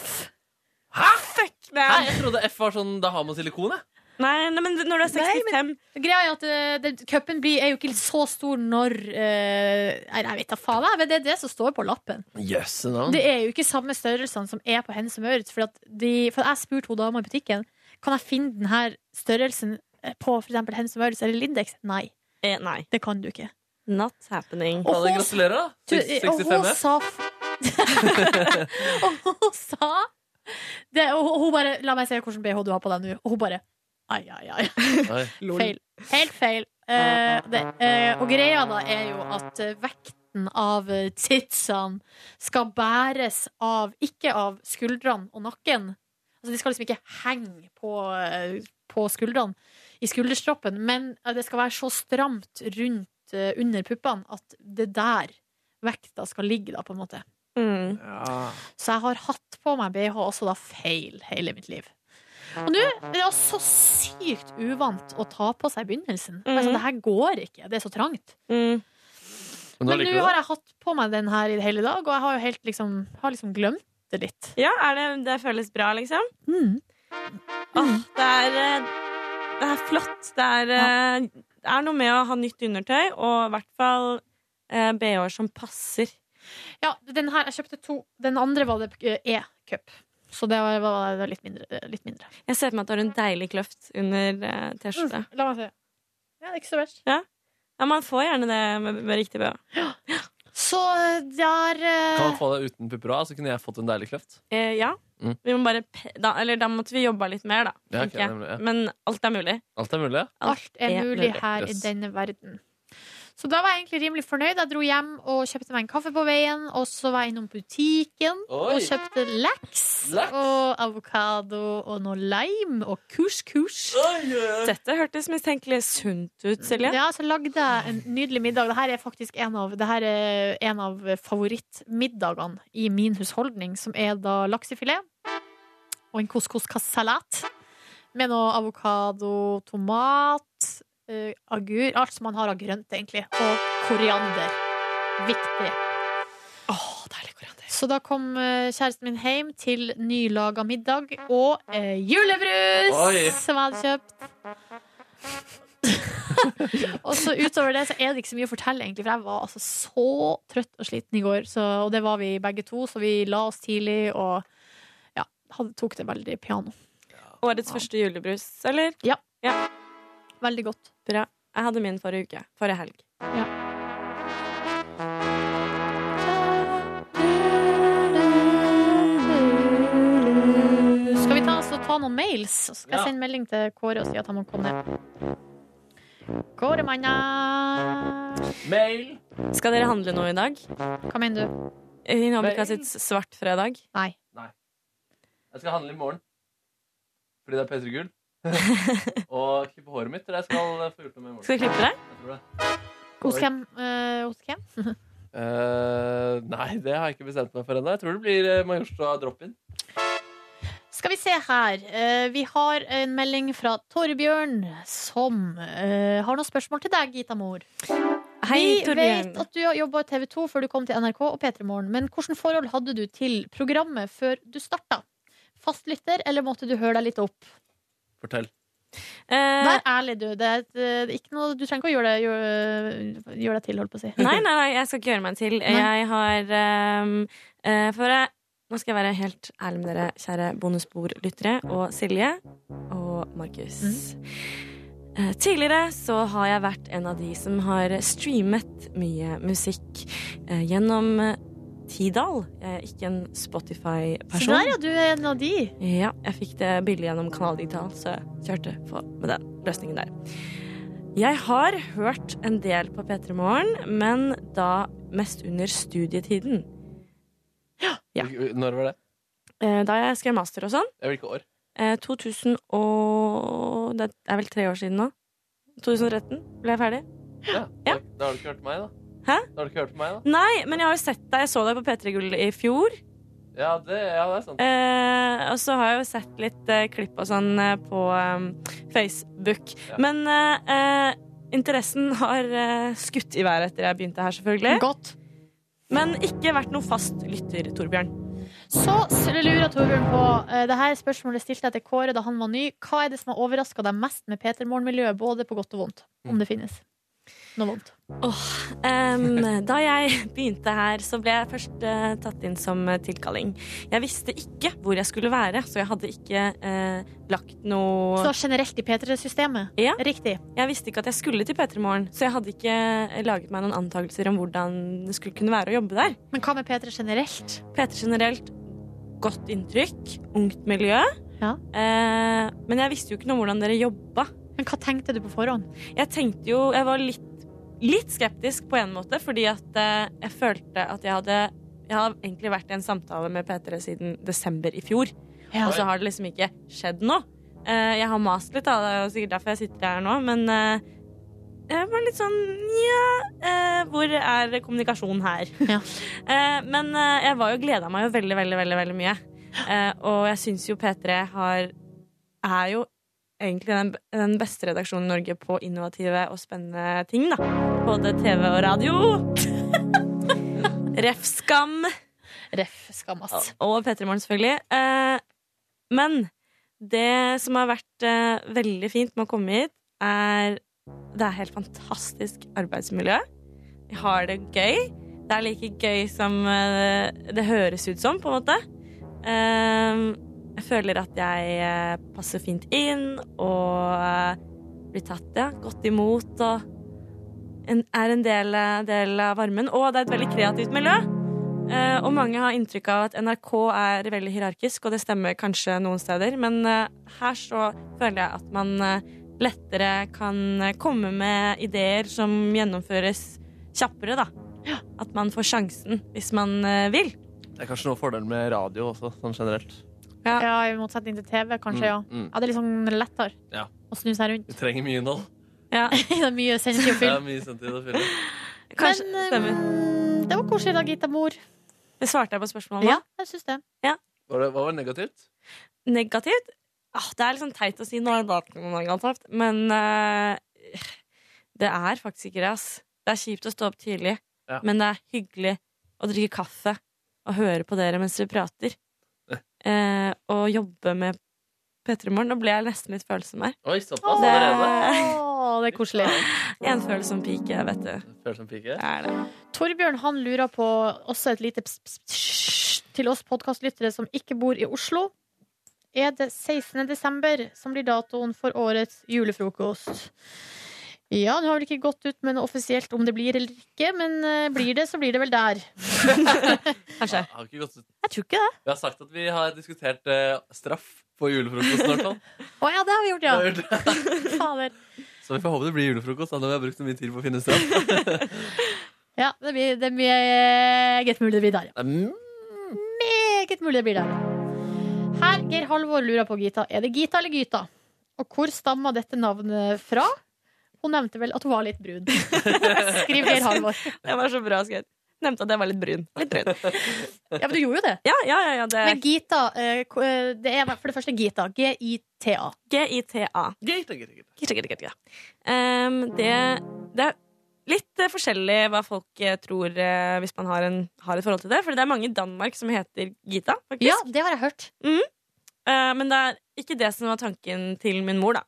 Fuck Hæ? Jeg trodde F var sånn da har man silikon, jeg. Nei, nei, men når du er 65 Greia er at eh, den- cupen blir- er jo ikke så stor når eh, nei, Jeg vet da faen, jeg, men det er det som står på lappen. Jøsse Mm. navn. Det er jo ikke samme størrelsene som er på henne som Maurits. For, at de, for jeg spurte hun dama i butikken Kan jeg finne denne størrelsen eh, på f.eks. henne som Maurits eller Lindex. Nei, Eh, nei. det kan du ikke. Not happening. Og hun- Gratulerer, Du, da. og hun 65 F. sa Og hun sa det, Og hun bare La meg se hvilken BH du har på deg nå. Og hun bare Ai, ai, ai. Feil. Helt feil. Eh, det, eh, og greia da er jo at eh, vekten av eh, titsene skal bæres av Ikke av skuldrene og nakken. Altså De skal liksom ikke henge på, eh, på skuldrene, i skulderstroppen, men eh, det skal være så stramt rundt eh, under puppene at det der vekta skal ligge, da, på en måte. Mm. Så jeg har hatt på meg BH også da feil hele mitt liv. Og nå er det også sykt uvant å ta på seg i begynnelsen. Mm. Mhm. Mm. det her går ikke, det er så trangt. Men Men nå har jeg hatt på meg den her i det hele dag, og jeg har jo helt liksom, har liksom glemt det litt. Ja, er det, det føles bra, liksom? Åh, det er eh, Det er flott. Det er, eh, det er noe med å ha nytt undertøy, og i hvert fall eh, BH-er som passer. Ja, den her, jeg kjøpte to. Den andre var det eh, E-cup. Så det var, var var litt, mindre, litt mindre. Jeg ser for meg at du har en deilig kløft under eh, T-skjorte. Mm, La meg se. Ja, det er ikke så verst. Ja. ja, man får gjerne det med, med riktig BH. Så eh, der eh, Kan man få det uten pupper òg? Så kunne jeg fått en deilig kløft. Eh, ja. Mm. Vi må bare pe da, eller da måtte vi jobba litt mer, da. Ja, ok, tenker jeg. nemlig, ja. Men alt er mulig. Alt er mulig? Alt er mulig her i denne verden. Så da var jeg egentlig rimelig fornøyd. Jeg dro hjem og kjøpte meg en kaffe på veien. Og så var jeg innom butikken Oi. og kjøpte laks, og avokado og noe lime og couscous. Dette hørtes mistenkelig sunt ut, Silje. Ja, så lagde jeg en nydelig middag. Dette er faktisk en av, det her er en av favorittmiddagene i min husholdning, som er da laksefilet og en couscous-salat med noe avokado, tomat, eh, agur, alt som man har av grønt, egentlig, og koriander. Viktig. Så da kom eh, kjæresten min hjem til nylaga middag og eh, julebrus Oi. som jeg hadde kjøpt. og så utover det så er det ikke så mye å fortelle, egentlig, for jeg var altså så trøtt og sliten i går. Så, og det var vi begge to, så vi la oss tidlig og ja, hadde, tok det veldig piano. Årets første julebrus, eller? Ja. Veldig godt. Bra. Jeg hadde min forrige uke. Forrige helg. Skal vi ta, så ta noen mails? Så skal Ja. jeg sende melding til Kåre og si at han må komme ned. Kåre, manna! Mail! Skal dere handle noe i dag? Hva mener du? I Nobika sitt svart fredag? Nei. Jeg skal handle i morgen. Fordi det er P3 Gull. og klippe håret mitt. Eller jeg skal eh, få gjort noe med i morgen. Skal du klippe det? Jeg tror det. Hos hvem? eh, hos hvem? Eh, nei, det har jeg ikke bestemt meg for ennå. Jeg tror det blir eh, Majorstua drop-in. Skal vi se her. Eh, vi har en melding fra Torbjørn, som eh, har noen spørsmål til deg, Gita Mor. Hei, vi Torbjørn. vet at du har jobba i TV 2 før du kom til NRK og P3 Morgen, men hvilket forhold hadde du til programmet før du starta? Fastlytter, eller måtte du høre deg litt opp? Fortell. Eh. Vær ærlig, du. Det er et, eh, ikke noe, du trenger ikke å gjøre deg, gjøre, gjøre deg til, holdt på å si. Nei, nei, nei, jeg skal ikke gjøre meg til. Jeg har ehm, eh, For jeg, nå skal jeg være helt ærlig med dere, kjære bonusbordlyttere og Silje og Markus. Mm. Eh, Tidligere så har jeg vært en av de som har streamet mye musikk eh, gjennom eh, Tidal. Jeg er ikke en Så Spotify-person. der, ja. Du er en av de. Ja, jeg fikk det billig gjennom Kanal Digital, så jeg kjørte på med den løsningen der. Jeg har hørt en del på P3 Morgen, men da mest under studietiden. Når var det? Eh, Da jeg skrev master og sånn. Jeg vet ikke år. eh, 2000 og Det er vel tre år siden nå. 2013 ble jeg ferdig. Da har du ikke hørt meg, da. Hæ? Da har du ikke hørt meg, da. Nei, men jeg har jo sett deg. Jeg så deg på P3 Gull i fjor. Ja, det, ja, det er sant. Eh, og så har jeg jo sett litt eh, klipp og sånn eh, på eh, Facebook. Men eh, eh, interessen har eh, skutt i været etter jeg begynte her, selvfølgelig. Godt. Men ikke vært noe fast lytter, Torbjørn. Så s- lurer Torbjørn på eh, det her spørsmålet stilte jeg til Kåre da han var ny. Hva er det som har overraska deg mest med Peter Morn-miljøet, både på godt og vondt? Om det finnes noe vondt. Em, da jeg begynte her, så ble jeg først eh, tatt inn som eh, tilkalling. Jeg visste ikke hvor jeg skulle være, så jeg hadde ikke eh, lagt noe Så generelt i P3-systemet? Ja. Riktig. Jeg visste ikke at jeg skulle til P3 Morgen, så jeg hadde ikke eh, laget meg noen antakelser om hvordan det skulle kunne være å jobbe der. Men hva med P3 generelt? P3 generelt godt inntrykk, ungt miljø. Eh, men jeg visste jo ikke noe om hvordan dere jobba. Men hva tenkte du på forhånd? Jeg tenkte jo Jeg var litt, litt skeptisk på en måte, fordi at eh, jeg følte at jeg hadde Jeg har egentlig vært i en samtale med P3 siden desember i fjor, Ja. og så har det liksom ikke skjedd noe. Eh, jeg har mast litt, da, det er jo sikkert derfor jeg sitter her nå, men eh, jeg var litt sånn Nja, eh, hvor er kommunikasjonen her? Eh, men eh, jeg var jo gleda meg jo veldig, veldig, veldig, veldig mye. Eh, og jeg syns jo P3 har er jo egentlig den, den beste redaksjonen i Norge på innovative og spennende ting, da. Både TV og radio. Ref skam. Ref skam, ass. Og P3 Morgen, selvfølgelig. Eh, men det som har vært eh, veldig fint med å komme hit, er Det er helt fantastisk arbeidsmiljø. Vi har det gøy. Det er like gøy som eh, det høres ut som, på en måte. Eh, jeg føler at jeg eh, passer fint inn og eh, blir tatt ja, godt imot og en, er en del, eh, del av varmen. Og det er et veldig kreativt miljø. Eh, og mange har inntrykk av at NRK er veldig hierarkisk, og det stemmer kanskje noen steder, men eh, her så føler jeg at man eh, lettere kan eh, komme med ideer som gjennomføres kjappere, da. At man får sjansen hvis man eh, vil. Det er kanskje noe fordelen med radio også, sånn generelt. Ja. I motsetning til TV, kanskje. Mm, Ja. mm. ja, Det er litt sånn lettere Ja. å snu seg rundt. Vi trenger mye innhold. det er mye sensitiv Det er film. mye sentid å fylle. Kanskje Men, eh, stemmer. Det var koselig, da, Gita Mor. Det svarte jeg på spørsmålet Ja, nå. jeg syns det. Var det, hva var negativt? Negativt? Ah, det er litt sånn teit å si noe negativt, men eh, det er faktisk ikke det, ass. Det er kjipt å stå opp tidlig, Ja. men det er hyggelig å drikke kaffe og høre på dere mens dere prater. Eh, og jobbe med P3 Morgen. Nå ble jeg nesten litt følsom her. Oi, såpass det, allerede. det er koselig. En følsom pike, vet du. Følsom pike? Det er det. Torbjørn han lurer på også et lite ps- ps- ps- til oss podkastlyttere som ikke bor i Oslo. Er det 16. desember som blir datoen for årets julefrokost? Ja, det har vel ikke gått ut med noe offisielt om det blir eller ikke, men eh, blir det, så blir det vel der. Kanskje. Har ikke gått ut. Jeg tror ikke det. Vi har sagt at vi har diskutert eh, straff på julefrokosten. i hvert fall. Å ja, det har vi gjort, Det har vi ja. Fader. Så vi får håpe det blir julefrokost. Da når vi har brukt så mye tid på å finne straff. Ja, det blir, det blir meget mulig det blir der. ja. Mm. Meget mulig det blir der. Her, Geir Halvor lurer på Gita. Er det Gita eller Gyta? Og hvor stammer dette navnet fra? Hun nevnte vel at hun var litt brun. Skriv Geir Halvor. Det var så bra skrevet. Nevnte at jeg var litt brun. Litt brun. Ja, men du gjorde jo det. Ja, ja, ja, ja det... Men Gita, eh, ko- eh, det er for det første Gita. G-I-T-A. G-I-T-A. Gitta, gitta, gitta. Ehm, det, det er litt eh, forskjellig hva folk eh, tror eh, hvis man har, en, har et forhold til det. For det er mange i Danmark som heter Gita, faktisk. Ja, det har jeg hørt. Mhm. Eh, men det er ikke det som var tanken til min mor, da.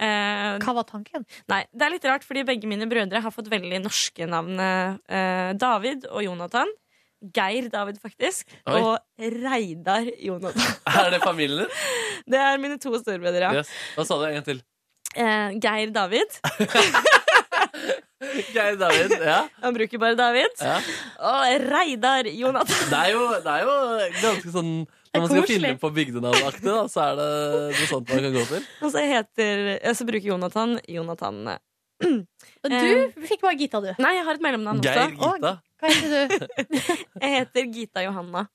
Ehm, Hva var tanken? Nei, Det er litt rart, fordi begge mine brødre har fått veldig norske navn. eh, David og Jonathan. Geir David, faktisk. Oi. Og Reidar Jonathan. Er det familien din? Det er mine to storebrødre. ja. Yes. Hva sa du en gang til? Eh, Geir David. Geir David. Ja. Han bruker bare David. Ja. Og Reidar Jonathan. Det er, jo, det er jo ganske sånn Når man skal Koselig. finne på bygdenavnaktig, da, så er det noe sånt man kan gå til. Og så heter ja, Så bruker Jonathan Jonathan eh, Og du fikk bare Gita, du. Nei, jeg har et mellomnavn også. Geir Eh. Gita. Hva heter du? Jeg heter Gita Johanna.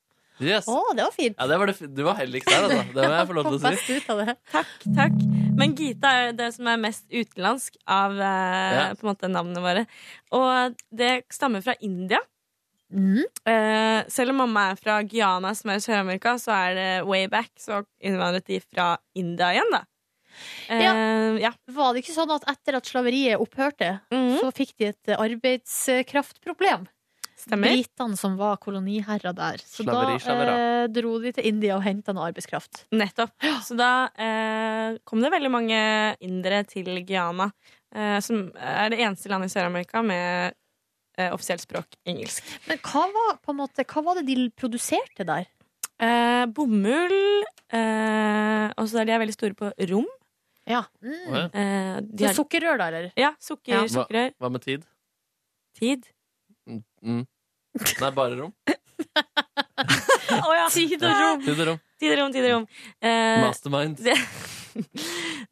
Yes. det var fint. Ja, det var det, fi- du var heldigst der, altså. Det må jeg få lov til å si. ut av det. Takk, takk. Men Gita er det som er mest utenlandsk av eh, Ja. på en måte navnene våre. Og det stammer fra India. Mm. Eh, selv om mamma er fra Guyana, som er i Sør-Amerika, så er det way back. Så innvandret de fra India igjen, da. Eh, ja. Var det ikke sånn at etter at slaveriet opphørte, Mm. Mm. så fikk de et arbeidskraftproblem? Stemmer. Britene som var koloniherrer der. Så Slaveri, da eh, slavera. dro de til India og henta noe arbeidskraft. Nettopp. Så da eh, kom det veldig mange indere til Guyana, eh, som er det eneste landet i Sør-Amerika med eh, offisielt språk engelsk. Men hva var, på en måte, hva var det de produserte der? Eh, bomull, eh, og så er de er veldig store på rom. Ja. Å, ja. Eh, Mm. Så sukkerrør, da, eller? Ja, sukker, Hva, sukkerrør. hva med tid? Tid. Mm. Nei, bare rom. Å ja! Tid og rom. Tid og rom. Tid og rom, tid og rom. Eh, Mastermind. Det,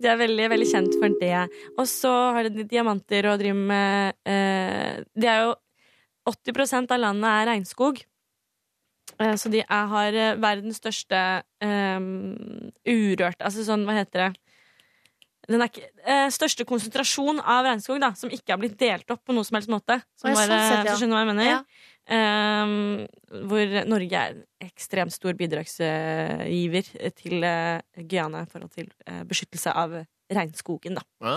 de er veldig, veldig kjent for det. Og så har de diamanter og driver med eh, Det er jo 80 av landet er regnskog. Eh, så de er, har eh, verdens største eh, urørt Altså sånn, hva heter det den er ikke, eh, største konsentrasjon av regnskog da, som ikke har blitt delt opp på noe som helst måte. Som Å, ja, sånn bare, sett, ja. så skjønner du hva jeg mener? Ja. Ehm, hvor Norge er en ekstremt stor bidragsgiver til eh, Guyana i forhold til eh, beskyttelse av regnskogen, da. Ja.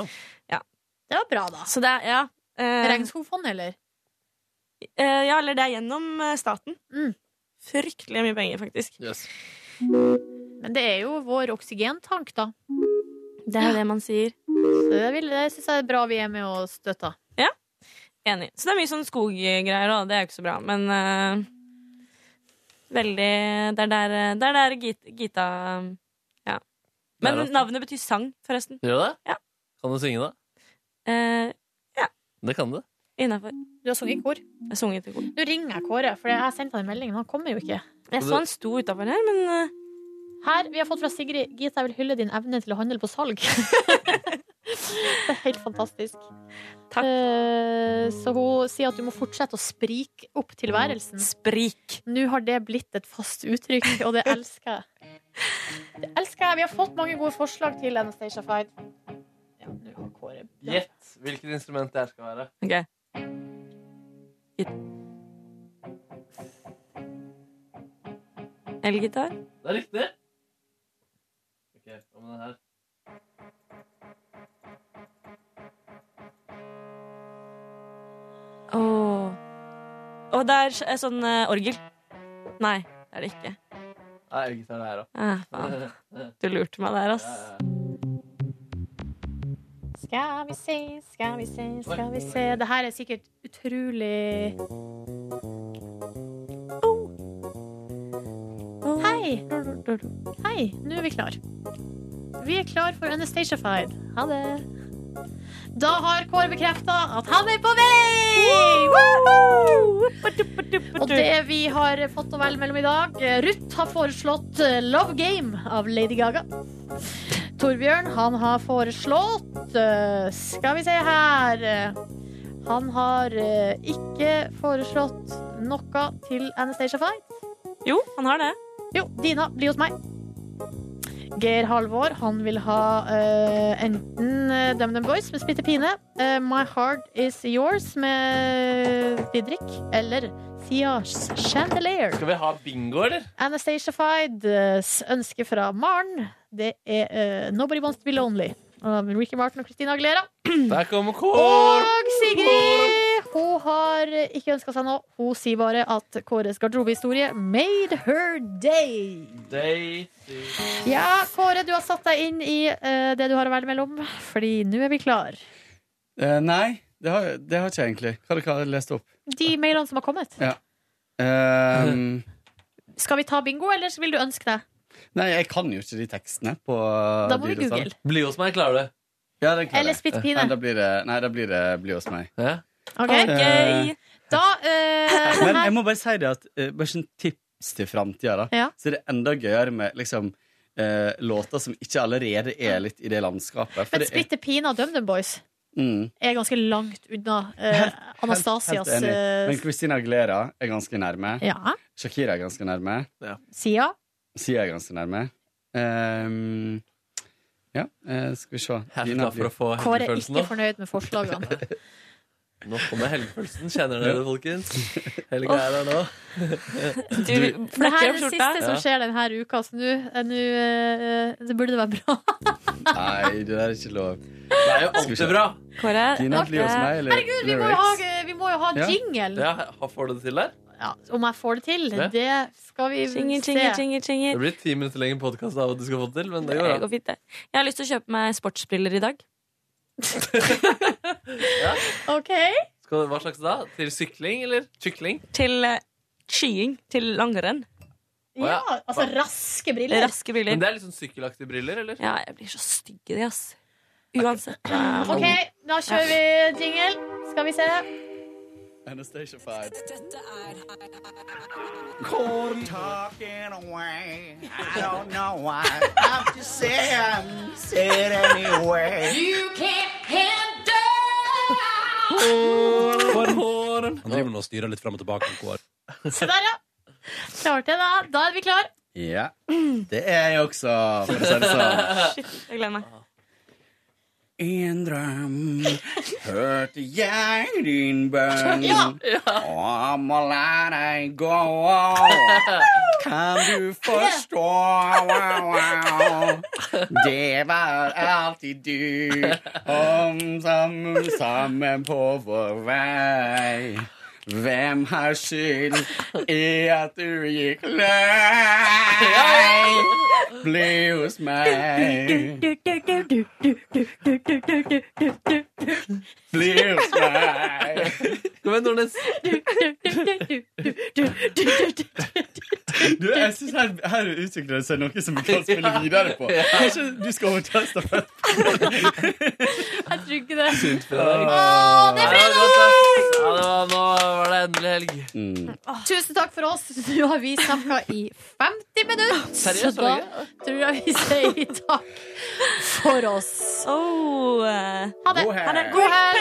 Ja. Det var bra, da. Så det er, ja. eh, Regnskogfond, eller? Eh, ja, eller det er gjennom eh, staten. Fryktelig mye penger, faktisk. Men det er jo vår oksygentank, da. Det er det man sier. Så det, vil- det syns jeg er bra vi er med og støtter. Ja, enig. Så det er mye sånn skoggreier òg. Det er jo ikke så bra, men eh, Veldig Det er der, det er der Gita, Gita Ja. Men Der, altså. navnet betyr sang, forresten. Gjør det? Ja. Kan du synge, da? Eh, Det kan du. Innafor. Du har sunget i kor? Jeg har sunget i kor. Nå ringer jeg Kåre, for jeg sendte han en melding, men han kommer jo ikke. Jeg så han sto utafor her, men eh, Her, Vi har fått fra Sigrid Gita, jeg vil hylle din evne til å handle på salg. det er helt fantastisk. Eh, så hun sier at du må fortsette å sprike opp tilværelsen. Sprik. Nå har det blitt et fast uttrykk, og det elsker jeg. Det elsker jeg. Vi har fått mange gode forslag til Anastacia Fight. Ja, nå har Kåre Gjett hvilket instrument det her skal være. OK. Elgitar? Det er riktig. Ok, hva med den her? Åh. Og det er s- sånn eh, orgel. Nei, det er det ikke. Nei, elgitar det her òg. Ah, faen. Du lurte meg der, ass. Skal vi se, skal vi se, skal vi se. Det her er sikkert utrolig oh. Hei! Hei, nå er vi klar. Vi er klar for Anastacia Fied. Ha det. Da har Kåre bekrefta at han er på vei! Woohoo! Og det vi har fått å velge mellom i dag Ruth har foreslått eh, Love Game av Lady Gaga. Torbjørn, han har foreslått eh, Skal vi se her eh, Han har eh, ikke foreslått noe til Anastacia Fight. Jo, han har det. Jo, Dina, bli hos meg. Geir Halvor, han vil ha eh, enten eh, DumDum Boys med Spytte Pine, eh, My Heart Is Yours med Didrik, eller Sia Chandelier. Skal vi ha bingo, eller? Anastacia Fides ønske fra Maren, det er eh, Nobody Wants To Be Lonely. Av Ricky Martin og Christina Aguilera. Mm. Der kommer Kål! Og Sigrid! Hun har ikke ønska seg noe. Hun sier bare at Kåres garderobehistorie made her day. Ja, Kåre, du har satt deg inn i eh, det du har å velge mellom, fordi nå er vi klar. Eh, nei, det har, det har ikke jeg egentlig. Hva er det hva jeg leste opp? De mailene som har kommet. Ja. Ehm, Skal vi ta bingo, eller vil du ønske deg? nei, jeg kan jo ikke de tekstene på Da må vi de google. Bli hos meg, klarer du. sånn. Ja, den klarer Eller jeg. spytt pine. Nei, da blir det, nei, da blir det bli hos meg. Ok? Eh, Da eh, men jeg må bare si det at eh, Bare sånn tips til framtida, da. Ja. Så er det enda gøyere med liksom eh, låter som ikke allerede er litt i det landskapet. For Men det er, Splitter Pine av DumDum Boys mm, er ganske langt unna eh, Anastasias helt enig. eh, Men Christina Aguilera er ganske nærme. Ja. Shakira er ganske nærme. Sia. Sia er ganske nærme. Ehm, ja, eh, skal vi se. Dina Herfra for å få Kåre er helgefølelsen ikke nå. fornøyd med forslagene. Nå kommer helgefølelsen. Kjenner dere det, folkens? Helga er her nå. Du For det her er Flekker det opp skjorta. siste som skjer denne uka, så nå eh, nå, eh, det burde det være bra. Nei, det der er ikke lov. Det er jo alltid bra. Kåre Dina, bli hos meg, eller Herregud, vi må jo ha, vi må jo ha jingle! Ja, ha- får du det til der? Om jeg får det til, Ja. det skal vi Jingle, se. jingle, jingle, Det jingle. blir ti minutter lenger podkast av at du skal få det til, men det Det går bra. går fint, det. Jeg har lyst til å kjøpe meg sportsbriller i dag. OK. Skal, hva slags da? Til sykling, eller? Kykling? Til eh, skying. Til langrenn. Ja, altså raske Raske briller. Men det er litt sånn sykkelaktige briller, eller? Ja, jeg blir så stygg i de, ass. Uansett. OK, da kjører vi jingle. Skal vi se. Anastacia Five. Talking away. I don't know why. I'm just saying, say it anyway. You can't handle. Han driver nå og styrer litt fram og tilbake. med Kår. Se der, ja. Klarte jeg, da. Da er vi klar. Ja. Det er jeg også, for å si det sånn. Shit, jeg gleder meg. I en drøm hørte jeg din bønn. Ja. Om å la deg gå. Kan du forstå? Wow, wow. Det var alltid du om sammen, sammen på vår vei. Hvem har skyld i at du gikk lei? Bli hos meg. Bli hos meg. Kom igjen, Nordnes. Du, jeg synes her, her utvikler det seg noe som vi kan spille videre på. Ja. Kanskje du skal overta stafett? Jeg tror ikke det. Åh, det ble fredag! Ja, det var, nå var det endelig helg. Tusen takk for oss. Nå har vi snakka i 50 minutter. Seriøst, så var det da tror jeg vi sier takk for oss. eh. ha det. God helg. God helg.